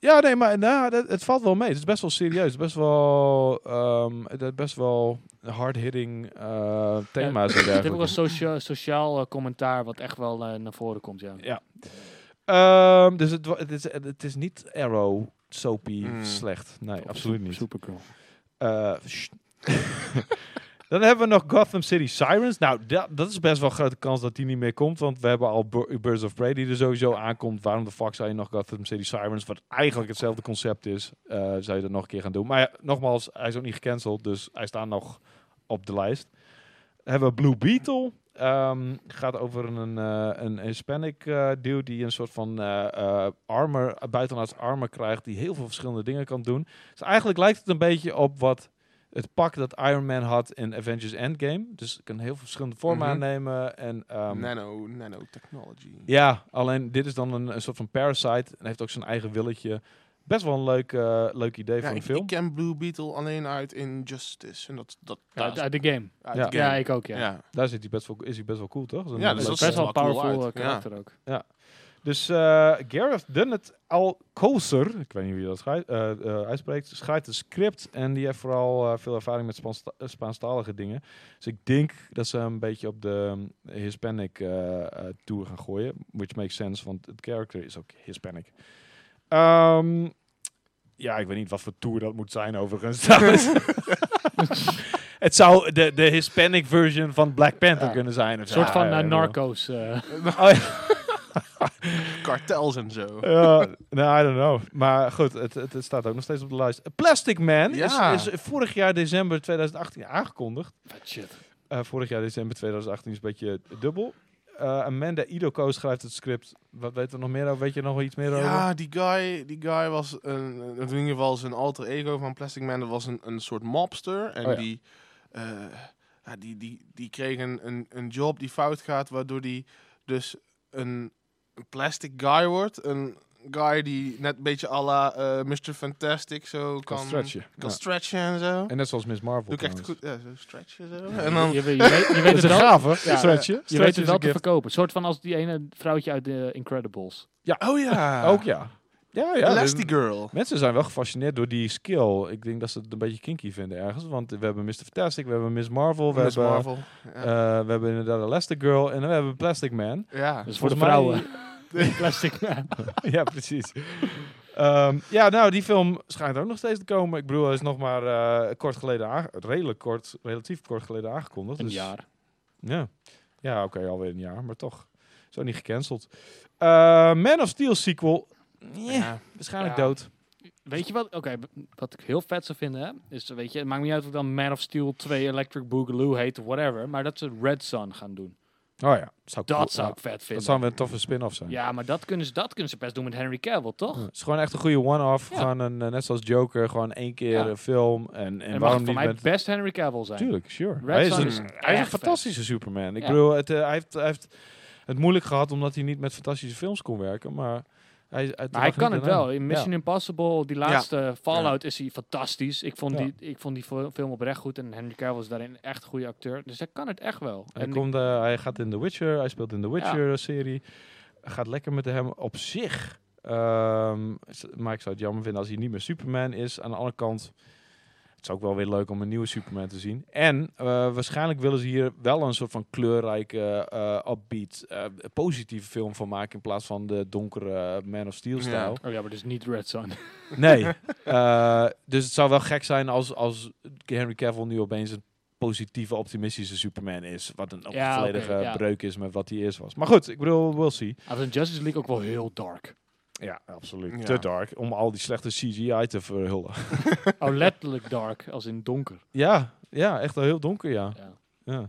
[SPEAKER 1] ja, nee, maar nou, dat, het valt wel mee. Het is best wel serieus. Het is best wel, ehm, het is best wel hard-hitting eh, thema's en
[SPEAKER 3] Het heeft ook
[SPEAKER 1] dergelijke.
[SPEAKER 3] een sociaal, sociaal eh, commentaar wat echt wel eh, naar voren komt, ja.
[SPEAKER 1] Ja. Ehm, dus het, wa- het, is, het is niet Arrow soapy
[SPEAKER 2] Mm.
[SPEAKER 1] slecht. Nee, absoluut niet.
[SPEAKER 3] Supercool.
[SPEAKER 1] Eh, sst. <laughs> Dan hebben we nog Gotham City Sirens. Nou, dat, dat is best wel een grote kans dat die niet meer komt. Want we hebben al Bur- Birds of Prey die er sowieso aankomt. Waarom de fuck zou je nog Gotham City Sirens, wat eigenlijk hetzelfde concept is, eh, zou je dat nog een keer gaan doen. Maar ja, nogmaals, hij is ook niet gecanceld. Dus hij staat nog op de lijst. Dan hebben we Blue Beetle. Ehm, gaat over een, eh, een Hispanic eh, dude die een soort van eh, eh, armor, buitenlands armor krijgt. Die heel veel verschillende dingen kan doen. Dus eigenlijk lijkt het een beetje op wat het pak dat Iron Man had in Avengers Endgame. Dus het kan heel veel verschillende vormen
[SPEAKER 2] Mhm.
[SPEAKER 1] aannemen. En, ehm,
[SPEAKER 2] Nano, nanotechnology.
[SPEAKER 1] ja, alleen dit is dan een, een soort van parasite. En heeft ook zijn eigen willetje. Best wel een leuk, eh, leuk idee
[SPEAKER 2] Ja,
[SPEAKER 1] voor een
[SPEAKER 2] ik,
[SPEAKER 1] film.
[SPEAKER 2] ik ken Blue Beetle alleen uit Injustice. En dat, dat,
[SPEAKER 3] Uit,
[SPEAKER 2] dat-
[SPEAKER 3] uit de game.
[SPEAKER 2] uit
[SPEAKER 1] Ja.
[SPEAKER 2] de
[SPEAKER 3] Ja,
[SPEAKER 2] game.
[SPEAKER 3] ik ook, ja.
[SPEAKER 2] ja.
[SPEAKER 3] ja.
[SPEAKER 1] Daar zit hij best wel, is hij best wel cool, toch? Dat is een
[SPEAKER 2] Ja, dus
[SPEAKER 1] leuk
[SPEAKER 2] dat is
[SPEAKER 3] best wel een
[SPEAKER 2] wel cool
[SPEAKER 3] powerful
[SPEAKER 2] uit,
[SPEAKER 3] eh,
[SPEAKER 2] ja.
[SPEAKER 3] karakter ook.
[SPEAKER 1] Dus eh, Gareth Dunnett Al Koser, ik weet niet hoe je dat schrijft, eh, eh, uitspreekt, schrijft een script en die heeft vooral eh, veel ervaring met Spaansta- eh, Spaanstalige dingen. Dus ik denk dat ze hem een beetje op de ehm, Hispanic eh, eh, tour gaan gooien, which makes sense, want het character is ook Hispanic. Ehm, ja, ik weet niet wat voor tour dat moet zijn
[SPEAKER 3] <laughs>
[SPEAKER 1] overigens. trouwens. het zou de, de Hispanic version van Black Panther
[SPEAKER 2] Ja.
[SPEAKER 1] kunnen zijn. of
[SPEAKER 3] Een
[SPEAKER 1] zo.
[SPEAKER 3] soort van
[SPEAKER 1] Ja,
[SPEAKER 3] eh,
[SPEAKER 1] ik bedoel. <laughs>
[SPEAKER 3] narco's. eh.
[SPEAKER 1] Oh, ja.
[SPEAKER 2] Kartels en zo.
[SPEAKER 1] <laughs> Ja, nou, I don't know. Maar goed, het, het, het staat ook nog steeds op de lijst. Plastic Man
[SPEAKER 2] Ja.
[SPEAKER 1] is, is vorig jaar december 2018 aangekondigd.
[SPEAKER 3] Vet shit.
[SPEAKER 1] Eh, vorig jaar december 2018 is een beetje dubbel. Eh, Amanda Idoko schrijft het script. Wat weten we nog meer over? Weet je nog wel iets meer over?
[SPEAKER 2] Ja, die guy, die guy was een, een- in ieder geval zijn alter ego van Plastic Man. Dat was een, een soort mobster. En
[SPEAKER 1] Oh ja.
[SPEAKER 2] die, eh, ja, die, die, die kreeg een, een, een job die fout gaat, waardoor die dus een een plastic guy wordt. Een guy die net een beetje à la eh, Mr. Fantastic zo kan,
[SPEAKER 1] Kan stretchen.
[SPEAKER 2] kan
[SPEAKER 1] Ja.
[SPEAKER 2] stretchen en zo.
[SPEAKER 1] En net zoals Miss Marvel.
[SPEAKER 2] Doe ik echt
[SPEAKER 1] trouwens.
[SPEAKER 2] goed, ja, zo stretchen zo. En dan,
[SPEAKER 3] je, je weet,
[SPEAKER 1] <laughs>
[SPEAKER 3] je weet
[SPEAKER 1] Dat is
[SPEAKER 3] het
[SPEAKER 1] een
[SPEAKER 3] wel,
[SPEAKER 1] gaaf, hè?
[SPEAKER 3] Ja.
[SPEAKER 1] Stretchen.
[SPEAKER 3] je weet het wel te verkopen. Een soort van als die ene vrouwtje uit de Incredibles.
[SPEAKER 2] oh ja,
[SPEAKER 1] Ook ja. Ja, ja.
[SPEAKER 2] Elastigirl.
[SPEAKER 1] Mensen zijn wel gefascineerd door die skill. Ik denk dat ze het een beetje kinky vinden ergens. Want we hebben Mr. Fantastic, we hebben Miss Marvel, we
[SPEAKER 2] Miss
[SPEAKER 1] hebben...
[SPEAKER 2] Marvel. Ja.
[SPEAKER 1] Eh, we hebben inderdaad Elastic Girl en we hebben Plastic Man. <laughs>
[SPEAKER 2] ja.
[SPEAKER 3] Dus voor de
[SPEAKER 1] Volgens mij-
[SPEAKER 3] <laughs> vrouwen. Plastic man.
[SPEAKER 1] ja, precies. Ehm, ja, nou, die film schijnt ook nog steeds te komen. Ik bedoel, hij is nog maar eh, kort geleden, aange- redelijk kort, relatief kort geleden aangekondigd.
[SPEAKER 3] Een
[SPEAKER 1] dus-
[SPEAKER 3] jaar.
[SPEAKER 1] Ja, ja oké, alweer een jaar, maar toch. Zo niet gecanceld. Eh, Man of Steel sequel. Ja, waarschijnlijk
[SPEAKER 2] Ja.
[SPEAKER 1] dood.
[SPEAKER 3] Weet je wat? Oké, b- wat ik heel vet zou vinden, hè, is weet je, het maakt niet uit of het dan Man of Steel 2 Electric Boogaloo heet, whatever, maar dat ze Red Sun gaan doen.
[SPEAKER 1] Oh ja, zou cool-
[SPEAKER 3] Dat zou
[SPEAKER 1] ja,
[SPEAKER 3] ik vet
[SPEAKER 1] dat
[SPEAKER 3] vinden.
[SPEAKER 1] zou weer een toffe spin-off zijn.
[SPEAKER 3] Ja, maar dat kunnen, ze, dat kunnen ze best doen met Henry Cavill, toch?
[SPEAKER 1] Ja, Het is gewoon echt een goede one-off.
[SPEAKER 3] Ja.
[SPEAKER 1] Gewoon een, eh, net zoals Joker, gewoon één keer
[SPEAKER 3] Ja.
[SPEAKER 1] een film. En, en,
[SPEAKER 3] en mag
[SPEAKER 1] waarom
[SPEAKER 3] het
[SPEAKER 1] niet
[SPEAKER 3] voor mij
[SPEAKER 1] met...
[SPEAKER 3] best Henry Cavill zijn.
[SPEAKER 1] Tuurlijk, sure.
[SPEAKER 3] Red
[SPEAKER 1] Hij is
[SPEAKER 3] Sun
[SPEAKER 1] een,
[SPEAKER 3] is
[SPEAKER 1] hij is een
[SPEAKER 3] echt vet.
[SPEAKER 1] fantastische Superman. Ik
[SPEAKER 3] Ja.
[SPEAKER 1] bedoel, het, eh, hij, heeft, hij heeft het moeilijk gehad omdat hij niet met fantastische films kon werken. Maar hij, het
[SPEAKER 3] Maar
[SPEAKER 1] lag
[SPEAKER 3] hij
[SPEAKER 1] niet
[SPEAKER 3] kan het
[SPEAKER 1] aan
[SPEAKER 3] wel.
[SPEAKER 1] hem.
[SPEAKER 3] In Mission
[SPEAKER 1] Ja.
[SPEAKER 3] Impossible, die laatste Fallout, is hij fantastisch. Ik
[SPEAKER 1] Ja.
[SPEAKER 3] vond, die, ik vond die fil- film oprecht goed en Henry Cavill is daarin echt een goede acteur. Dus hij kan het echt wel.
[SPEAKER 1] Hij,
[SPEAKER 3] En ik-
[SPEAKER 1] komt, eh, hij gaat in The Witcher. Hij speelt in The Witcher-serie. Gaat lekker met hem op zich. Ehm, s- maar ik zou het jammer vinden als hij niet meer Superman is. Aan de andere kant... Het is ook wel weer leuk om een nieuwe Superman te zien. En eh, waarschijnlijk willen ze hier wel een soort van kleurrijke, eh upbeat, eh, positieve film van maken. In plaats van de donkere eh, Man of Steel-stijl.
[SPEAKER 2] Ja.
[SPEAKER 3] Oh ja, maar dus niet Red Sun. <laughs>
[SPEAKER 1] Nee. Eh, dus het zou wel gek zijn als, als Henry Cavill nu opeens een positieve, optimistische Superman is. Wat een
[SPEAKER 3] Ja,
[SPEAKER 1] volledige
[SPEAKER 3] oké, ja.
[SPEAKER 1] breuk is met wat hij eerst was. Maar goed, ik bedoel, we'll see.
[SPEAKER 3] Had een Justice League ook wel heel dark.
[SPEAKER 1] Ja, absoluut.
[SPEAKER 2] Ja.
[SPEAKER 1] Te dark om al die slechte CGI te verhullen.
[SPEAKER 3] Oh, letterlijk dark, als in donker.
[SPEAKER 1] ja, ja, echt wel heel donker, ja.
[SPEAKER 3] Ja.
[SPEAKER 1] ja.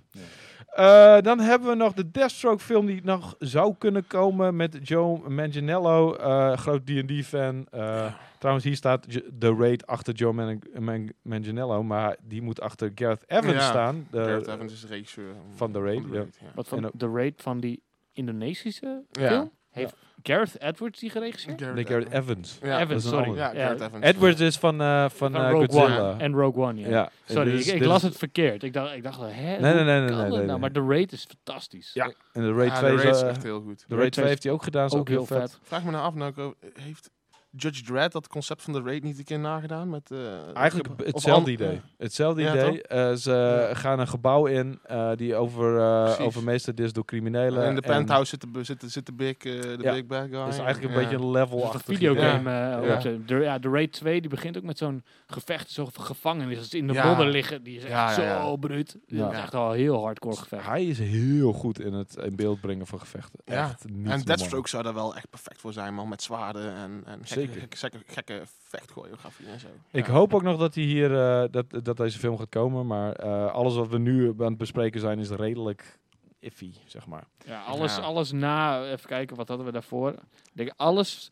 [SPEAKER 3] Ja.
[SPEAKER 1] Eh, dan hebben we nog de Deathstroke film die nog zou kunnen komen met Joe Manganiello, eh, groot D&D-fan. Eh, Trouwens, hier staat J- The Raid achter Joe Man Man- Manganiello, maar die moet achter Gareth Evans
[SPEAKER 2] Ja,
[SPEAKER 1] staan. De,
[SPEAKER 2] Gareth Evans is de regisseur
[SPEAKER 1] eh, van The Raid, ja.
[SPEAKER 2] ja.
[SPEAKER 3] Wat van
[SPEAKER 1] En ook-
[SPEAKER 3] de raid van die Indonesische
[SPEAKER 2] Ja.
[SPEAKER 3] film? Heeft Gareth Edwards die geregisseerd?
[SPEAKER 2] Gareth
[SPEAKER 1] Nee, Gareth Evans.
[SPEAKER 2] Ja,
[SPEAKER 1] dat
[SPEAKER 3] Evans,
[SPEAKER 1] is een
[SPEAKER 3] sorry.
[SPEAKER 1] ander.
[SPEAKER 2] Ja, Gareth Evans.
[SPEAKER 1] Edwards is van, eh, van,
[SPEAKER 3] Van
[SPEAKER 1] eh,
[SPEAKER 3] Rogue
[SPEAKER 1] Godzilla.
[SPEAKER 3] One en Rogue One, ja.
[SPEAKER 1] Ja.
[SPEAKER 3] Sorry,
[SPEAKER 1] Dit is-
[SPEAKER 3] ik, ik
[SPEAKER 1] dit
[SPEAKER 3] las
[SPEAKER 1] is-
[SPEAKER 3] het verkeerd. Ik dacht, ik dacht hè?
[SPEAKER 1] Nee, nee,
[SPEAKER 3] hoe
[SPEAKER 1] nee, nee, nee,
[SPEAKER 3] kan dat
[SPEAKER 1] nee,
[SPEAKER 3] nou?
[SPEAKER 1] nee.
[SPEAKER 3] Maar de raid is fantastisch.
[SPEAKER 1] Ja. En de Raid
[SPEAKER 2] Ja,
[SPEAKER 1] 2
[SPEAKER 2] The Raid
[SPEAKER 1] is,
[SPEAKER 2] is
[SPEAKER 1] eh,
[SPEAKER 2] echt heel goed.
[SPEAKER 1] de Raid 2
[SPEAKER 3] 2
[SPEAKER 1] heeft hij ook gedaan, is ook, heel vet.
[SPEAKER 2] Vraag me nou af, nou, ik ook- heeft Judge Dredd dat concept van de raid niet een keer nagedaan? Met, eh,
[SPEAKER 1] Eigenlijk
[SPEAKER 2] of
[SPEAKER 1] b-
[SPEAKER 2] ander-
[SPEAKER 1] hetzelfde idee. Hetzelfde
[SPEAKER 2] Ja,
[SPEAKER 1] idee. Eh, ze
[SPEAKER 2] Ja.
[SPEAKER 1] gaan een gebouw in eh, die over, eh
[SPEAKER 2] Precies.
[SPEAKER 1] overmeesterd is door criminelen.
[SPEAKER 2] In de
[SPEAKER 1] en
[SPEAKER 2] penthouse zit de, bu- zit, de- zit de, big, eh, de
[SPEAKER 1] Ja,
[SPEAKER 2] big bad guy.
[SPEAKER 1] is eigenlijk een
[SPEAKER 2] Ja.
[SPEAKER 1] beetje een level
[SPEAKER 3] Een
[SPEAKER 1] achter.
[SPEAKER 3] Dus videogame. eh,
[SPEAKER 2] Ja.
[SPEAKER 3] opzet. De, ja, de Raid 2 die begint ook met zo'n gevecht, zo'n gevangenis. Als ze in de
[SPEAKER 2] Ja.
[SPEAKER 3] modder liggen, die is echt
[SPEAKER 2] Ja, ja,
[SPEAKER 3] zo
[SPEAKER 2] ja.
[SPEAKER 3] bruut.
[SPEAKER 1] Ja.
[SPEAKER 3] Dat is echt al een heel hardcore gevecht.
[SPEAKER 1] Hij is heel goed in het in beeld brengen van gevechten.
[SPEAKER 2] Ja.
[SPEAKER 1] Echt niet
[SPEAKER 2] En
[SPEAKER 1] normaal.
[SPEAKER 2] Deathstroke zou daar wel echt perfect voor zijn, man. Met zwaarden en, en gekke,
[SPEAKER 1] Zeker.
[SPEAKER 2] gekke, gekke, gekke vechtchoreografie en zo.
[SPEAKER 1] Ik
[SPEAKER 2] Ja.
[SPEAKER 1] hoop ook nog dat, hij hier, eh, dat, dat deze film gaat komen. Maar eh, alles wat we nu aan het bespreken zijn is redelijk iffy, zeg maar.
[SPEAKER 3] Ja, alles,
[SPEAKER 2] Ja.
[SPEAKER 3] alles na, even kijken, wat hadden we daarvoor? Ik denk alles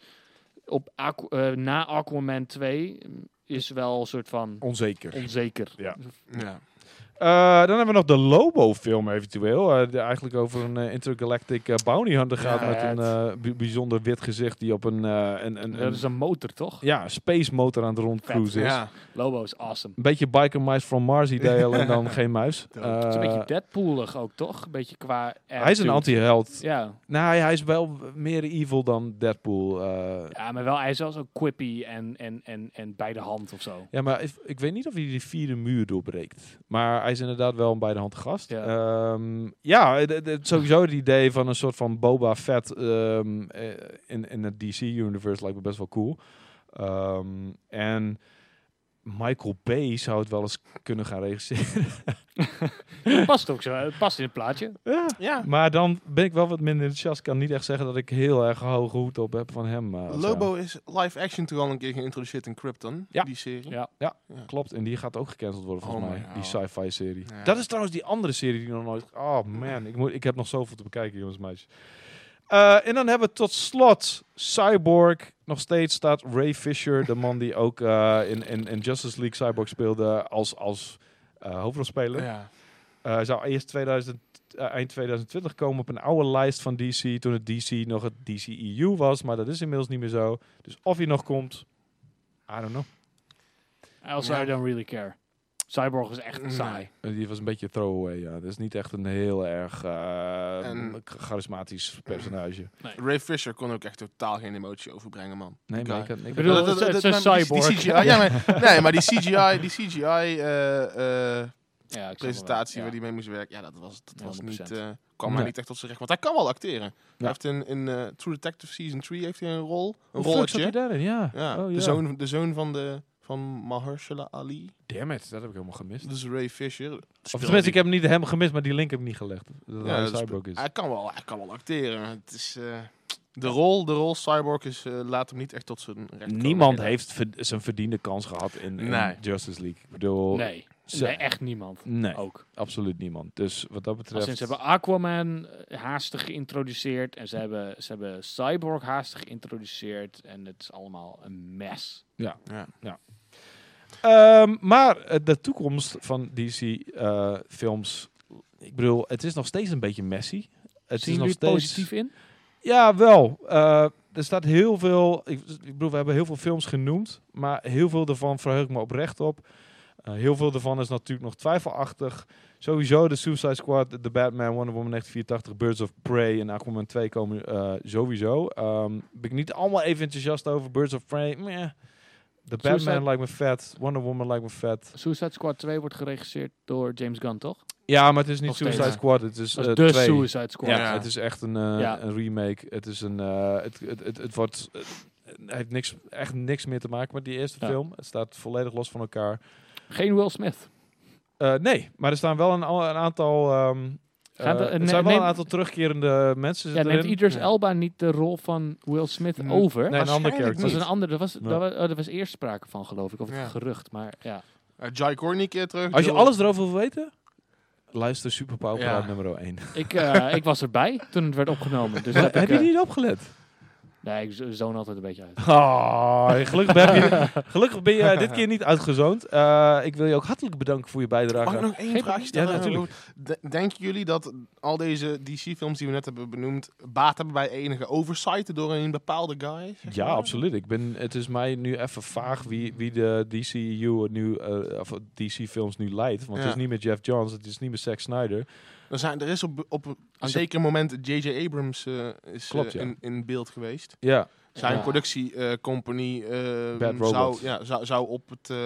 [SPEAKER 3] op Aqu- eh, na Aquaman 2 is wel een soort van
[SPEAKER 1] Onzeker.
[SPEAKER 3] onzeker.
[SPEAKER 1] Ja.
[SPEAKER 2] Ja.
[SPEAKER 1] Eh, dan hebben we nog de Lobo-film eventueel. eh, die eigenlijk over een eh, intergalactic eh, bounty hunter gaat
[SPEAKER 3] Ja,
[SPEAKER 1] met
[SPEAKER 3] het-
[SPEAKER 1] een eh, bi- bijzonder wit gezicht die op een, eh, een, een,
[SPEAKER 3] Dat
[SPEAKER 1] een
[SPEAKER 3] is een motor, toch?
[SPEAKER 1] ja, space motor aan het rondcruisen is.
[SPEAKER 2] Ja.
[SPEAKER 3] Lobo is awesome.
[SPEAKER 1] Een beetje Biker Mice from Mars
[SPEAKER 3] <laughs>
[SPEAKER 1] idee, alleen dan geen muis.
[SPEAKER 2] Dood.
[SPEAKER 1] Eh,
[SPEAKER 3] Het is een beetje Deadpoolig ook, toch? Een beetje qua
[SPEAKER 1] hij is een
[SPEAKER 3] attitude.
[SPEAKER 1] anti-held.
[SPEAKER 3] Ja.
[SPEAKER 1] Nou, hij- hij is wel meer evil dan Deadpool. eh.
[SPEAKER 3] ja, maar wel, hij is wel zo quippy en, en, en, en bij de hand of zo.
[SPEAKER 1] Ja, maar ik, ik weet niet of hij die vierde muur doorbreekt. Maar hij is inderdaad wel een bij de hand gast.
[SPEAKER 3] Ja.
[SPEAKER 1] Ehm, ja, d- d- sowieso het idee van een soort van Boba Fett ehm, eh, in, in het DC-universe lijkt me best wel cool. Ehm, en Michael Bay zou het wel eens kunnen gaan regisseren. <laughs>
[SPEAKER 3] Het past ook zo, het past in het plaatje.
[SPEAKER 1] ja.
[SPEAKER 2] ja.
[SPEAKER 1] Maar dan ben ik wel wat minder enthousiast. Ik kan niet echt zeggen dat ik heel erg hoge hoed op heb van hem. eh, of zo.
[SPEAKER 2] Lobo is live action toen al een keer geïntroduceerd in Krypton,
[SPEAKER 1] Ja.
[SPEAKER 2] die serie.
[SPEAKER 3] Ja.
[SPEAKER 1] Klopt, en die gaat ook gecanceld worden volgens
[SPEAKER 2] Oh
[SPEAKER 1] mij,
[SPEAKER 2] my
[SPEAKER 1] die
[SPEAKER 2] God.
[SPEAKER 1] sci-fi serie.
[SPEAKER 2] Ja.
[SPEAKER 1] Dat is trouwens die andere serie die nog nooit... Oh man, ik, moet, ik heb nog zoveel te bekijken, jongens en meisjes. Eh, en dan hebben we tot slot Cyborg. Nog steeds staat Ray Fisher, de man die ook eh, in, in, in Justice League Cyborg speelde, als, als eh, hoofdrolspeler.
[SPEAKER 2] Ja.
[SPEAKER 1] Eh, hij zou eerst 2000, eh, eind 2020 komen op een oude lijst van DC, toen het DC nog het DCEU was, maar dat is inmiddels niet meer zo. Dus of hij nog komt, I don't know.
[SPEAKER 3] Also,
[SPEAKER 2] Ja.
[SPEAKER 3] I don't really care. Cyborg is echt
[SPEAKER 2] Nee.
[SPEAKER 3] saai.
[SPEAKER 1] Eh, Die was een beetje throwaway, ja. Dat is niet echt een heel erg eh,
[SPEAKER 2] En-
[SPEAKER 1] k- charismatisch personage.
[SPEAKER 2] Ray Fisher kon ook echt totaal geen emotie overbrengen, man.
[SPEAKER 1] Nee,
[SPEAKER 2] maar
[SPEAKER 1] maar
[SPEAKER 2] Guy.
[SPEAKER 1] ik
[SPEAKER 2] ik
[SPEAKER 1] had... Ik
[SPEAKER 3] Ik bedoel,
[SPEAKER 2] Dat- dat-
[SPEAKER 3] het is-
[SPEAKER 2] dat-
[SPEAKER 3] het is
[SPEAKER 2] maar
[SPEAKER 3] een
[SPEAKER 2] die- die
[SPEAKER 3] cyborg.
[SPEAKER 2] CGI ja, maar, nee, maar die CGI, die CGI eh, eh,
[SPEAKER 3] Ja, ik snap
[SPEAKER 2] presentatie
[SPEAKER 3] het wel.
[SPEAKER 2] waar die mee moest werken, ja, dat was, dat was niet,
[SPEAKER 3] 100%.
[SPEAKER 2] eh, kwam
[SPEAKER 1] Nee.
[SPEAKER 2] hij niet echt tot zijn recht. Want hij kan wel acteren.
[SPEAKER 1] Ja.
[SPEAKER 2] Hij heeft in, in eh, True Detective Season 3 heeft hij een rol, een
[SPEAKER 1] zat hij
[SPEAKER 2] rolletje.
[SPEAKER 1] daarin? Ja.
[SPEAKER 2] Ja,
[SPEAKER 1] Oh,
[SPEAKER 2] de, zoon, de zoon van, de, van Mahershala Ali,
[SPEAKER 1] Damn it, dat heb ik helemaal gemist.
[SPEAKER 2] dus Ray Fisher.
[SPEAKER 1] Of
[SPEAKER 2] Speelde
[SPEAKER 1] tenminste,
[SPEAKER 2] die-
[SPEAKER 1] ik heb hem niet helemaal gemist, maar die link heb ik niet gelegd. Dat hij
[SPEAKER 2] dat is-
[SPEAKER 1] Cyborg is.
[SPEAKER 2] Hij kan wel, hij kan wel acteren. Het is, eh, De rol, de rol Cyborg is, eh, laat hem niet echt tot zijn recht komen.
[SPEAKER 1] Niemand heeft verd- zijn verdiende kans gehad in, in
[SPEAKER 2] Nee.
[SPEAKER 1] Justice League. Ik bedoel,
[SPEAKER 3] Nee,
[SPEAKER 1] ze-
[SPEAKER 3] nee, echt niemand.
[SPEAKER 1] nee,
[SPEAKER 3] Ook.
[SPEAKER 1] absoluut niemand. Dus wat dat
[SPEAKER 3] Al
[SPEAKER 1] betreft...
[SPEAKER 3] Sinds ze hebben Aquaman eh, haastig geïntroduceerd en ze hebben, ze hebben Cyborg haastig geïntroduceerd en het is allemaal een mes.
[SPEAKER 2] Ja.
[SPEAKER 1] Ehm, maar eh, de toekomst van DC-films... ik bedoel, het is nog steeds een beetje messy. Het
[SPEAKER 3] Zien
[SPEAKER 1] is nog
[SPEAKER 3] jullie het
[SPEAKER 1] steeds...
[SPEAKER 3] positief in?
[SPEAKER 1] Ja, wel. Eh, er staat heel veel. Ik, ik bedoel, we hebben heel veel films genoemd. Maar heel veel daarvan verheug ik me oprecht op. Eh, heel veel daarvan is natuurlijk nog twijfelachtig. Sowieso de Suicide Squad, The Batman, Wonder Woman 1984, Birds of Prey en Aquaman 2 komen eh, sowieso. Ehm, ben ik niet allemaal even enthousiast over. Birds of Prey, meh. The Batman
[SPEAKER 3] Suicide-
[SPEAKER 1] lijkt me vet. Wonder Woman lijkt me vet.
[SPEAKER 3] Suicide Squad 2 wordt geregisseerd door James Gunn, toch?
[SPEAKER 1] Ja, maar het is niet
[SPEAKER 3] Nog
[SPEAKER 1] Suicide
[SPEAKER 2] steeds.
[SPEAKER 1] Squad. Het is,
[SPEAKER 3] Dat is
[SPEAKER 1] eh,
[SPEAKER 3] de
[SPEAKER 1] twee.
[SPEAKER 3] Suicide Squad.
[SPEAKER 1] Ja,
[SPEAKER 2] Ja.
[SPEAKER 1] het is echt een, eh,
[SPEAKER 3] Ja.
[SPEAKER 1] een remake. Het is een. eh, het, het, het, het wordt. Het, het heeft niks, echt niks meer te maken met die eerste
[SPEAKER 3] Ja.
[SPEAKER 1] film. Het staat volledig los van elkaar.
[SPEAKER 3] Geen Will Smith.
[SPEAKER 1] Eh, nee, maar er staan wel een, al- een aantal. ehm eh,
[SPEAKER 3] Gaat er-
[SPEAKER 1] er
[SPEAKER 3] ne-
[SPEAKER 1] zijn wel
[SPEAKER 3] neem-
[SPEAKER 1] een aantal terugkerende mensen.
[SPEAKER 3] Ja,
[SPEAKER 1] zitten
[SPEAKER 3] neemt
[SPEAKER 1] erin.
[SPEAKER 3] Idris
[SPEAKER 2] Ja.
[SPEAKER 3] Elba niet de rol van Will Smith
[SPEAKER 2] Mm,
[SPEAKER 1] Nee,
[SPEAKER 3] over?
[SPEAKER 1] een andere
[SPEAKER 2] Waarschijnlijk
[SPEAKER 1] character.
[SPEAKER 3] Dat was
[SPEAKER 2] niet.
[SPEAKER 3] een andere. Dat was,
[SPEAKER 1] Ja.
[SPEAKER 3] daar, was, oh, daar was eerst sprake van, geloof ik. Of het
[SPEAKER 2] Ja.
[SPEAKER 3] gerucht. Maar ja.
[SPEAKER 2] Eh, Jai Cornick eh, terug.
[SPEAKER 1] Als je
[SPEAKER 2] Jill-
[SPEAKER 1] alles erover wil weten, luister Super Power
[SPEAKER 2] Ja.
[SPEAKER 1] Praat nummer 1. <laughs>
[SPEAKER 3] ik, eh, ik was erbij toen het werd opgenomen. Dus heb
[SPEAKER 1] heb
[SPEAKER 3] ik,
[SPEAKER 1] je
[SPEAKER 3] eh,
[SPEAKER 1] niet opgelet?
[SPEAKER 3] Nee, ik z- zoon altijd een beetje uit.
[SPEAKER 1] Oh, gelukkig, <laughs> ben je, gelukkig ben je dit keer niet uitgezoond. Eh, ik wil je ook hartelijk bedanken voor je bijdrage.
[SPEAKER 2] Mag ik nog één
[SPEAKER 3] Geen-
[SPEAKER 2] vraagje stellen?
[SPEAKER 1] Ja, natuurlijk.
[SPEAKER 2] De- Denken jullie dat al deze DC-films die we net hebben benoemd... baat hebben bij enige oversight door een bepaalde guy? zeg
[SPEAKER 1] Ja,
[SPEAKER 2] maar?
[SPEAKER 1] absoluut. Ik ben, het is mij nu even vaag wie, wie de DCU nu, eh, of DC-films nu leidt. Want het
[SPEAKER 2] Ja.
[SPEAKER 1] is niet met Jeff Johns, het is niet met Zack Snyder.
[SPEAKER 2] Er, zijn, er is op, op een zeker moment J.J. Abrams eh, is, eh,
[SPEAKER 1] Klopt, ja.
[SPEAKER 2] in, in beeld geweest.
[SPEAKER 1] Ja,
[SPEAKER 2] Zijn
[SPEAKER 3] Ja.
[SPEAKER 2] productiecompagnie eh,
[SPEAKER 1] Bad Robot.
[SPEAKER 2] zou, ja, zou, zou op het eh,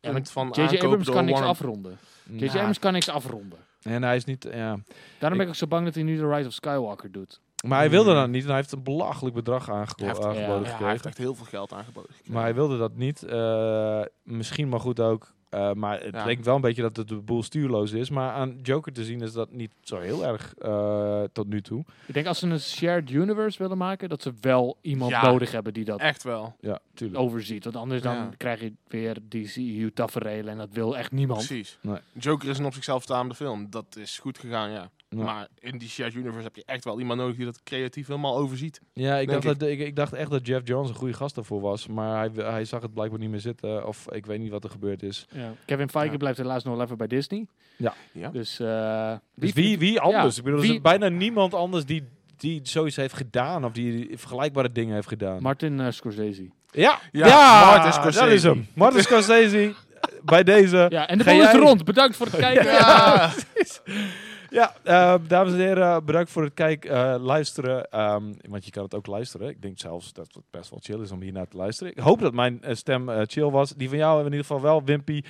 [SPEAKER 3] Ja,
[SPEAKER 2] punt van
[SPEAKER 3] J.J.
[SPEAKER 2] aankoop
[SPEAKER 3] Abrams
[SPEAKER 2] door
[SPEAKER 3] kan niks
[SPEAKER 2] Warner-
[SPEAKER 3] afronden. J.J.
[SPEAKER 2] Ja.
[SPEAKER 3] Abrams kan niks afronden.
[SPEAKER 1] Mm. en hij is niet... Ja.
[SPEAKER 3] Daarom
[SPEAKER 1] Nou. Ik-
[SPEAKER 3] ben ik ook zo bang dat hij nu de Rise of Skywalker doet.
[SPEAKER 1] Maar hij wilde
[SPEAKER 2] Hmm.
[SPEAKER 1] dat niet en hij heeft een belachelijk bedrag aangebo-
[SPEAKER 2] Hij heeft-
[SPEAKER 1] aangeboden
[SPEAKER 2] Ja, hij
[SPEAKER 1] gekregen.
[SPEAKER 2] heeft echt heel veel geld aangeboden. gekregen.
[SPEAKER 1] Maar hij wilde dat niet. Eh, misschien maar goed ook. Eh, maar het
[SPEAKER 2] Ja.
[SPEAKER 1] lijkt wel een beetje dat het de boel stuurloos is. Maar aan Joker te zien is dat niet zo heel erg eh, tot nu toe.
[SPEAKER 3] Ik denk als ze een shared universe willen maken, dat ze wel iemand
[SPEAKER 2] Ja.
[SPEAKER 3] nodig hebben die dat
[SPEAKER 2] Echt wel.
[SPEAKER 1] Ja, tuurlijk.
[SPEAKER 3] overziet. Want anders dan
[SPEAKER 2] Ja.
[SPEAKER 3] krijg je weer DCU-tafereelen en dat wil echt niemand.
[SPEAKER 2] Precies.
[SPEAKER 1] Nee.
[SPEAKER 2] Joker is een op zichzelf staande film. Dat is goed gegaan, ja.
[SPEAKER 1] Ja.
[SPEAKER 2] Maar in die shared universe heb je echt wel iemand nodig die dat creatief helemaal overziet.
[SPEAKER 1] Ja, ik
[SPEAKER 2] Denk
[SPEAKER 1] dacht, Dat, ik, ik dacht echt dat Jeff Jones een goede gast daarvoor was. Maar hij, hij zag het blijkbaar niet meer zitten. Of ik weet niet wat er gebeurd is.
[SPEAKER 3] Ja. Kevin Feige
[SPEAKER 2] Ja.
[SPEAKER 3] blijft helaas nog even bij Disney.
[SPEAKER 2] Ja.
[SPEAKER 3] Dus, eh,
[SPEAKER 1] Dus wie, wie anders? ik bedoel, er
[SPEAKER 3] wie-
[SPEAKER 1] is bijna niemand anders die, die zoiets heeft gedaan. Of die vergelijkbare dingen heeft gedaan.
[SPEAKER 3] Martin eh, Scorsese.
[SPEAKER 1] ja,
[SPEAKER 2] Ja, Martin Scorsese.
[SPEAKER 1] dat is hem. Martin Scorsese, bij deze. Ja,
[SPEAKER 3] Ja, en de
[SPEAKER 1] Ga
[SPEAKER 3] bal is
[SPEAKER 1] jij-
[SPEAKER 3] rond. Bedankt voor het kijken.
[SPEAKER 1] eh, dames en heren, bedankt voor het kijken, eh, luisteren. Ehm, want je kan het ook luisteren. Ik denk zelfs dat het best wel chill is om hiernaar te luisteren. Ik hoop dat mijn eh, stem eh, chill was. Die van jou in ieder geval wel, Wimpy.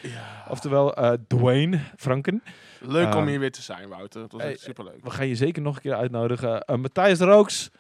[SPEAKER 1] Oftewel eh, Dwayne Franken.
[SPEAKER 2] Leuk om
[SPEAKER 1] Ehm,
[SPEAKER 2] hier weer te zijn, Wouter. Het was
[SPEAKER 1] hey,
[SPEAKER 2] echt superleuk.
[SPEAKER 1] We gaan je zeker nog een keer uitnodigen. Eh, Matthijs Rooks,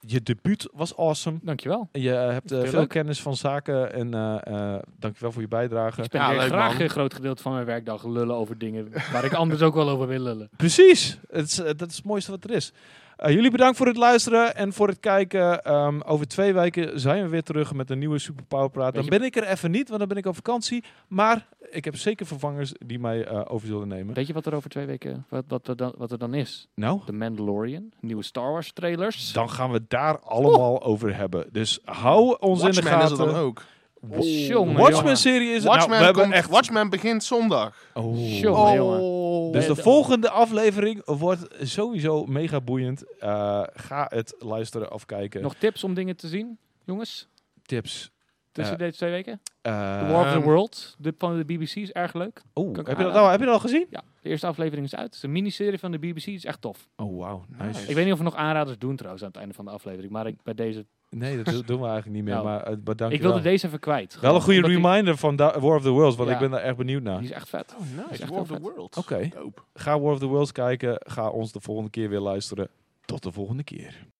[SPEAKER 1] je debuut was awesome.
[SPEAKER 3] Dankjewel.
[SPEAKER 1] Je eh, hebt eh, veel
[SPEAKER 3] Tuurlijk.
[SPEAKER 1] kennis van zaken en eh eh dankjewel voor je bijdrage.
[SPEAKER 3] Ik ben
[SPEAKER 2] Ja,
[SPEAKER 3] weer
[SPEAKER 2] leuk,
[SPEAKER 3] graag
[SPEAKER 2] man.
[SPEAKER 3] een groot gedeelte van mijn werkdag lullen over dingen waar ik anders ook wel over wil lullen.
[SPEAKER 1] Precies, het is, eh, dat is het mooiste wat er is. Eh, jullie bedankt voor het luisteren en voor het kijken. Ehm, over twee weken zijn we weer terug met een nieuwe Super Power Praat. Dan
[SPEAKER 3] Weet je-
[SPEAKER 1] ben ik er even niet, want dan ben ik op vakantie. Maar ik heb zeker vervangers die mij eh, over zullen nemen.
[SPEAKER 3] <laughs> Weet je wat er over twee weken, wat, wat, er dan, wat er dan is?
[SPEAKER 1] Nou,
[SPEAKER 3] The Mandalorian, nieuwe Star Wars trailers.
[SPEAKER 1] dan gaan we het daar allemaal over hebben. Dus hou ons in de
[SPEAKER 2] Watchmen
[SPEAKER 1] gaten.
[SPEAKER 2] is er dan ook.
[SPEAKER 3] Jongen, jongen.
[SPEAKER 1] Watchmen-serie is het. Nou, we
[SPEAKER 2] Watchmen,
[SPEAKER 1] hebben
[SPEAKER 2] komt,
[SPEAKER 1] echt...
[SPEAKER 2] Watchmen begint zondag. Oh,
[SPEAKER 1] Oh.
[SPEAKER 3] Jongen, jongen.
[SPEAKER 1] Dus de
[SPEAKER 3] Nee, de-
[SPEAKER 1] volgende aflevering wordt sowieso mega boeiend. Eh, ga het luisteren of kijken.
[SPEAKER 3] Nog tips om dingen te zien, jongens?
[SPEAKER 1] tips.
[SPEAKER 3] Tussen
[SPEAKER 1] Eh,
[SPEAKER 3] deze twee weken?
[SPEAKER 1] Eh,
[SPEAKER 3] The War of
[SPEAKER 2] ehm,
[SPEAKER 3] the World, de, van de BBC, is erg leuk.
[SPEAKER 1] oh,
[SPEAKER 3] Kan ik
[SPEAKER 1] heb, je dat
[SPEAKER 3] aanraden?
[SPEAKER 1] al, heb je dat al gezien?
[SPEAKER 3] Ja, de eerste aflevering is uit. Het is een miniserie van de BBC, is echt tof.
[SPEAKER 1] Oh, wauw. Nice.
[SPEAKER 2] Nice.
[SPEAKER 3] Ik weet niet of we nog aanraders doen trouwens aan het einde van de aflevering, maar ik, bij deze,
[SPEAKER 1] Nee, dat do- doen we eigenlijk niet meer.
[SPEAKER 3] Nou,
[SPEAKER 1] maar eh, bedankt.
[SPEAKER 3] ik wilde deze even kwijt.
[SPEAKER 1] Wel
[SPEAKER 3] Gewoon
[SPEAKER 1] een goede
[SPEAKER 3] omdat die-
[SPEAKER 1] reminder van Da- War of the Worlds, want
[SPEAKER 3] Ja.
[SPEAKER 1] ik ben daar echt benieuwd naar.
[SPEAKER 3] Die is echt vet.
[SPEAKER 2] Oh,
[SPEAKER 3] Is
[SPEAKER 2] nice.
[SPEAKER 3] echt
[SPEAKER 2] War of
[SPEAKER 3] heel
[SPEAKER 2] the World.
[SPEAKER 1] Oké.
[SPEAKER 2] Dope.
[SPEAKER 1] Ga War of the Worlds kijken. Ga ons de volgende keer weer luisteren. Tot de volgende keer.